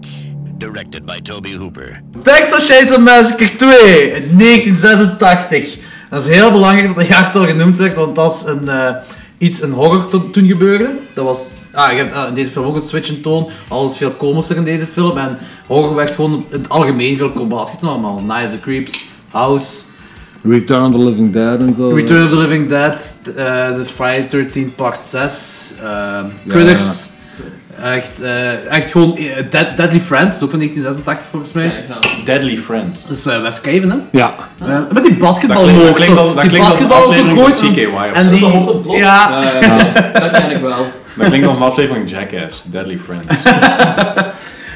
Speaker 9: Directed by Toby Hooper.
Speaker 4: Texas Chainsaw Massacre 2, uit 1986. Dat is heel belangrijk dat de jaartal genoemd werd, want dat is een, eh, iets in horror to- toen gebeurde. Dat was, ah, je hebt ah, in deze film ook een switch in toon, alles veel komischer in deze film. En horror werd gewoon in het algemeen veel combat gedaan, allemaal. Night of the Creeps, House,
Speaker 3: Return of the Living Dead en zo.
Speaker 4: Return of the Living Dead, t- eh, The Friday 13 Part 6, ehm Critters. Echt, eh, echt gewoon eh, Dead, Deadly Friends, ook van 1986 volgens mij.
Speaker 5: Kijk, zo.
Speaker 6: Deadly Friends.
Speaker 4: Dat is eh, Wes Craven, hè?
Speaker 3: Ja.
Speaker 4: Ja, Met die basketbal
Speaker 6: Dat klinkt- dat
Speaker 4: ook,
Speaker 6: klinkt
Speaker 4: zo.
Speaker 6: al- dat
Speaker 4: Die
Speaker 6: klinkt als een
Speaker 4: basketbal is ook
Speaker 6: aflevering
Speaker 4: goed.
Speaker 6: van CKY of
Speaker 4: En
Speaker 6: zo.
Speaker 4: die...
Speaker 5: Dat hoofd op blok.
Speaker 4: Ja.
Speaker 5: Ja, ja, ja. dat ken ik Eh, wel.
Speaker 6: Dat klinkt als een aflevering van Jackass. Deadly Friends.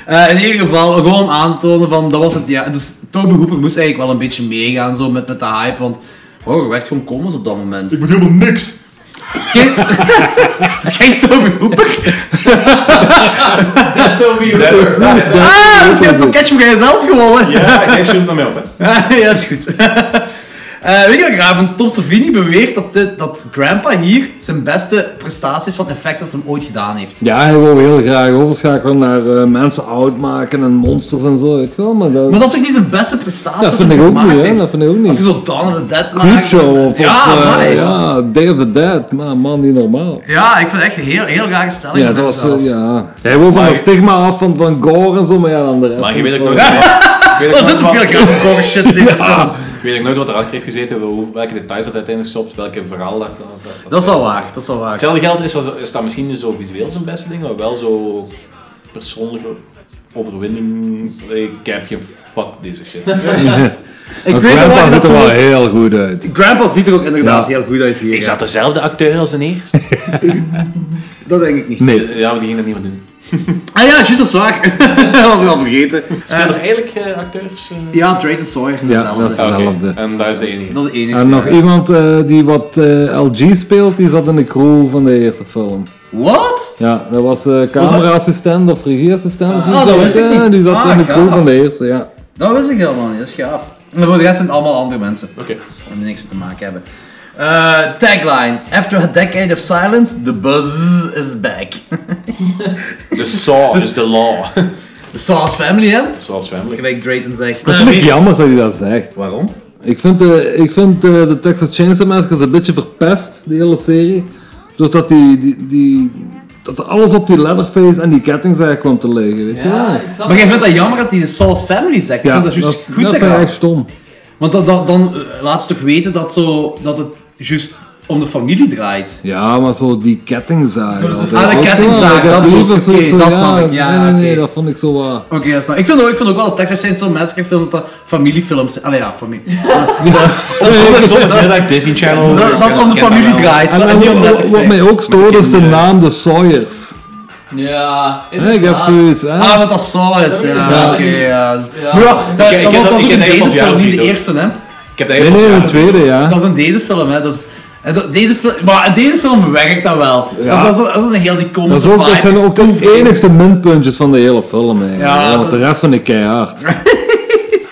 Speaker 4: Eh, in ieder geval, gewoon om aan te tonen van, dat was het, ja. Dus Toby Hooper moest eigenlijk wel een beetje meegaan zo met, met de hype, want horror werd gewoon komisch op dat moment.
Speaker 6: Ik moet helemaal niks.
Speaker 4: Geen... is het geen Toby Hooper?
Speaker 5: Dat Toby Hooper.
Speaker 6: Ja,
Speaker 4: Ah, dus je hebt een pakketje voor jezelf gewonnen.
Speaker 6: jij stuurt het naar mij op, hè.
Speaker 4: ja, is goed. Eh, weet je wat graag van Tom Savini beweert dat, dit, dat Grandpa hier zijn beste prestaties van effect dat hem ooit gedaan heeft.
Speaker 3: Ja, hij wil heel graag overschakelen naar eh, mensen oud maken en monsters en zo, weet je wel. Maar dat,
Speaker 4: Maar dat is toch niet zijn beste prestatie?
Speaker 3: dat
Speaker 4: dat
Speaker 3: vind
Speaker 4: hij
Speaker 3: ik ook
Speaker 4: gemaakt
Speaker 3: niet, hè.
Speaker 4: heeft?
Speaker 3: Dat vind ik ook niet.
Speaker 4: Als je zo Dawn of the Dead maakt...
Speaker 3: Creepshow of,
Speaker 4: Ah, ja,
Speaker 3: of, eh,
Speaker 4: amai. ja.
Speaker 3: ja, Day of the Dead. Maar man, niet normaal.
Speaker 4: ik vind het echt een heel, heel rare stelling.
Speaker 3: Ja,
Speaker 4: van
Speaker 3: dat was,
Speaker 4: mezelf.
Speaker 3: eh, ja. Hij wil van
Speaker 6: Maar
Speaker 3: het
Speaker 6: je-
Speaker 3: stigma af van, van gore en zo, maar ja, dan de rest.
Speaker 6: Maar je
Speaker 3: van
Speaker 6: weet
Speaker 3: het
Speaker 6: ook
Speaker 3: wel.
Speaker 6: nooit... ik weet ook
Speaker 4: Er
Speaker 6: nooit
Speaker 4: zit
Speaker 6: wat-
Speaker 4: veel gore shit in deze film.
Speaker 6: Ik weet ook nooit wat erachter heeft gezeten, hoe- welke details dat uiteindelijk stopt, welke verhaal dat... dat, dat-
Speaker 4: Dat is wel waar, dat is wel waar.
Speaker 6: Hetzelfde geld is, als- is dat misschien niet zo visueel zijn beste ding, maar wel zo persoonlijke overwinning. Ik heb geen fuck deze shit.
Speaker 4: Ik weet nog
Speaker 8: Grandpa
Speaker 4: wel
Speaker 8: ziet
Speaker 4: dat
Speaker 8: er wel
Speaker 4: toen...
Speaker 8: heel goed uit.
Speaker 4: Grandpa ziet er ook inderdaad
Speaker 8: Ja.
Speaker 4: heel goed uit hier.
Speaker 6: Is
Speaker 4: ja.
Speaker 6: dat dezelfde acteur als de eerste?
Speaker 4: Dat denk ik niet.
Speaker 8: Nee.
Speaker 6: Ja, maar die ging dat niet meer doen.
Speaker 4: Ah ja, juist, dat is waar. dat was ik al vergeten.
Speaker 6: Spelen er eigenlijk eh, acteurs? eh?
Speaker 4: Ja, Drayton Sawyer is
Speaker 8: Ja, dat is
Speaker 4: hetzelfde.
Speaker 6: Oké,
Speaker 8: hetzelfde.
Speaker 6: En daar is de enige.
Speaker 4: Dat is de enige.
Speaker 3: En nog iemand eh, die wat eh, LG speelt, die zat in de crew van de eerste film.
Speaker 4: What?
Speaker 3: Ja, dat was eh camera-assistent of regieassistent. of
Speaker 4: Ah,
Speaker 3: iets,
Speaker 4: dat
Speaker 3: zo.
Speaker 4: wist ik
Speaker 3: Ja,
Speaker 4: niet.
Speaker 3: Die zat
Speaker 4: Ah,
Speaker 3: in de crew
Speaker 4: gaaf.
Speaker 3: van de eerste, ja.
Speaker 4: Dat wist ik helemaal niet, dat is gaaf. En voor de rest zijn het allemaal andere mensen.
Speaker 6: Oké.
Speaker 4: die er niks mee te maken hebben. Eh, tagline: After a decade of silence, the buzz is back.
Speaker 6: De Saw is the law.
Speaker 4: The Sauce Family, hè?
Speaker 6: Zoals Family.
Speaker 4: Gelijk Drayton zegt.
Speaker 3: Dat
Speaker 4: Eh,
Speaker 3: vind ik
Speaker 4: weet-
Speaker 3: jammer dat hij dat zegt.
Speaker 4: Waarom?
Speaker 3: Ik vind, eh, ik vind eh, de Texas Chainsaw Massacre een beetje verpest, die hele serie. Doordat die, die, die, dat er alles op die Leatherface en die kettingzaag kwam te liggen, weet je wel?
Speaker 5: Ja, Ah, ik
Speaker 4: Ah.
Speaker 5: snap
Speaker 4: Maar
Speaker 5: het.
Speaker 4: jij vindt dat jammer dat hij de Sauce Family zegt. ik vind dat juist goed
Speaker 3: dat
Speaker 4: dat
Speaker 3: vind ik
Speaker 4: hij-
Speaker 3: echt stom.
Speaker 4: Want dat, dat- dan eh, laat ze toch weten dat, zo, dat het juist om de familie draait.
Speaker 3: Ja, maar zo die kettingzaag.
Speaker 5: Door de-
Speaker 3: altijd.
Speaker 4: Ah, de
Speaker 3: Ook wel,
Speaker 4: kettingzaag, dat
Speaker 3: liep
Speaker 4: bedoel je.
Speaker 3: zo-
Speaker 4: Oké,
Speaker 3: zo,
Speaker 4: dat snap ik. Ja,
Speaker 3: nee, nee, nee,
Speaker 4: oké.
Speaker 3: dat vond ik zo waar.
Speaker 4: Oké, dat snap ik. Ik vind, ook, ik vind ook wel dat Texas Chainsaw Massacre films dat dat familiefilms Allee ja, familie.
Speaker 6: Middag Disney Channel.
Speaker 4: Dat, dat om de familie draait.
Speaker 3: En,
Speaker 4: zo, En
Speaker 3: wat-
Speaker 4: niet om
Speaker 3: wat, wat mij
Speaker 4: Letterface.
Speaker 3: ook stoorde is de naam de Sawyers.
Speaker 5: Ja,
Speaker 3: Hè, ik heb
Speaker 5: inderdaad.
Speaker 3: zoiets, hè?
Speaker 4: Ah, want dat is Saurus. Ja,
Speaker 3: Ja.
Speaker 4: oké. Ja. Maar
Speaker 5: Ja.
Speaker 4: ja, dat,
Speaker 6: Ik- ik
Speaker 4: dat
Speaker 6: heb dat-
Speaker 4: was
Speaker 6: ik
Speaker 4: ook in
Speaker 6: ken
Speaker 4: deze
Speaker 6: Nederlands
Speaker 4: film,
Speaker 6: jou
Speaker 4: niet
Speaker 6: niet
Speaker 4: de
Speaker 6: door.
Speaker 4: eerste, hè?
Speaker 6: Ik heb
Speaker 3: Nee, nee, de tweede, ja.
Speaker 4: Dat is in deze film, hè? Dat is, en dat, deze film, maar in deze film werkt dat wel.
Speaker 3: Ja.
Speaker 4: Dat, is, dat, is, dat is een heel die
Speaker 3: Dat, is
Speaker 4: komische
Speaker 3: ook, dat
Speaker 4: vibe,
Speaker 3: zijn
Speaker 4: is
Speaker 3: ook
Speaker 4: too
Speaker 3: de
Speaker 4: veel.
Speaker 3: enigste minpuntjes van de hele film, eigenlijk.
Speaker 4: Ja,
Speaker 3: Ja, want
Speaker 4: dat-
Speaker 3: de rest van de keihard.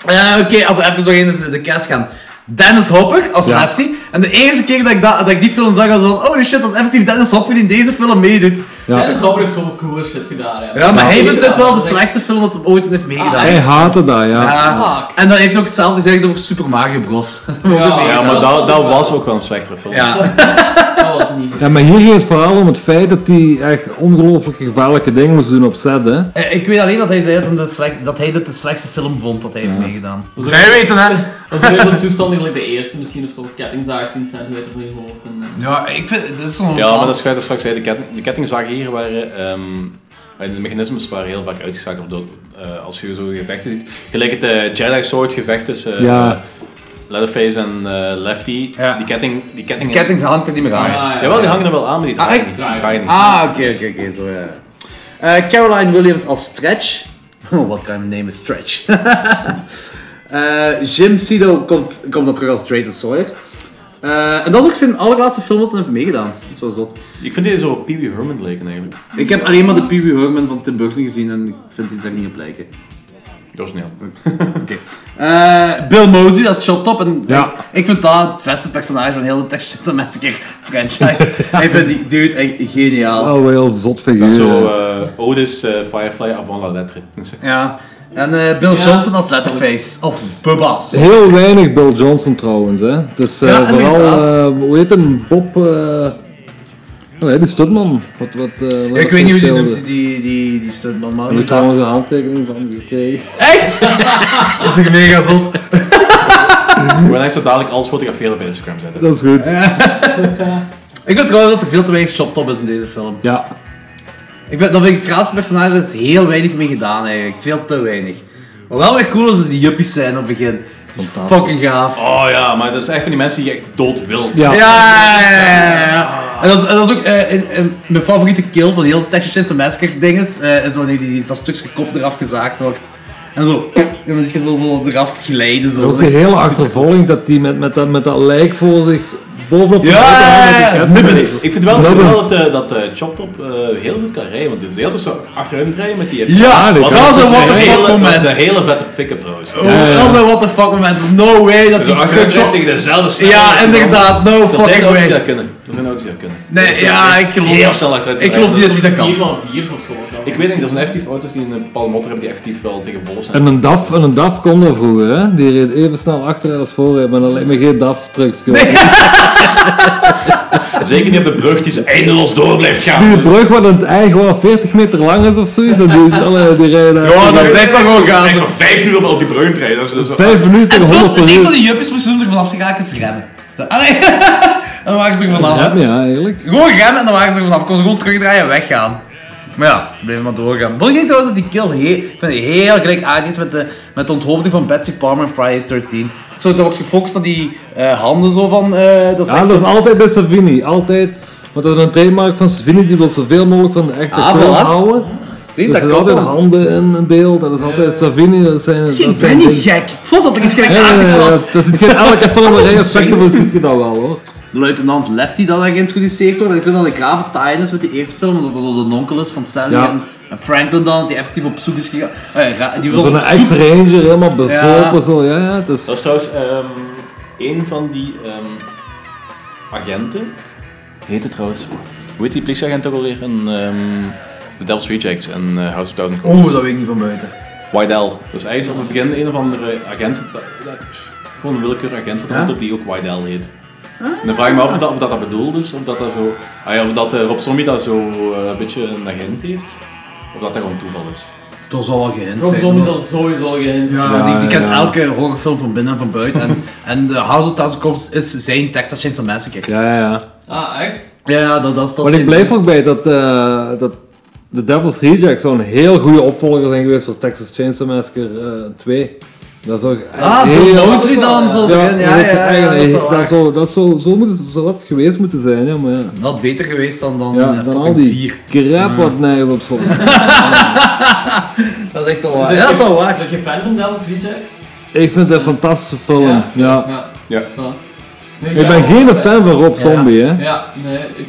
Speaker 4: Ja, oké, als we even nog eens in de cast gaan. Dennis Hopper als
Speaker 3: Ja.
Speaker 4: Lefty. En de eerste keer dat ik, dat, dat ik die film zag, was van... Holy shit, dat effectief Dennis Hopper die in deze film meedoet.
Speaker 3: Ja.
Speaker 5: Dennis Hopper heeft zoveel coole shit gedaan. hè.
Speaker 4: Ja, maar hij vindt dit wel de
Speaker 5: Dat is echt-
Speaker 4: slechtste film dat hij ooit heeft meegedaan.
Speaker 3: Hij haatte dat, Ah, ja.
Speaker 4: Ja.
Speaker 5: Fuck.
Speaker 4: En dan heeft hij ook hetzelfde gezegd over Super Mario Bros.
Speaker 5: Ja,
Speaker 6: Ja, maar dat, dat
Speaker 5: snap ik wel.
Speaker 6: was ook wel een slechtere film.
Speaker 4: Ja.
Speaker 5: Dat was niet.
Speaker 3: Ja, maar hier ging het vooral om het feit dat die echt ongelooflijk gevaarlijke dingen moesten doen op set, hè.
Speaker 4: Eh, Ik weet alleen dat hij zei dat, hem de slecht- dat hij dit de slechtste film vond dat hij heeft meegedaan.
Speaker 5: Dat
Speaker 4: Wij weten hè.
Speaker 5: Dat is weer zo'n toestand die gelijk de eerste misschien of zo, kettingzaag 10 centimeter van je hoofd. En, eh,
Speaker 4: Ja, ik vind... Dit is zo'n
Speaker 6: Ja, maar dat is wat ik straks zei. De, ketting, de kettingzagen hier waren... ehm, de mechanismes waren heel vaak uitgezaagd op dood. Eh, als je zo gevechten ziet. Gelijk het eh, Jedi Sword gevecht tussen eh,
Speaker 3: Ja.
Speaker 6: Leatherface en eh, Lefty.
Speaker 4: Ja.
Speaker 6: Die ketting... Die ketting,
Speaker 4: De ketting hangt er niet meer aan.
Speaker 5: ja,
Speaker 6: Jawel, die hangen er wel aan, maar die
Speaker 4: Ah,
Speaker 6: draaien
Speaker 4: echt?
Speaker 6: niet. Die draaien niet.
Speaker 4: Ah, oké, oké, oké, zo ja. Eh, Caroline Williams als Stretch. Oh, what kind of name is Stretch? Eh, Jim Sido komt, komt dan terug als Drayton Sawyer. Eh, en dat is ook zijn allerlaatste film dat hij heeft meegedaan. Zo is dat.
Speaker 6: Ik vind die zo op Pee Wee Herman leken eigenlijk.
Speaker 4: Ik heb alleen maar de Pee Wee Herman van Tim Burton gezien en ik vind die daar niet op lijken.
Speaker 6: Dat is niet aan.
Speaker 4: Eh, Bill Mosey als Shop Top. En
Speaker 3: Ja.
Speaker 4: ik, ik vind dat het vetste personage van heel de Texas Massacre franchise. ik vind die dude echt geniaal.
Speaker 3: Oh, wel heel zot figuur.
Speaker 6: Dat is zo eh, Otis eh, Firefly avant la lettre.
Speaker 4: Ja. En eh, Bill
Speaker 5: Ja.
Speaker 4: Johnson als Letterface. Of Bubba's.
Speaker 3: Heel weinig Bill Johnson trouwens, hè. Het is eh,
Speaker 4: Ja,
Speaker 3: vooral,
Speaker 4: inderdaad.
Speaker 3: eh, hoe heet hem, Bob... eh, Nee, die Studman. Wat, wat, eh, wat
Speaker 4: ik weet niet hoe die
Speaker 3: speelde.
Speaker 4: noemt, die, die, die, die stuntman,
Speaker 3: Ik
Speaker 4: maar
Speaker 3: heb
Speaker 4: inderdaad.
Speaker 3: trouwens een handtekening van gekregen.
Speaker 4: Echt? dat is echt mega zot.
Speaker 6: We gaan zo dadelijk alles fotograferen op Instagram zetten.
Speaker 3: Dat is goed.
Speaker 4: Ik vind trouwens dat er veel te weinig Shop Top is in deze film.
Speaker 3: Ja.
Speaker 4: Ik vind, dat vind ik het raarste personage, er is heel weinig mee gedaan eigenlijk. Veel te weinig. Wat wel weer cool is, is die juppies zijn op het begin. Die is Fucking gaaf.
Speaker 6: Oh ja, maar dat is echt van die mensen die je echt dood wilt.
Speaker 3: Ja.
Speaker 4: Ja, ja, ja, ja, ja. En dat is, en dat is ook eh, en- en mijn favoriete kill van heel de Texas Chainsaw Massacre ding is, eh, is wanneer die, dat stukje kop eraf gezaagd wordt. En zo, en dan zie je zo, zo eraf glijden. Zo.
Speaker 3: Ook de hele achtervolging dat die met, met, dat, met dat lijk voor zich bovenop de
Speaker 4: Ja,
Speaker 3: auto hangt,
Speaker 4: ja, ja,
Speaker 3: die
Speaker 4: ja.
Speaker 3: cat-
Speaker 6: Nee, Ik vind wel, ik vind
Speaker 3: Nubbins.
Speaker 6: wel dat, eh, dat eh, Chop Top eh, heel goed kan rijden, want die is heel tussen achteruit rijden met die...
Speaker 4: Ja,
Speaker 3: dat
Speaker 4: dat
Speaker 3: kan.
Speaker 4: was een what the
Speaker 6: een
Speaker 4: fuck
Speaker 6: hele, Dat is
Speaker 4: moment.
Speaker 6: een hele vette pick-up trouwens.
Speaker 4: Oh, Dat was een what the fuck moment. There's no way dat
Speaker 6: Dus
Speaker 4: die
Speaker 6: achteruit rijden
Speaker 4: truck...
Speaker 6: tegen dezelfde snelheid.
Speaker 4: Ja, inderdaad. No
Speaker 6: Dat zijn
Speaker 4: fucking
Speaker 6: auto's die dat
Speaker 4: way.
Speaker 6: kunnen. Dat zijn auto's die dat kunnen.
Speaker 4: Nee,
Speaker 6: Dat zijn
Speaker 4: ja,
Speaker 6: echt
Speaker 4: ik geloof-
Speaker 6: Heel snel achteruit
Speaker 4: Ik geloof
Speaker 6: rijden.
Speaker 4: niet dat die dat
Speaker 5: Vier
Speaker 4: kan.
Speaker 5: van vier of zo. kan.
Speaker 6: Ik weet niet, dat zijn effectief auto's die een bepaalde motor hebben die effectief wel tegen vol zijn.
Speaker 3: En een DAF, en een DAF kon er vroeger, hè? Die reed even snel achteruit als vooruit, maar dan lijkt me geen DAF-trucks.
Speaker 6: Zeker niet op de brug die ze eindeloos door blijft
Speaker 3: Die
Speaker 6: gaan.
Speaker 3: brug wat in het eigen wel 40 meter lang is of zoiets, en die, alle, eh, die rijden daar
Speaker 4: Ja, dat blijft maar gewoon gaan.
Speaker 6: Ik zou vijf uur op- op die brug rijden. Dat is dus
Speaker 3: 5 minuten,
Speaker 4: En plus,
Speaker 3: 100
Speaker 4: niks van
Speaker 3: per uur.
Speaker 4: die juppies moesten doen er vanaf te raken is remmen. Zo, ah, nee. Dan waren ze er vanaf.
Speaker 3: Ja, ja, eigenlijk.
Speaker 4: Gewoon remmen en dan waren ze er vanaf. Kon ze gewoon terugdraaien en weggaan. Maar ja, ze bleven maar doorgaan. Vond je trouwens dat die kill heel, ik vind die heel gelijk is met de, met de onthoofding van Betsy Palmer en Friday 13 Ik zag dat wordt gefocust op die eh, handen zo van... eh dat is
Speaker 3: Ja,
Speaker 4: echt
Speaker 3: dat is
Speaker 4: zo-
Speaker 3: altijd bij Savini, altijd. Want dat is een trademark van Savini, die wil zoveel mogelijk van de echte
Speaker 4: Ah,
Speaker 3: film
Speaker 4: voilà.
Speaker 3: houden. Dus
Speaker 4: Zie,
Speaker 3: er
Speaker 4: dat
Speaker 3: zijn
Speaker 4: klopt
Speaker 3: altijd
Speaker 4: wel.
Speaker 3: handen in een beeld, en dat is altijd Savini, dat zijn... dat
Speaker 4: Ik ben
Speaker 3: zijn
Speaker 4: niet
Speaker 3: dingen.
Speaker 4: gek. Ik vond dat ik iets
Speaker 3: Nee, nee, nee,
Speaker 4: gelijkaardigs was.
Speaker 3: dat- dat zit geen elke film een aspecten voor ziet je dat wel hoor.
Speaker 4: De luitenant Lefty dat hij geïntroduceerd wordt. En ik vind dat een grave tie is met die eerste film. Dat dat zo de nonkel is van Sally
Speaker 3: Ja.
Speaker 4: en, en Franklin dan. Die effectief op zoek is gegaan. Ah ja, ga- die wil
Speaker 3: Zo'n
Speaker 4: op zoek-
Speaker 3: ex-ranger, helemaal bezopen
Speaker 4: Ja.
Speaker 3: zo, ja, ja, het is...
Speaker 6: Dat is trouwens ehm een van die ehm, agenten. Heette trouwens. Hoe heet die politieagent ook alweer? In, ehm The Devil's Rejects en eh, House of Thousand Corpses.
Speaker 4: Oeh, dat weet ik niet van buiten.
Speaker 6: Wydell. Dat Dus is eigenlijk op het begin een of andere agent. dat- dat- Gewoon een willekeurig agent wordt dat op die ook Wydell heet. En dan vraag ik me af of dat, of dat, dat bedoeld is, of dat, dat zo, ah ja, of dat eh, Rob Zombie dat zo eh, een beetje een agent heeft, of dat dat gewoon toeval is.
Speaker 4: Dat zal wel geen
Speaker 5: Rob
Speaker 4: zijn.
Speaker 5: Zombie is
Speaker 4: want-
Speaker 5: al sowieso al gehind.
Speaker 4: Ja, die, die kent elke horrorfilm van binnen en van buiten. en, en de House of Thousand Corpses is zijn Texas Chainsaw Massacre.
Speaker 3: Ja, ja, ja.
Speaker 5: Ah, echt?
Speaker 4: Ja, ja, dat, dat is... Dat
Speaker 3: Maar
Speaker 4: is-
Speaker 3: ik blijf ook bij dat, eh, dat The Devil's Reject zou een heel goede opvolger zijn geweest voor Texas Chainsaw Massacre eh, 2. Dat zou echt
Speaker 4: Ah,
Speaker 3: heel-
Speaker 4: Bill Moseley dan zo
Speaker 3: Ja,
Speaker 4: erin.
Speaker 3: dat
Speaker 4: Ja,
Speaker 3: zou
Speaker 4: ja, ja,
Speaker 3: echt-
Speaker 4: dat is wel
Speaker 3: dat
Speaker 4: waar.
Speaker 3: zou, dat zou, zo moet het, zou dat geweest moeten zijn, ja, maar ja.
Speaker 4: Dat had beter geweest dan, dan,
Speaker 3: Ja,
Speaker 4: eh,
Speaker 3: dan al
Speaker 4: fucking
Speaker 3: die
Speaker 4: vier.
Speaker 3: crap wat nergens op slot.
Speaker 4: Dat is echt wel waar.
Speaker 5: Zit
Speaker 4: Ja, dat
Speaker 5: je-
Speaker 4: is wel waar.
Speaker 5: Zit je fan van Devil's Rejects?
Speaker 3: Ik vind het een fantastische film, ja.
Speaker 5: Ja.
Speaker 6: Ja.
Speaker 5: Zo. Nee,
Speaker 3: Ik ben geen fan van Rob Zombie, hè.
Speaker 5: Ja, nee. Ik,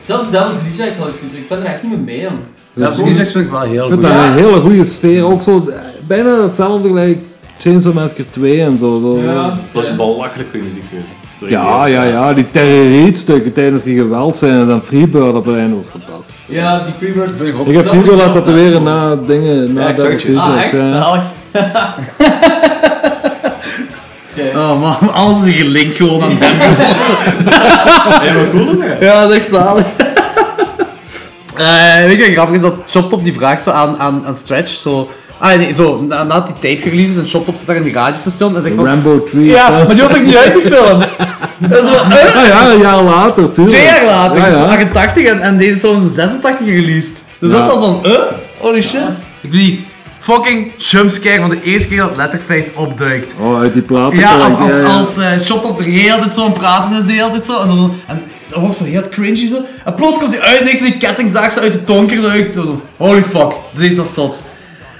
Speaker 5: zelfs Devil's Rejects had ik zoiets. Ik ben er echt niet meer mee aan.
Speaker 4: Dat is vind ik wel heel
Speaker 3: Ik vind
Speaker 4: goed.
Speaker 3: dat een hele goede sfeer, ook zo eh, bijna hetzelfde gelijk Chainsaw Massacre 2 en zo. zo.
Speaker 6: Dat is een belachelijk goede muziekkeuze.
Speaker 3: Ja, ja, ja, die terrorietstukken tijdens die geweld zijn en dan Freebird op het einde was fantastisch.
Speaker 5: Ja, die Freebirds.
Speaker 4: Vind ik ook.
Speaker 3: Ik heb
Speaker 5: Dat moet
Speaker 3: Freebird
Speaker 5: ik
Speaker 3: laten
Speaker 5: wel
Speaker 3: tatoeëren na dingen, na
Speaker 6: Ja, ik zag het
Speaker 3: Devil's
Speaker 6: juist.
Speaker 3: Rejects,
Speaker 5: Ah, echt?
Speaker 3: ja.
Speaker 5: Zalig. Oké.
Speaker 4: Oh man, alles is gelinkt gewoon aan hem. Ja, dat is zalig. Eh, weet je wat grappig is? Dat Shoptop die vraagt zo aan, aan, aan Stretch, zo... Ah nee, zo, na- nadat die tape gereleased is en Shoptop zit daar in de garage te stil en zegt van...
Speaker 3: Rambo 3.
Speaker 4: Ja,
Speaker 3: hè.
Speaker 4: maar die was ook niet uit die film. Dat is wel... eh,
Speaker 3: Ah ja, een jaar later, tuurlijk.
Speaker 4: Twee jaar later,
Speaker 3: Ja,
Speaker 4: dus
Speaker 3: ja.
Speaker 4: 88 en, en deze film is in 86 gereleased. Dus dat
Speaker 3: Ja.
Speaker 4: was dan, eh? Holy shit. Ik Die fucking jumpscare van de eerste keer dat Letterface opduikt.
Speaker 3: Oh, uit die platen.
Speaker 4: Ja, als,
Speaker 3: gelijk,
Speaker 4: als,
Speaker 3: ja, ja.
Speaker 4: als eh, Shoptop er heel dit zo aan het praten is, de hele tijd zo. En dan, en dan wordt zo heel cringy zo. En plots komt hij uit en heeft die kettingzaag zo uit de tonker lukt. Zo, zo, holy fuck, dit is wel zot.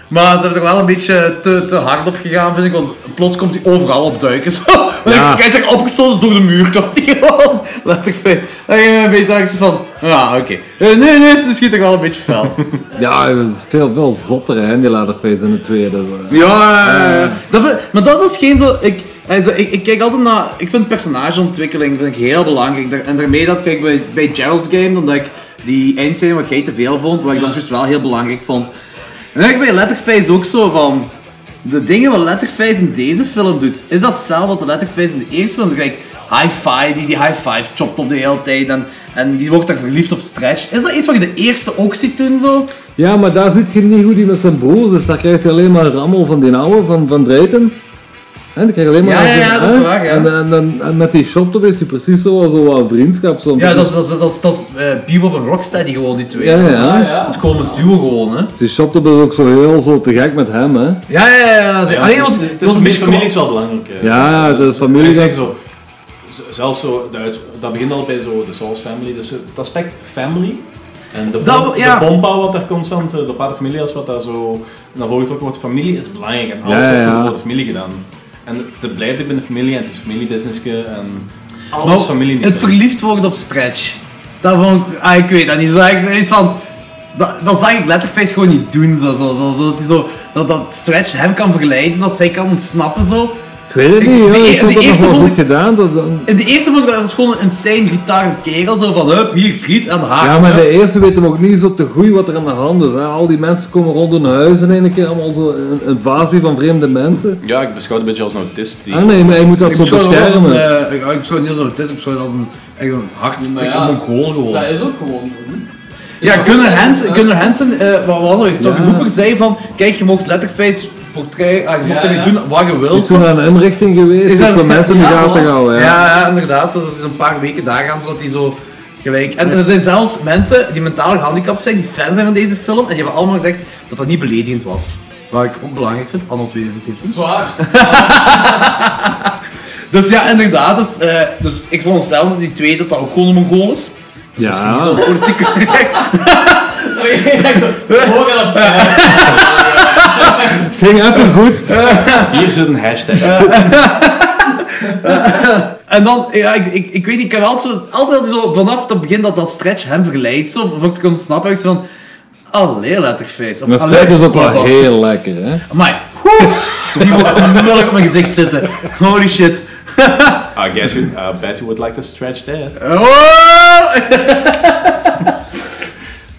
Speaker 4: Maar ze hebben er wel een beetje te, te hard op gegaan, vind ik. Want plots komt hij overal op duiken. Zo. Want
Speaker 3: Ja.
Speaker 4: ik zeg opgestoten dus door de muur, komt hij gewoon. Letterlijk fijn. Dan ging ik een beetje dacht ik zo van, ja, oké. Eh, Nee, nee, is misschien toch wel een beetje fel.
Speaker 3: Ja, dat is veel, veel zotter, hè, die Leatherface in de tweede. zo.
Speaker 4: Ja, dat vind- maar dat is geen zo. Ik, eh, zo- ik, ik kijk altijd naar. Ik vind personageontwikkeling vind ik heel belangrijk. Daar- En daarmee dat kijk ik bij, bij Gerald's Game, omdat ik die eindscène wat jij te veel vond, wat ik dan juist wel heel belangrijk vond. En dan denk ik bij Letterface ook zo van. De dingen wat Letterface in deze film doet, is dat hetzelfde wat de Letterface in de eerste film doet. Kijk, high five, die die high five chopt op de hele tijd en, en die wordt daar verliefd op stretch. Is dat iets wat je de eerste ook ziet doen zo?
Speaker 3: Ja, maar daar ziet je niet hoe die met zijn broers is. Daar krijgt hij alleen maar rammel van die oude, van, van Drayton. En dan krijg je alleen maar...
Speaker 4: Ja, ja,
Speaker 3: die-
Speaker 4: ja, dat is
Speaker 3: hè?
Speaker 4: waar, ja.
Speaker 3: En, en, en- en met die shoptop heeft hij precies zo, zo wat vriendschap. Zo
Speaker 4: Ja, dat is, dat is, dat is, dat is eh, Bebop en Rocksteady gewoon, die twee.
Speaker 3: Ja, ja,
Speaker 4: Dat is
Speaker 3: ja.
Speaker 4: het- Het komens duo gewoon, hè.
Speaker 3: Die shoptop is ook zo heel zo te gek met hem, hè.
Speaker 4: Ja, ja, ja. ja. ze- Alleen, het was,
Speaker 6: Het
Speaker 4: het
Speaker 6: is
Speaker 4: was
Speaker 6: een beetje familie
Speaker 4: kwam-
Speaker 6: is wel belangrijk. eh.
Speaker 3: Ja, ja, de
Speaker 6: Dus,
Speaker 3: familie-
Speaker 6: ik zeg zo, z- zelfs zo, de uits- dat begint al bij zo de Souls Family, dus het aspect family. En de, bom,
Speaker 4: Dat- ja.
Speaker 6: de bomba wat daar constant, eh, de paterfamilias wat daar zo naar voren getrokken wordt, familie is belangrijk en alles
Speaker 3: Ja, ja,
Speaker 6: wordt
Speaker 3: ja.
Speaker 6: door de familie gedaan. En het blijft ook binnen familie en het is familiebusinessje en alles
Speaker 4: maar
Speaker 6: is familie. niet.
Speaker 4: Het verliefd worden op Stretch. Dat vond ik... Ah, ik weet dat niet. Dat is van... Dat, dat zag ik Letterface gewoon niet doen. Zo, zo, zo, zo, dat, hij zo, dat, dat Stretch hem kan verleiden, zodat zij kan ontsnappen. Zo.
Speaker 3: Ik weet het niet,
Speaker 4: de
Speaker 3: hoor.
Speaker 4: e-
Speaker 3: Ik vond dat
Speaker 4: de
Speaker 3: nog
Speaker 4: eerste
Speaker 3: wel
Speaker 4: vond
Speaker 3: goed
Speaker 4: ik-
Speaker 3: gedaan. Dat, dat-
Speaker 4: In de eerste vond ik dat was gewoon een insane gitaar kerel. Zo van, hup, hier, griet en haak.
Speaker 3: Ah, Ja, maar de eerste weten ook niet zo te goed wat er aan de hand is. Hè. Al die mensen komen rond hun huis en een keer allemaal zo een een invasie van vreemde mensen.
Speaker 6: Ja, ik beschouw het een beetje als een autist. Die
Speaker 3: Ah nee, maar je moet dat
Speaker 4: Ik
Speaker 3: zo
Speaker 4: beschouw dat als een,
Speaker 3: beschermen.
Speaker 4: eh, ik- ik beschouw het niet als een autist, ik beschouw het als een, echt een hartstikke
Speaker 5: Maar ja,
Speaker 4: mongool gewoon.
Speaker 5: Dat is ook gewoon zo. hè?
Speaker 4: Ja, Gunnar Hansen, Gunnar Hansen eh, wat was er? Tom
Speaker 3: Ja.
Speaker 4: Hooper zei van, kijk, je mocht Letterface portret, ah, je mocht
Speaker 5: Ja,
Speaker 4: ermee
Speaker 5: ja.
Speaker 4: doen wat je
Speaker 3: Is
Speaker 4: wilt.
Speaker 3: toen naar een inrichting geweest,
Speaker 4: eh, Is
Speaker 3: is
Speaker 4: dat-
Speaker 3: voor mensen in de
Speaker 5: Ja,
Speaker 3: gaten
Speaker 5: voilà.
Speaker 3: houden.
Speaker 4: ja.
Speaker 3: Ja.
Speaker 4: ja, inderdaad, zo, dat is een paar weken daar gaan, zodat hij zo Gelijk. En er zijn zelfs mensen die mentaal gehandicapt zijn, die fan zijn van deze film, en die hebben allemaal gezegd dat dat niet beledigend was. Wat ik ook belangrijk vind, anno 2017.
Speaker 5: Zwaar.
Speaker 4: Dus ja, inderdaad. Dus, eh, dus ik vond zelf die twee dat dat ook gewoon een goal is. Dus misschien niet zo politiek correct.
Speaker 5: Ik dacht zo, hoor aan dat
Speaker 3: Het ging even goed.
Speaker 6: Hier zit een hashtag.
Speaker 4: En dan, ja, ik, ik, ik weet niet, ik heb altijd, zo, altijd zo vanaf het begin dat dat stretch hem vergelijkt. Zo, vond ik kon snappen, ik zo van... Allee, letterface.
Speaker 3: Dat
Speaker 4: allee,
Speaker 3: strijkt is ook wel
Speaker 4: papa.
Speaker 3: heel lekker, hè?
Speaker 4: Amai. Woe. Die moet onmiddellijk op mijn gezicht zitten. Holy shit.
Speaker 6: I guess you, I ah, bet you would like to stretch there.
Speaker 4: Oh!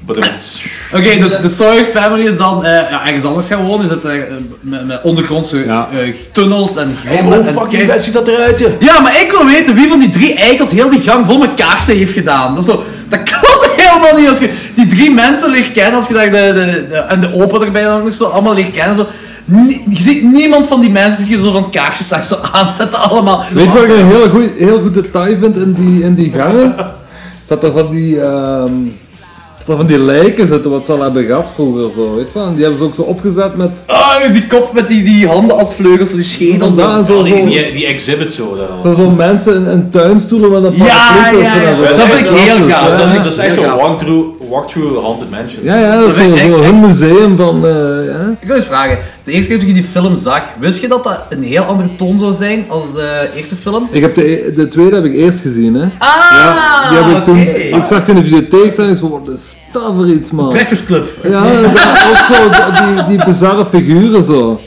Speaker 6: But it's...
Speaker 4: Oké, dus de Sawyer family is dan eh, ja, ergens anders gaan wonen. Is het eh, met, met ondergrondse
Speaker 3: Ja.
Speaker 4: eh, tunnels en gronden.
Speaker 6: Oh
Speaker 4: en
Speaker 6: fuck,
Speaker 4: kei-
Speaker 6: je best ziet dat eruit, je.
Speaker 4: Ja, maar ik wil weten wie van die drie eikels heel die gang vol met kaarsen heeft gedaan. Dat, is zo, dat kan toch helemaal niet als je die drie mensen leert kennen, als je daar de, de, de- en de opa erbij dan ook nog zo allemaal leert kennen. Zo. Nie- je ziet niemand van die mensen die je zo van kaarsjes zag zo aanzetten allemaal.
Speaker 3: Weet je wat ik een heel goed, heel goed detail vind in die, in die gangen? Dat er van die, ehm, dat er van die lijken zitten wat ze al hebben gehad vroeger zo, weet je wel? En die hebben ze ook zo opgezet met...
Speaker 4: Ah, die kop met die, die handen als vleugels, die schedel.
Speaker 3: Vandaan
Speaker 4: Zo.
Speaker 3: zo, zo,
Speaker 6: Die, die, die exhibit zo daar allemaal.
Speaker 3: zo, zo mensen in, in tuinstoelen met een
Speaker 4: Ja,
Speaker 3: paraplu
Speaker 4: ja,
Speaker 3: tussen en
Speaker 4: ja.
Speaker 3: zo.
Speaker 4: Dat vind ik heel gaaf.
Speaker 6: Dat is, dat is
Speaker 4: Ja,
Speaker 6: echt
Speaker 4: heel
Speaker 6: zo'n
Speaker 4: gaaf.
Speaker 6: walkthrough, walkthrough Haunted Mansion.
Speaker 3: Ja, ja, dat is zo,
Speaker 4: vind ik
Speaker 3: zo
Speaker 4: echt-
Speaker 3: hun museum van... eh, ja.
Speaker 4: Ik wil eens vragen, de eerste keer dat je die film zag, wist je dat dat een heel andere toon zou zijn als de eerste film?
Speaker 3: Ik heb de, e- de tweede heb ik eerst gezien, hè.
Speaker 4: Ah,
Speaker 3: Die heb ik, toen,
Speaker 4: oké.
Speaker 3: ik zag het in de videotheek staan en ik zo, wat is dat voor iets, man?
Speaker 4: Breakfast Club.
Speaker 3: Ja, dat, ook zo, d- die, die bizarre figuren zo.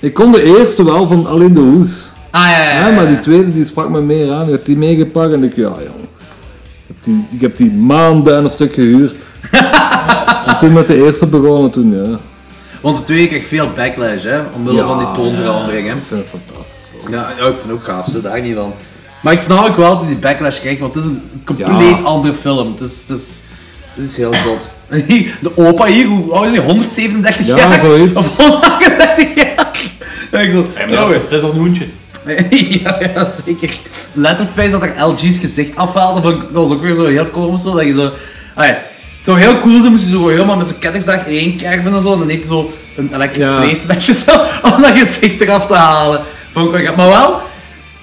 Speaker 3: Ik kon de eerste wel van alleen de hoes.
Speaker 4: Ah, ja, ja, ja,
Speaker 3: Ja, maar die
Speaker 4: ja.
Speaker 3: tweede die sprak me meer aan. Ik heb die meegepakt en ik, ja jong. Ik heb die, ik heb die maanden en een stuk gehuurd. en toen met de eerste begonnen, toen ja.
Speaker 4: Want de tweede kreeg veel backlash, hè? Omwille
Speaker 3: Ja,
Speaker 4: van die toonverandering, hè?
Speaker 3: Ik vind het fantastisch.
Speaker 4: Ja, ja, ik vind het ook gaaf, zo, daar niet van. Maar ik snap ook wel dat die backlash krijgt, want het is een compleet
Speaker 3: Ja.
Speaker 4: andere film. Het is, het is, het is heel zot. De opa hier, hoe oud is die? 137
Speaker 3: Ja,
Speaker 4: jaar?
Speaker 3: zoiets.
Speaker 4: Of 138 jaar? Ja, ik zat, Oh,
Speaker 6: En dat is zo fris als een hoentje.
Speaker 4: ja, ja, zeker. Letterface dat er LG's gezicht afhaalde, vond ik- dat was ook weer zo heel komisch. zo, Dat je zo... Ah ja, het zou heel cool zijn, moest je zo helemaal met zijn kettingzaag één kerven en zo, en dan neemt hij zo een elektrisch
Speaker 3: Ja.
Speaker 4: vleesmesje zo, om dat gezicht eraf te halen. Vond ik wel gaaf. Maar wel,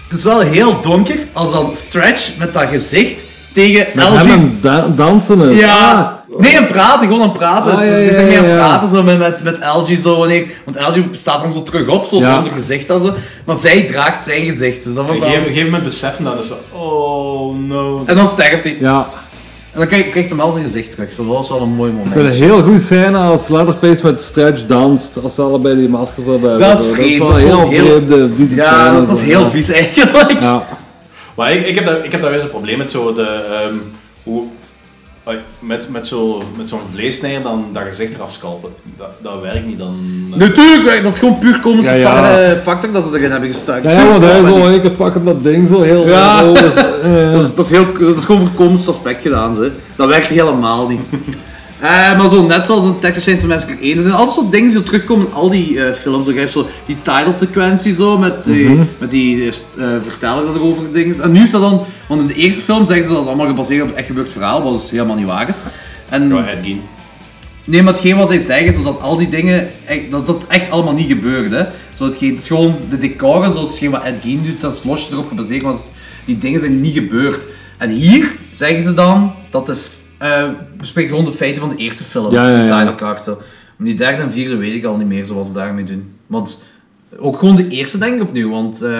Speaker 4: het is wel heel donker als dan Stretch met dat gezicht tegen
Speaker 3: Met
Speaker 4: LG...
Speaker 3: hem en da- dansen. en- Ah,
Speaker 4: Ja. Nee, en praten, gewoon aan praten.
Speaker 3: Ah, ja,
Speaker 4: het is
Speaker 3: ja,
Speaker 4: echt meer
Speaker 3: ja,
Speaker 4: aan
Speaker 3: ja.
Speaker 4: praten zo met, met, met LG zo wanneer. Want LG staat dan zo terug op, zo
Speaker 3: Ja.
Speaker 4: zonder gezicht en zo. Maar zij draagt zijn gezicht. Dus dat
Speaker 6: Op
Speaker 4: vond
Speaker 6: een
Speaker 4: ik wel-
Speaker 6: gegeven moment beseffen dat en zo, oh no.
Speaker 4: En dan sterft hij.
Speaker 3: Ja,
Speaker 4: En dan krijg- krijgt hij wel zijn gezicht terug. Dus dat was wel een mooi
Speaker 3: ik vind
Speaker 4: moment.
Speaker 3: het heel goed scène als Leatherface met Stretch danst, als ze allebei die maskers op hebben.
Speaker 4: Dat is
Speaker 3: zo.
Speaker 4: vreemd,
Speaker 3: Dat
Speaker 4: dat
Speaker 3: is
Speaker 4: is
Speaker 3: wel een
Speaker 4: gewoon
Speaker 3: heel
Speaker 4: heel-
Speaker 3: vreemde, vieze
Speaker 4: Ja,
Speaker 3: scène,
Speaker 4: dat, dat is
Speaker 3: zo.
Speaker 4: heel vies eigenlijk.
Speaker 3: Ja.
Speaker 6: Maar ik, ik, heb daar, ik heb daar wel eens een probleem met zo de, ehm, hoe, ai, met, met zo'n met zo'n vleesnijder dan dat gezicht eraf scalpen. Dat, dat werkt niet dan. eh.
Speaker 4: Natuurlijk, dat is gewoon puur komische
Speaker 3: Ja, ja.
Speaker 4: fa- eh, factor dat ze erin hebben gestuikt.
Speaker 3: Ja, ja, want hij zo in één keer pakken dat ding zo heel...
Speaker 4: Ja.
Speaker 3: heel- eh,
Speaker 4: Dat is, dat is, heel, dat is gewoon voor komisch aspect gedaan, ze. Dat werkt helemaal niet. Eh, maar zo net zoals in Texas Chainsaw Massacre 1, er zijn altijd zo dingen die zo terugkomen in al die eh, films. Zo, je hebt zo die title sequentie zo, met die, met die eh, st- eh, verteller dat er over dingen is. En nu is dat dan, want in de eerste film zeggen ze dat is allemaal gebaseerd op een echt gebeurd verhaal, wat dus helemaal niet waar is. En,
Speaker 6: Go ahead, Gien.
Speaker 4: Nee, maar hetgeen wat zij zeggen, zodat al die dingen, echt- dat dat is echt allemaal niet gebeurd. Hè. Zo hetgeen, het is gewoon de decoren, zoals hetgeen wat Ed Gein doet, dat is losjes erop gebaseerd, want die dingen zijn niet gebeurd. En hier zeggen ze dan dat de, f- eh bespreken gewoon de feiten van de eerste film,
Speaker 3: Ja, ja,
Speaker 4: die
Speaker 3: ja.
Speaker 4: title card zo. Maar die derde en vierde weet ik al niet meer zoals ze daarmee doen. Want ook gewoon de eerste denk ik opnieuw, want eh,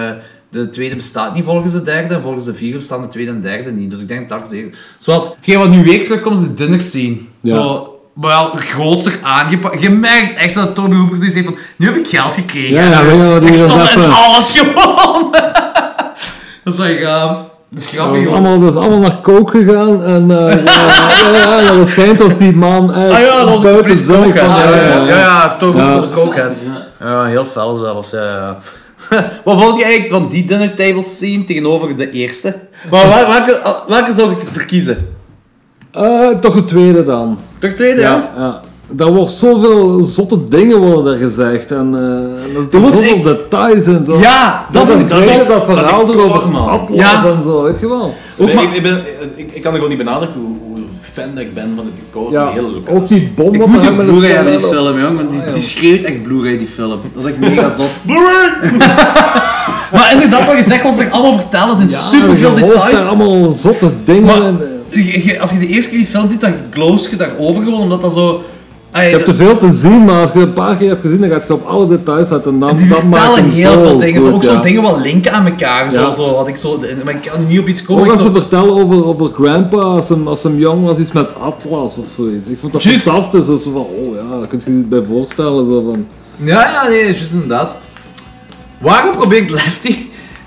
Speaker 4: de tweede bestaat niet volgens de derde en volgens de vierde bestaan de tweede en derde niet. Dus ik denk dat ik Zowat, hetgeen wat nu weer terugkomt is de dinner scene.
Speaker 3: Ja.
Speaker 4: Zo, maar wel grootser aangepakt. Je merkt echt dat Toby Hooper zoiets heeft van, nu heb ik geld gekregen.
Speaker 3: Ja, ja, weet je wel, die
Speaker 4: ik
Speaker 3: was
Speaker 4: stond in
Speaker 3: even-
Speaker 4: alles gewoon. dat is wel gaaf. Dat is
Speaker 3: dat,
Speaker 4: grappig.
Speaker 3: is
Speaker 4: hoor.
Speaker 3: allemaal, dat is allemaal naar kook gegaan en eh, ja, ja, ja, ja, dat schijnt als die man echt
Speaker 4: Ah ja, dat was een
Speaker 3: buiten
Speaker 4: complete
Speaker 3: zelf
Speaker 4: cokehead.
Speaker 3: van...
Speaker 4: Ja, ja, ja. ja, ja, Toby
Speaker 3: Ja.
Speaker 4: Hooper was een cokehead. Ja, heel fel zelfs. Ja, ja. Wat vond je eigenlijk van die dinner table scene tegenover de eerste? Maar waar- welke, welke zou ik verkiezen?
Speaker 3: Eh, toch het tweede dan.
Speaker 4: Toch tweede, ja?
Speaker 3: ja. Daar wordt zoveel zotte dingen worden er gezegd. En eh, er zitten
Speaker 4: wordt
Speaker 3: zoveel
Speaker 4: echt-
Speaker 3: details en zo.
Speaker 4: Ja, dat
Speaker 3: dat
Speaker 4: vind
Speaker 3: is
Speaker 4: ik
Speaker 3: dat,
Speaker 4: zot.
Speaker 3: dat, dat verhaal
Speaker 6: Dat ik
Speaker 3: doet over
Speaker 6: klaar, man.
Speaker 3: atlas
Speaker 4: Ja.
Speaker 3: en zo, weet je wel.
Speaker 4: Ook
Speaker 6: Nee,
Speaker 4: maar-
Speaker 6: ik, ik, ben, ik, ik kan er gewoon niet benadrukken hoe, hoe fan dat ik ben van het decor en
Speaker 3: Ja,
Speaker 6: de hele locatie.
Speaker 3: ook die bom
Speaker 4: Ik
Speaker 3: wat
Speaker 4: moet
Speaker 3: er
Speaker 4: je
Speaker 3: hangt met een
Speaker 4: Blu-ray hebben, die
Speaker 3: skelet op.
Speaker 4: film, jong. Want die, die schreeuwt echt Blu-ray, die film. Dat is echt mega zot. maar inderdaad, wat je zegt, was echt allemaal vertellen. Het
Speaker 3: Ja,
Speaker 4: zijn super superveel
Speaker 3: je hoort daar
Speaker 4: details.
Speaker 3: allemaal zotte dingen.
Speaker 4: Maar
Speaker 3: en, eh,
Speaker 4: je- je- als je de eerste keer die film ziet, dan gloos je daarover gewoon, omdat dat zo... Ai,
Speaker 3: je hebt te
Speaker 4: dat-
Speaker 3: veel te zien, maar als je het een paar keer hebt gezien, dan gaat je op alle details uit. En dan,
Speaker 4: die
Speaker 3: dat maakt
Speaker 4: vertellen
Speaker 3: hem
Speaker 4: heel
Speaker 3: zo
Speaker 4: veel dingen.
Speaker 3: goed,
Speaker 4: zo, ook zo'n
Speaker 3: ja.
Speaker 4: dingen wel linken aan elkaar. Zo,
Speaker 3: Ja.
Speaker 4: zo, had ik zo, de- maar ik kan niet op iets komen.
Speaker 3: Ook
Speaker 4: ik
Speaker 3: als ze
Speaker 4: zo-
Speaker 3: vertellen over, over grandpa, als hem, als hem jong was, iets met Atlas of zoiets. Ik vond dat
Speaker 4: Juist.
Speaker 3: fantastisch. Dat is zo van, oh ja, daar kun je je iets bij voorstellen. Zo van.
Speaker 7: Ja, ja, nee, juist inderdaad. Waarom probeert Lefty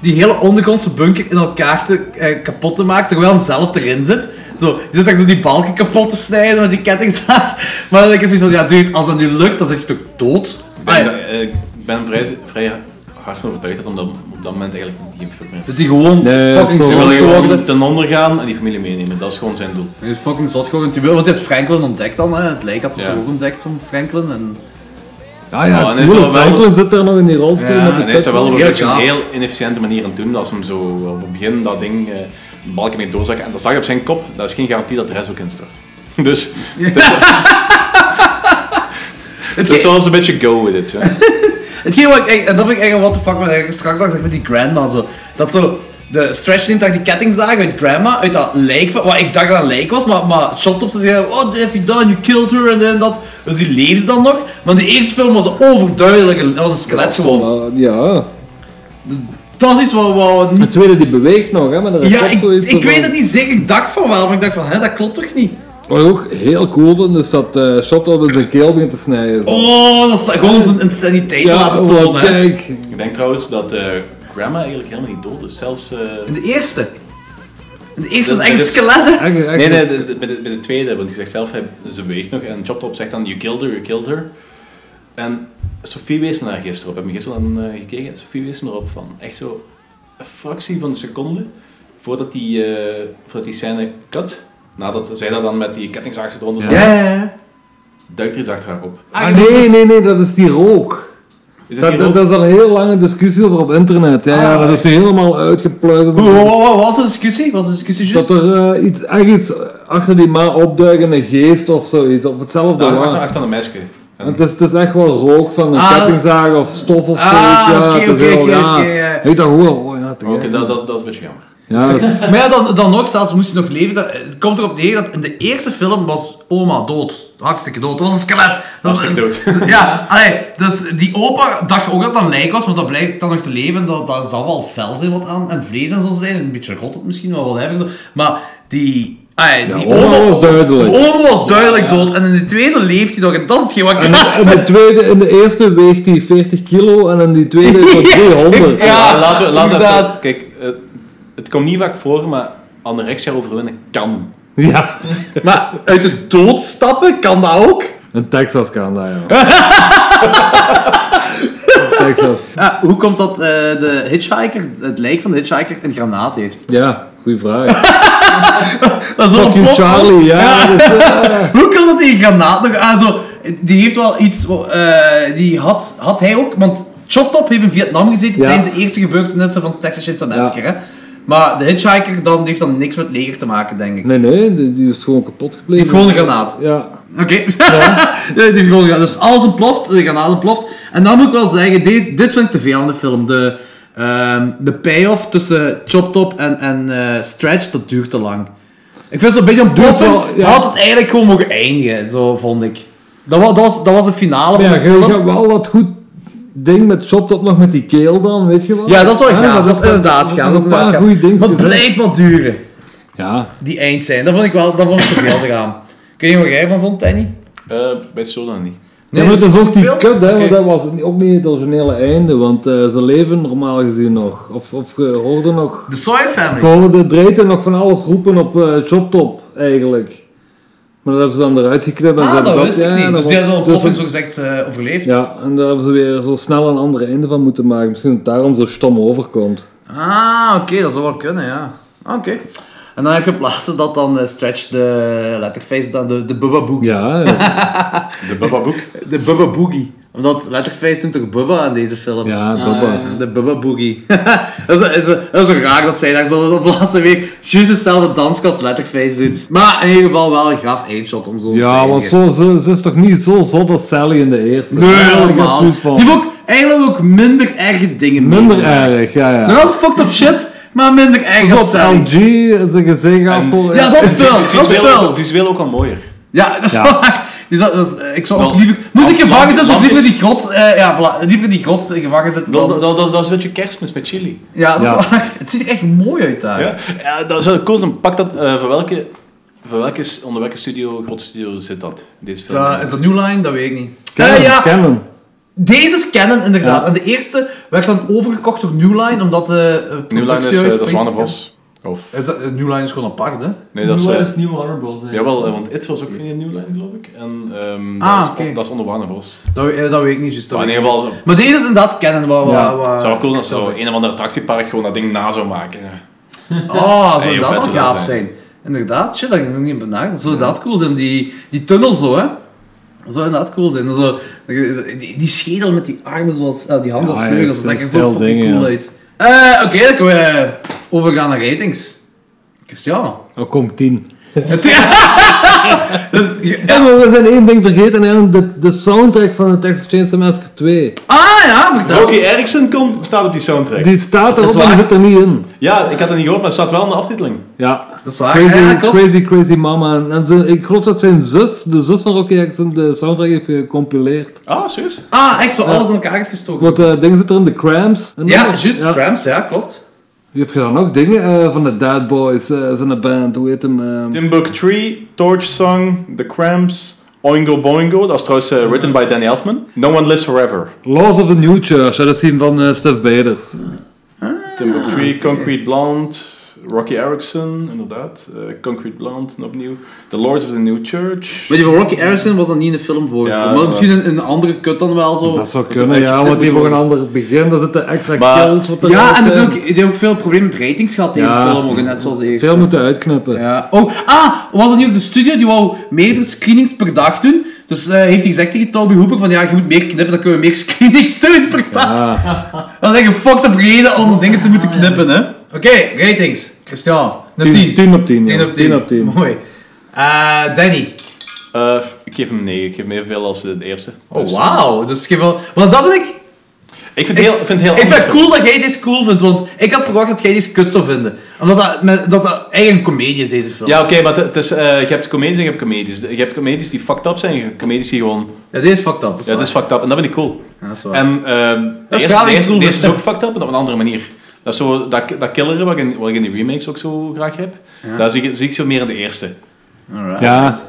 Speaker 7: die hele ondergrondse bunker in elkaar te, eh, kapot te maken, terwijl hem zelf erin zit? Zo, die zit daar zo die balken kapot te snijden met die kettingzaag. Maar dan denk ik zoiets van, ja dude, als dat nu lukt, dan zit je toch dood?
Speaker 6: Ik
Speaker 7: Ah,
Speaker 6: ben,
Speaker 7: ja.
Speaker 6: daar- eh, ik ben vrij, vrij hard van overtuigd dat om dat op dat moment eigenlijk geen fuck meer.
Speaker 4: Dat hij gewoon
Speaker 3: Nee,
Speaker 4: fucking
Speaker 3: zo-
Speaker 6: Ze
Speaker 4: zot
Speaker 6: wil
Speaker 4: is
Speaker 6: gewoon
Speaker 4: geworden.
Speaker 6: ten onder gaan en die familie meenemen. Dat is gewoon zijn doel.
Speaker 4: Hij is fucking zot geworden. die wil- Want hij heeft Franklin ontdekt dan. Hè. Het lijk had het
Speaker 6: Ja.
Speaker 4: ook ontdekt van Franklin. En...
Speaker 3: Ja,
Speaker 6: Oh,
Speaker 3: ja,
Speaker 6: en is
Speaker 3: Willem
Speaker 6: dat wel-
Speaker 3: Franklin zit daar nog in die rolstoel
Speaker 4: Ja,
Speaker 3: met de
Speaker 6: En hij
Speaker 3: pet.
Speaker 6: is dat wel op
Speaker 4: heel
Speaker 6: een beetje een
Speaker 4: gaaf.
Speaker 6: heel inefficiënte manier aan het doen. Als hem zo op het begin dat ding eh een balken mee doorzakken en dat zag je op zijn kop, dat is geen garantie dat de rest ook instort. Dus
Speaker 4: Het
Speaker 6: het is wel eens een beetje go with it. hè.
Speaker 4: Hetgeen wat ik, echt- en dat vind ik echt een what the fuck wat ik straks dacht zeg, met die grandma zo. Dat zo, de stretch neemt daar die kettingzaag uit grandma, uit dat lijk van, wat ik dacht dat een lijk was, maar, maar shot op ze zeggen, "Oh, what have you done, you killed her, en dit en dat. Dus die leefde dan nog, maar in de eerste film was het overduidelijk, een- dat was een skelet gewoon.
Speaker 3: Eh, Ja,
Speaker 4: Dat is iets wat, wat we
Speaker 3: de
Speaker 4: niet...
Speaker 3: tweede die beweegt nog, hè, maar er is
Speaker 4: Ja,
Speaker 3: ook
Speaker 4: ik,
Speaker 3: zoiets
Speaker 4: ik
Speaker 3: van-
Speaker 4: weet het niet zeker, ik dacht van wel, maar ik dacht van, hè, dat klopt toch niet?
Speaker 3: Wat ik ook heel cool vind, is dat eh Shot over zijn keel begint te snijden. zo.
Speaker 4: Oh, dat is gewoon zijn insaniteit te laten
Speaker 3: want
Speaker 4: tonen, hè.
Speaker 3: oh, kijk.
Speaker 6: Ik denk trouwens dat eh Grandma eigenlijk helemaal niet dood is. Zelfs. eh,
Speaker 4: In de eerste. In de eerste
Speaker 6: Dat-
Speaker 4: is echt een
Speaker 6: dat is-
Speaker 4: skelet, hè.
Speaker 3: Echt, echt,
Speaker 6: Nee, nee,
Speaker 3: dat is-
Speaker 6: de- de- bij de, bij de tweede, want die zegt zelf, hij, ze beweegt nog. En Choptop zegt dan, you killed her, you killed her. En Sophie wees me daar gisteren op. Ik heb me gisteren aan eh, gekeken. Sophie wees me erop van, echt zo een fractie van een seconde voordat die, eh, voordat die scène cut. Nadat zij daar dan met die kettingzaag eronder zat,
Speaker 4: Ja, ja, ja.
Speaker 6: duikt er iets achter haar op.
Speaker 3: Ah, nee, nee, nee, dat is die rook.
Speaker 6: Is dat,
Speaker 3: Dat,
Speaker 6: die
Speaker 3: dat,
Speaker 6: rook?
Speaker 3: dat is al een heel lange discussie over op internet.
Speaker 4: Ah,
Speaker 3: Ja, ja, dat is nu helemaal uitgepluist.
Speaker 4: Hoe- hoe- hoe- Wat was de discussie? Wat was de discussie Oh, juist?
Speaker 3: Dat er eh, iets, echt iets achter die ma opduikt, een geest of zoiets, of hetzelfde
Speaker 6: Ja,
Speaker 3: waar.
Speaker 6: achter, achter een mesje. En
Speaker 3: Het is, het is echt wel rook van een
Speaker 4: Ah.
Speaker 3: kettingzaag of stof of
Speaker 4: Ah,
Speaker 3: zoiets. Ja,
Speaker 4: oké,
Speaker 3: het is
Speaker 4: oké,
Speaker 3: heel-
Speaker 4: oké,
Speaker 3: ja.
Speaker 4: oké, ja.
Speaker 3: Heet dat gewoon, oh ja, te
Speaker 6: Oké,
Speaker 3: gek.
Speaker 6: dat, dat, dat is een beetje jammer.
Speaker 3: Ja, dat is-
Speaker 4: Maar ja, dan, dan nog, zelfs moest hij nog leven. Dat, eh, het komt erop neer dat in de eerste film was oma dood. Hartstikke dood. Dat was een skelet. Dat is,
Speaker 6: Hartstikke dood.
Speaker 4: Ja, allee, dus die opa dacht ook dat dat een lijk was, maar dat blijkt dan nog te leven. Dat, dat zal wel fel zijn wat aan. En vlees en zo zijn. Een beetje rot het misschien, maar whatever. Zo. Maar die... allee, die
Speaker 3: oma was duidelijk.
Speaker 4: De oma was duidelijk dood. En in de tweede leeft hij nog. En dat is hetgeen wat ik...
Speaker 3: En in de tweede, in de eerste weegt hij 40 kilo en in die tweede is dat 300.
Speaker 4: Ja.
Speaker 6: Ja, laten we, laten we
Speaker 4: inderdaad.
Speaker 6: Kijk, eh, het komt niet vaak voor, maar anorexia overwinnen kan.
Speaker 3: Ja.
Speaker 4: Maar uit de dood stappen, kan dat ook?
Speaker 3: In Texas kan dat, ja. Texas.
Speaker 4: Ah, hoe komt dat eh, de hitchhiker, het lijk van de hitchhiker, een granaat heeft?
Speaker 3: Ja, goeie vraag.
Speaker 4: Dat is wel
Speaker 3: Fuck
Speaker 4: een
Speaker 3: you,
Speaker 4: plot,
Speaker 3: Charlie, ja. dat is, eh,
Speaker 4: Hoe kan dat die granaat nog aan zo... Die heeft wel iets... eh, die had, had hij ook... Want Chop Top heeft in Vietnam gezeten
Speaker 3: Ja.
Speaker 4: tijdens de eerste gebeurtenissen van Texas Chainsaw Massacre. hè. Maar de hitchhiker dan, die heeft dan niks met leger te maken, denk ik.
Speaker 3: Nee, nee, die, die is gewoon kapot gebleven.
Speaker 4: Die heeft gewoon een granaat.
Speaker 3: Ja.
Speaker 4: Oké. die heeft gewoon een granaat. Dus alles ontploft, de granaat ontploft. En dan moet ik wel zeggen, dit, dit vind ik te veel aan de film. De, ehm, de payoff tussen Chop Top en, en eh, Stretch, dat duurt te lang. Ik vind zo'n beetje een
Speaker 3: Duurt
Speaker 4: ploffing.
Speaker 3: wel, ja.
Speaker 4: Had het eigenlijk gewoon mogen eindigen, zo vond ik. Dat was, dat was, dat was de finale van
Speaker 3: Ja,
Speaker 4: de
Speaker 3: je
Speaker 4: film.
Speaker 3: hebt wel dat goed ding met shot op nog met die keel dan, weet je wel?
Speaker 4: Ja, dat is wel
Speaker 3: Ja,
Speaker 4: gaaf. Dat is inderdaad gaaf. Dat is
Speaker 3: een dus- paar
Speaker 4: inderdaad
Speaker 3: goede dingen
Speaker 4: gaaf. Maar het
Speaker 3: gezegd.
Speaker 4: blijft wel duren,
Speaker 3: Ja.
Speaker 4: die eind zijn. Dat vond ik wel, dat vond ik te veel te gaan. Kun je wat jij van vond, Danny?
Speaker 6: Eh, bij Soda niet.
Speaker 3: Nee, maar dat is ook die
Speaker 4: veel?
Speaker 3: kut, hè, want
Speaker 4: Oké.
Speaker 3: dat was ook niet het originele einde, want eh, ze leven normaal gezien nog. Of, of je hoorde nog...
Speaker 4: De Sawyer
Speaker 3: Je
Speaker 4: Family.
Speaker 3: hoorde Drayton nog van alles roepen op eh Choptop, eigenlijk. Maar dat hebben ze dan eruit geknipt en ze
Speaker 4: Ah,
Speaker 3: hebben
Speaker 4: dat wist ik
Speaker 3: ja,
Speaker 4: niet.
Speaker 3: dat
Speaker 4: Dus die
Speaker 3: was-
Speaker 4: hebben een
Speaker 3: dus
Speaker 4: ploffing
Speaker 3: het-
Speaker 4: zo gezegd eh, overleefd.
Speaker 3: Ja, en daar hebben ze weer zo snel een ander einde van moeten maken. Misschien dat het daarom zo stom overkomt.
Speaker 4: Ah, oké, dat zou wel kunnen, ja. Ah, Oké. En dan heb je plaatsen dat dan eh, Stretch de letterface, dan de, de Bubba Book.
Speaker 3: Ja, ja.
Speaker 6: De Bubba Boek.
Speaker 4: De Bubba Boogie. Omdat Letterface noemt toch Bubba aan deze film?
Speaker 3: Ja,
Speaker 5: Ah,
Speaker 3: Bubba.
Speaker 5: ja.
Speaker 4: De Bubba Boogie. dat, is, is, dat is zo raar dat zij daar zo op de laatste week juist hetzelfde dansje als Letterface doet. Maar in ieder geval wel een gaaf eindshot om zo te
Speaker 3: Ja, want
Speaker 4: eindigen.
Speaker 3: zo, ze, ze is toch niet zo zot als Sally in de eerste?
Speaker 4: Nee,
Speaker 3: Ja, ik had
Speaker 4: helemaal.
Speaker 3: zoiets
Speaker 4: Die
Speaker 3: van-
Speaker 4: heeft ook eigenlijk ook minder erge dingen
Speaker 3: Minder
Speaker 4: meegemaakt.
Speaker 3: erg, ja, ja.
Speaker 4: Nog altijd fucked up shit, maar minder erg
Speaker 3: Pas
Speaker 4: als
Speaker 3: op,
Speaker 4: Sally.
Speaker 3: LG, zijn gezicht af voor...
Speaker 4: Ja, dat is vuil. Dat is
Speaker 6: Visueel, ook-
Speaker 4: vuil.
Speaker 6: visueel ook al mooier.
Speaker 4: Ja, dat is
Speaker 3: Ja.
Speaker 4: waar. Dus dat, dat is, eh, ik zou ook
Speaker 6: Wel,
Speaker 4: liever... Moest ik
Speaker 6: lamp-
Speaker 4: gevangen zitten, zou ik
Speaker 6: lamp
Speaker 4: liever die
Speaker 6: is-
Speaker 4: god... eh, ja, voilà, liever die god eh, gevangen zitten
Speaker 6: Dat, dat,
Speaker 4: dan...
Speaker 6: dat, dat is een beetje kerstmis met chili.
Speaker 4: Ja, dat is
Speaker 3: Ja.
Speaker 4: waar. Het ziet er echt mooi uit daar.
Speaker 6: Ja? Ja, dat zou ik cool zijn. Pak dat, eh, voor welke, voor welke, s- onder welke studio, grote studio zit dat? Deze film.
Speaker 4: Dat- is dat New Line? Dat weet ik niet.
Speaker 3: Canon,
Speaker 4: Eh, ja,
Speaker 3: Canon.
Speaker 4: deze is Canon inderdaad.
Speaker 3: Ja.
Speaker 4: En de eerste werd dan overgekocht door New Line, omdat de eh,
Speaker 6: New Line is,
Speaker 4: productiehuis
Speaker 6: eh, dat is
Speaker 4: Francis-
Speaker 6: Wannerbos. Of,
Speaker 4: Is dat- eh, New Line is gewoon apart, hè?
Speaker 6: nee, dat is...
Speaker 5: Nieuwe
Speaker 6: eh,
Speaker 5: is nieuw Honorables. hè.
Speaker 6: jawel, eh, want It was ook van die New Line, geloof ik. En ehm,
Speaker 4: Ah,
Speaker 6: dat, is,
Speaker 4: oké.
Speaker 6: dat is onder Wannerbos.
Speaker 4: Dat, eh, dat weet ik niet. juist, dat
Speaker 6: Maar in
Speaker 4: weet
Speaker 6: ieder
Speaker 4: ik
Speaker 6: geval-
Speaker 4: niet. Maar deze is inderdaad Canon. Waar, waar,
Speaker 3: Ja.
Speaker 4: waar-
Speaker 6: Het zou Ah, wel cool zijn als
Speaker 4: dat
Speaker 6: zo
Speaker 4: is-
Speaker 6: een of ander attractiepark gewoon dat ding na zou maken. ja.
Speaker 4: Oh, zou
Speaker 6: Nee,
Speaker 4: dat
Speaker 6: vet
Speaker 4: wel
Speaker 6: zou dat
Speaker 4: gaaf
Speaker 6: zijn.
Speaker 4: zijn. Inderdaad, shit, dat heb ik nog niet benaderd. Dat zou inderdaad cool zijn, die, die tunnel zo, hè. Dat zou inderdaad cool zijn. Dat Zo, die, die schedel met die armen, zoals, eh, die handen als
Speaker 3: Ja,
Speaker 4: vleugels,
Speaker 3: ja,
Speaker 4: dat zag er
Speaker 3: stel
Speaker 4: zo fucking
Speaker 3: dingen,
Speaker 4: cool
Speaker 3: ja.
Speaker 4: uit. Eh, Oké, dan kunnen we overgaan naar ratings. Cristiano.
Speaker 3: Oh, kom, tien.
Speaker 4: Dus,
Speaker 3: Ja, maar we zijn één ding vergeten, en de, de soundtrack van de Texas Chainsaw Massacre 2.
Speaker 4: ah ja, vertel.
Speaker 6: Rocky Erickson komt, staat op die soundtrack.
Speaker 3: Die staat
Speaker 4: is
Speaker 3: erop, maar die
Speaker 4: waar.
Speaker 3: zit er niet in.
Speaker 6: Ja, ik had het niet gehoord, maar het staat wel in de aftiteling.
Speaker 3: Ja.
Speaker 4: Dat is waar.
Speaker 3: Crazy,
Speaker 4: ja, klopt.
Speaker 3: crazy, crazy mama. En, en ze- ik geloof dat zijn zus, de zus van Rocky Jackson, de soundtrack heeft gecompileerd.
Speaker 6: Ah, serieus?
Speaker 4: Ah, echt zo alles in elkaar heeft gestoken.
Speaker 3: Want eh dingen zit er in de Cramps. En
Speaker 4: Ja,
Speaker 3: nog-
Speaker 4: juist, Cramps, ja, klopt.
Speaker 3: Je hebt gedaan ook dingen eh, van de Dead Boys, eh zijn een band, hoe heet hem? ehm,
Speaker 6: Timbuk 3, Torch Song, The Cramps, Oingo Boingo. Dat is trouwens eh, written by Danny Elfman. No One Lives Forever.
Speaker 3: Laws of the New Church, hè, dat is die van eh Stef Beders.
Speaker 6: Timbuk
Speaker 4: Ah.
Speaker 6: 3, Concrete Blonde, Rocky Erickson, inderdaad. Eh, Concrete Blonde, opnieuw. The Lords of the New Church.
Speaker 4: Maar die van Rocky Harrison was dan niet in de film voorgekomen.
Speaker 6: Ja,
Speaker 4: maar
Speaker 6: dat-
Speaker 4: misschien een, een andere kut dan wel zo.
Speaker 3: Dat zou
Speaker 4: Wat
Speaker 3: kunnen,
Speaker 4: eruit
Speaker 3: ja,
Speaker 4: geknipt
Speaker 3: want die
Speaker 4: moet
Speaker 3: voor een
Speaker 4: worden.
Speaker 3: ander begin, daar zitten extra
Speaker 6: Maar-
Speaker 3: kills wat
Speaker 4: Ja,
Speaker 3: eruit
Speaker 4: en er zijn
Speaker 3: zijn.
Speaker 4: ook, die hebben ook veel problemen met ratings gehad, deze
Speaker 3: Ja.
Speaker 4: film, ook, net zoals de eerste.
Speaker 3: Veel moeten uitknippen.
Speaker 4: Ja. Oh, ah, was dat niet ook de studio? Die wou meerdere screenings per dag doen. Dus eh, heeft hij gezegd tegen Toby Hooper van ja, je moet meer knippen, dan kunnen we meer screenings doen per dag.
Speaker 3: Ah,
Speaker 4: Dat is echt een fucked up reden om dingen te moeten knippen, hè. Oké, ratings. Christian, een 10.
Speaker 3: 10, 10 op 10.
Speaker 4: 10
Speaker 3: ja.
Speaker 4: op 10.
Speaker 3: op 10.
Speaker 4: Mooi. Eh, Danny.
Speaker 6: Eh, ik geef hem 9. Ik geef hem evenveel als eh, de eerste.
Speaker 4: Oh,
Speaker 6: Dus,
Speaker 4: wauw. Dus geef wel... Want dat vind ik...
Speaker 6: Ik vind het heel, ik vind het heel
Speaker 4: Ik vind
Speaker 6: andere
Speaker 4: het cool dat jij deze cool vindt, want ik had verwacht dat jij deze kut zou vinden. Omdat dat, met- dat, dat eigenlijk een comedie is, deze film.
Speaker 6: Ja, oké, maar het- het is, eh, je hebt comedies en je hebt comedies. Je hebt comedies die fucked up zijn, je hebt comedies die gewoon...
Speaker 4: Ja, deze is fucked up. Dat is
Speaker 6: Ja, het is
Speaker 4: waar.
Speaker 6: fucked up. En dat vind ik cool.
Speaker 4: Ja, dat is waar.
Speaker 6: En ehm
Speaker 4: Dat is
Speaker 6: de
Speaker 4: graag
Speaker 6: eerste, de
Speaker 4: een
Speaker 6: eerste,
Speaker 4: cool
Speaker 6: de eerste is
Speaker 4: film.
Speaker 6: ook fucked up, maar op een andere manier. Dat is zo, dat, dat killeren wat ik, in, wat ik in die remakes ook zo graag heb, daar zie, ik- zie ik zo meer in de eerste.
Speaker 4: Alright.
Speaker 3: Ja,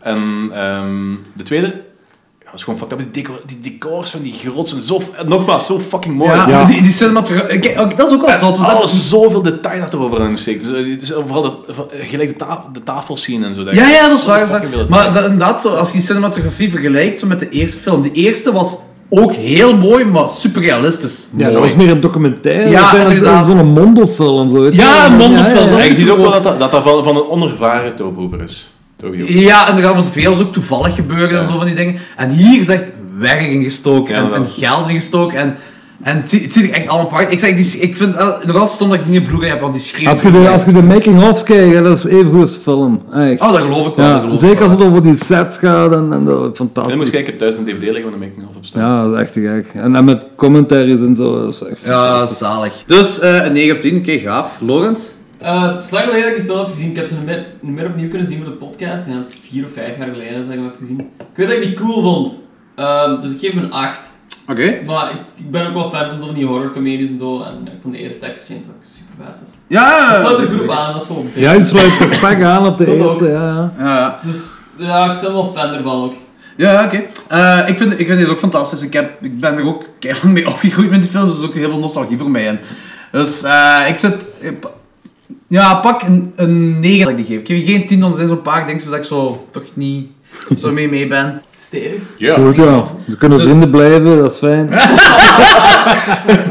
Speaker 6: En ehm, de tweede, ja, dat is gewoon fucked up. Die, decor, die decors van die grots zijn zo, eh, nogmaals, zo fucking mooi.
Speaker 4: Ja,
Speaker 6: En
Speaker 3: Ja.
Speaker 4: Die, die cinematografie... Kijk, ook- dat is ook wel zot, want dat-
Speaker 6: alles, zoveel detail dat er overheen steekt. Dus, eh, dus vooral de, van- eh, gelijk de, ta de tafelscene en zo.
Speaker 4: Ja, ja, dat is
Speaker 6: Zo
Speaker 4: waar. dat is
Speaker 6: fucking
Speaker 4: waar.
Speaker 6: veel
Speaker 4: Maar dat, inderdaad, zo, als je cinematografie vergelijkt zo met de eerste film. De eerste was ook heel mooi, maar super realistisch.
Speaker 3: ja dat was meer een documentaire.
Speaker 4: Ja,
Speaker 3: Ja,
Speaker 4: inderdaad.
Speaker 3: Zo'n Mondo-film. Zo, weet je
Speaker 4: Ja,
Speaker 3: wel.
Speaker 4: een Mondo-film, dat is-
Speaker 6: En je ziet ook wel dat dat, dat, dat van, van een onervaren Tobe Hooper is. Tobe Hooper.
Speaker 4: Ja, inderdaad, want veel is ook toevallig gebeurd en zo van die dingen. En hier is echt werk in gestoken
Speaker 6: Ja,
Speaker 4: en, en
Speaker 6: inderdaad.
Speaker 4: geld in gestoken. En, en het, zie- het ziet er echt allemaal prachtig. Ik zeg, die, ik vind eh, nog altijd stom dat ik die niet bloeien heb, want die schreeuwt.
Speaker 3: Als je de, als je de making-ofs kijkt, hè, dat is even goed als de film. Echt.
Speaker 4: Oh, dat geloof ik wel. dat
Speaker 3: ja,
Speaker 4: geloof ik
Speaker 3: zeker
Speaker 4: wel.
Speaker 3: als het over die sets gaat en, en dat,
Speaker 6: En
Speaker 3: fantastisch.
Speaker 6: dan moet je kijken, ik heb thuis een dvd liggen van de making-of op staan.
Speaker 3: Ja, dat is echt te gek. En dan met commentaries en zo, dat is echt
Speaker 4: Ja,
Speaker 3: fantastisch.
Speaker 4: zalig. Dus eh, een 9 op 10, oké, gaaf. Lorenz?
Speaker 5: Eh, het is lang geleden dat ik die film heb gezien. Ik heb ze nog meer, nog meer opnieuw kunnen zien voor de podcast. En dat is vier of vijf jaar geleden dat ik hem heb gezien. Ik weet dat ik die cool vond. Ehm, dus ik geef hem een 8.
Speaker 4: Oké.
Speaker 5: Maar ik, ik ben ook wel fan van zo van die horrorcomedies en zo. En ik vond de eerste Texas Chainsaw ook super vet. Dus.
Speaker 4: Ja,
Speaker 5: Het sluit er goed op aan, dat is zo
Speaker 3: Ja, die sluit perfect aan op de
Speaker 5: Dat ook.
Speaker 3: eerste, ja, ja.
Speaker 4: Ja,
Speaker 5: Dus ja, ik ben wel fan ervan ook.
Speaker 4: ja, ja, oké. Eh, ik, vind, ik vind dit ook fantastisch. Ik, heb, ik ben er ook keihard mee opgegroeid met die films, dus er is ook heel veel nostalgie voor mij in. Dus eh, ik zit... ik- ja, pak een, een 9 dat ik die geef. Ik geef je geen 10, want er zijn zo'n paar dingen dat ik zo toch niet zo mee mee ben.
Speaker 5: Stevig.
Speaker 3: Goed, ja. We kunnen
Speaker 4: Dus-
Speaker 3: vrienden blijven, dat is fijn.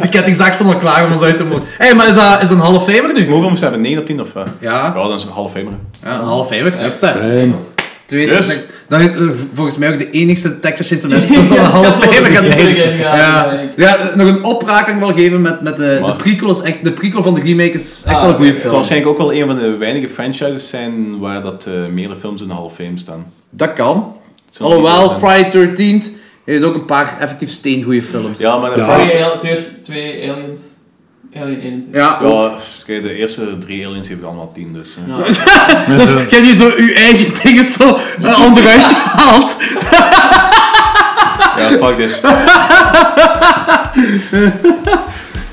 Speaker 4: Die kettingzaak stond al klaar om ons uit te mogen. Hé, hey, maar is dat, is dat een half famer nu?
Speaker 6: Hoeveel moest je hebben? 9 op 10 of... eh?
Speaker 4: Ja,
Speaker 6: Ja, dat is een half famer.
Speaker 4: ja een half famer. Heb ze.
Speaker 3: Fijn.
Speaker 4: Twee
Speaker 6: Yes.
Speaker 4: centen. Dan is er volgens mij ook de enigste Texas Chainsaw Massacre dat we
Speaker 5: Ja,
Speaker 4: aan
Speaker 5: dat
Speaker 4: half
Speaker 5: is wel
Speaker 4: vijf
Speaker 5: een
Speaker 4: gaan
Speaker 5: goeie,
Speaker 4: nemen.
Speaker 5: ja,
Speaker 4: Ja.
Speaker 5: ja,
Speaker 4: Ja, nog een opraking wel geven met, met de, de
Speaker 6: Maar-
Speaker 4: prequel. Is echt, de prequel van de remake is echt
Speaker 5: Ah,
Speaker 4: wel een goede
Speaker 6: Het
Speaker 5: oké.
Speaker 4: film.
Speaker 6: zal waarschijnlijk ook wel een van de weinige franchises zijn waar dat eh, meerdere films in de Hall of Fame staan.
Speaker 4: Dat kan.
Speaker 6: Het zal niet
Speaker 4: Alhoewel,
Speaker 6: zijn.
Speaker 4: Friday 13 heeft ook een paar effectief steengoede films.
Speaker 6: Ja, maar dat
Speaker 5: Twee, al- twee, twee aliens. Alien 21.
Speaker 4: Ja, Oh, ook.
Speaker 6: Ja, kijk, de eerste drie aliens heeft allemaal tien, dus... eh.
Speaker 5: Ja.
Speaker 4: Dus jij hebt hier zo uw eigen dingen zo eh, onderuit gehaald.
Speaker 6: Ja, fuck this.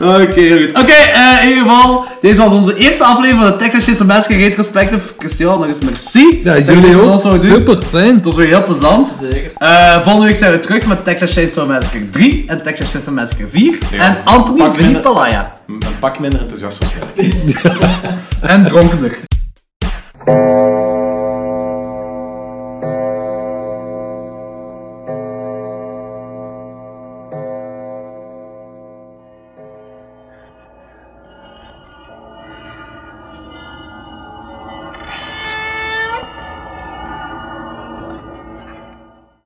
Speaker 4: Oké, heel goed. Oké, eh, in ieder geval, deze was onze eerste aflevering van de Texas Chainsaw Massacre Retrospective. Christian, nog eens merci.
Speaker 3: Ja,
Speaker 4: Dat je deze
Speaker 3: jullie
Speaker 4: met
Speaker 3: ook.
Speaker 4: ons wou doen.
Speaker 3: Super fijn.
Speaker 4: Het was weer heel plezant.
Speaker 5: Zeker.
Speaker 4: Eh, volgende week zijn we terug met Texas Chainsaw Massacre 3 en Texas Chainsaw Massacre 4.
Speaker 6: Ja.
Speaker 4: en Anthony
Speaker 6: Pak
Speaker 4: Vinnie
Speaker 6: minder-
Speaker 4: Palaya.
Speaker 6: Een pak minder enthousiast waarschijnlijk.
Speaker 4: En dronkener.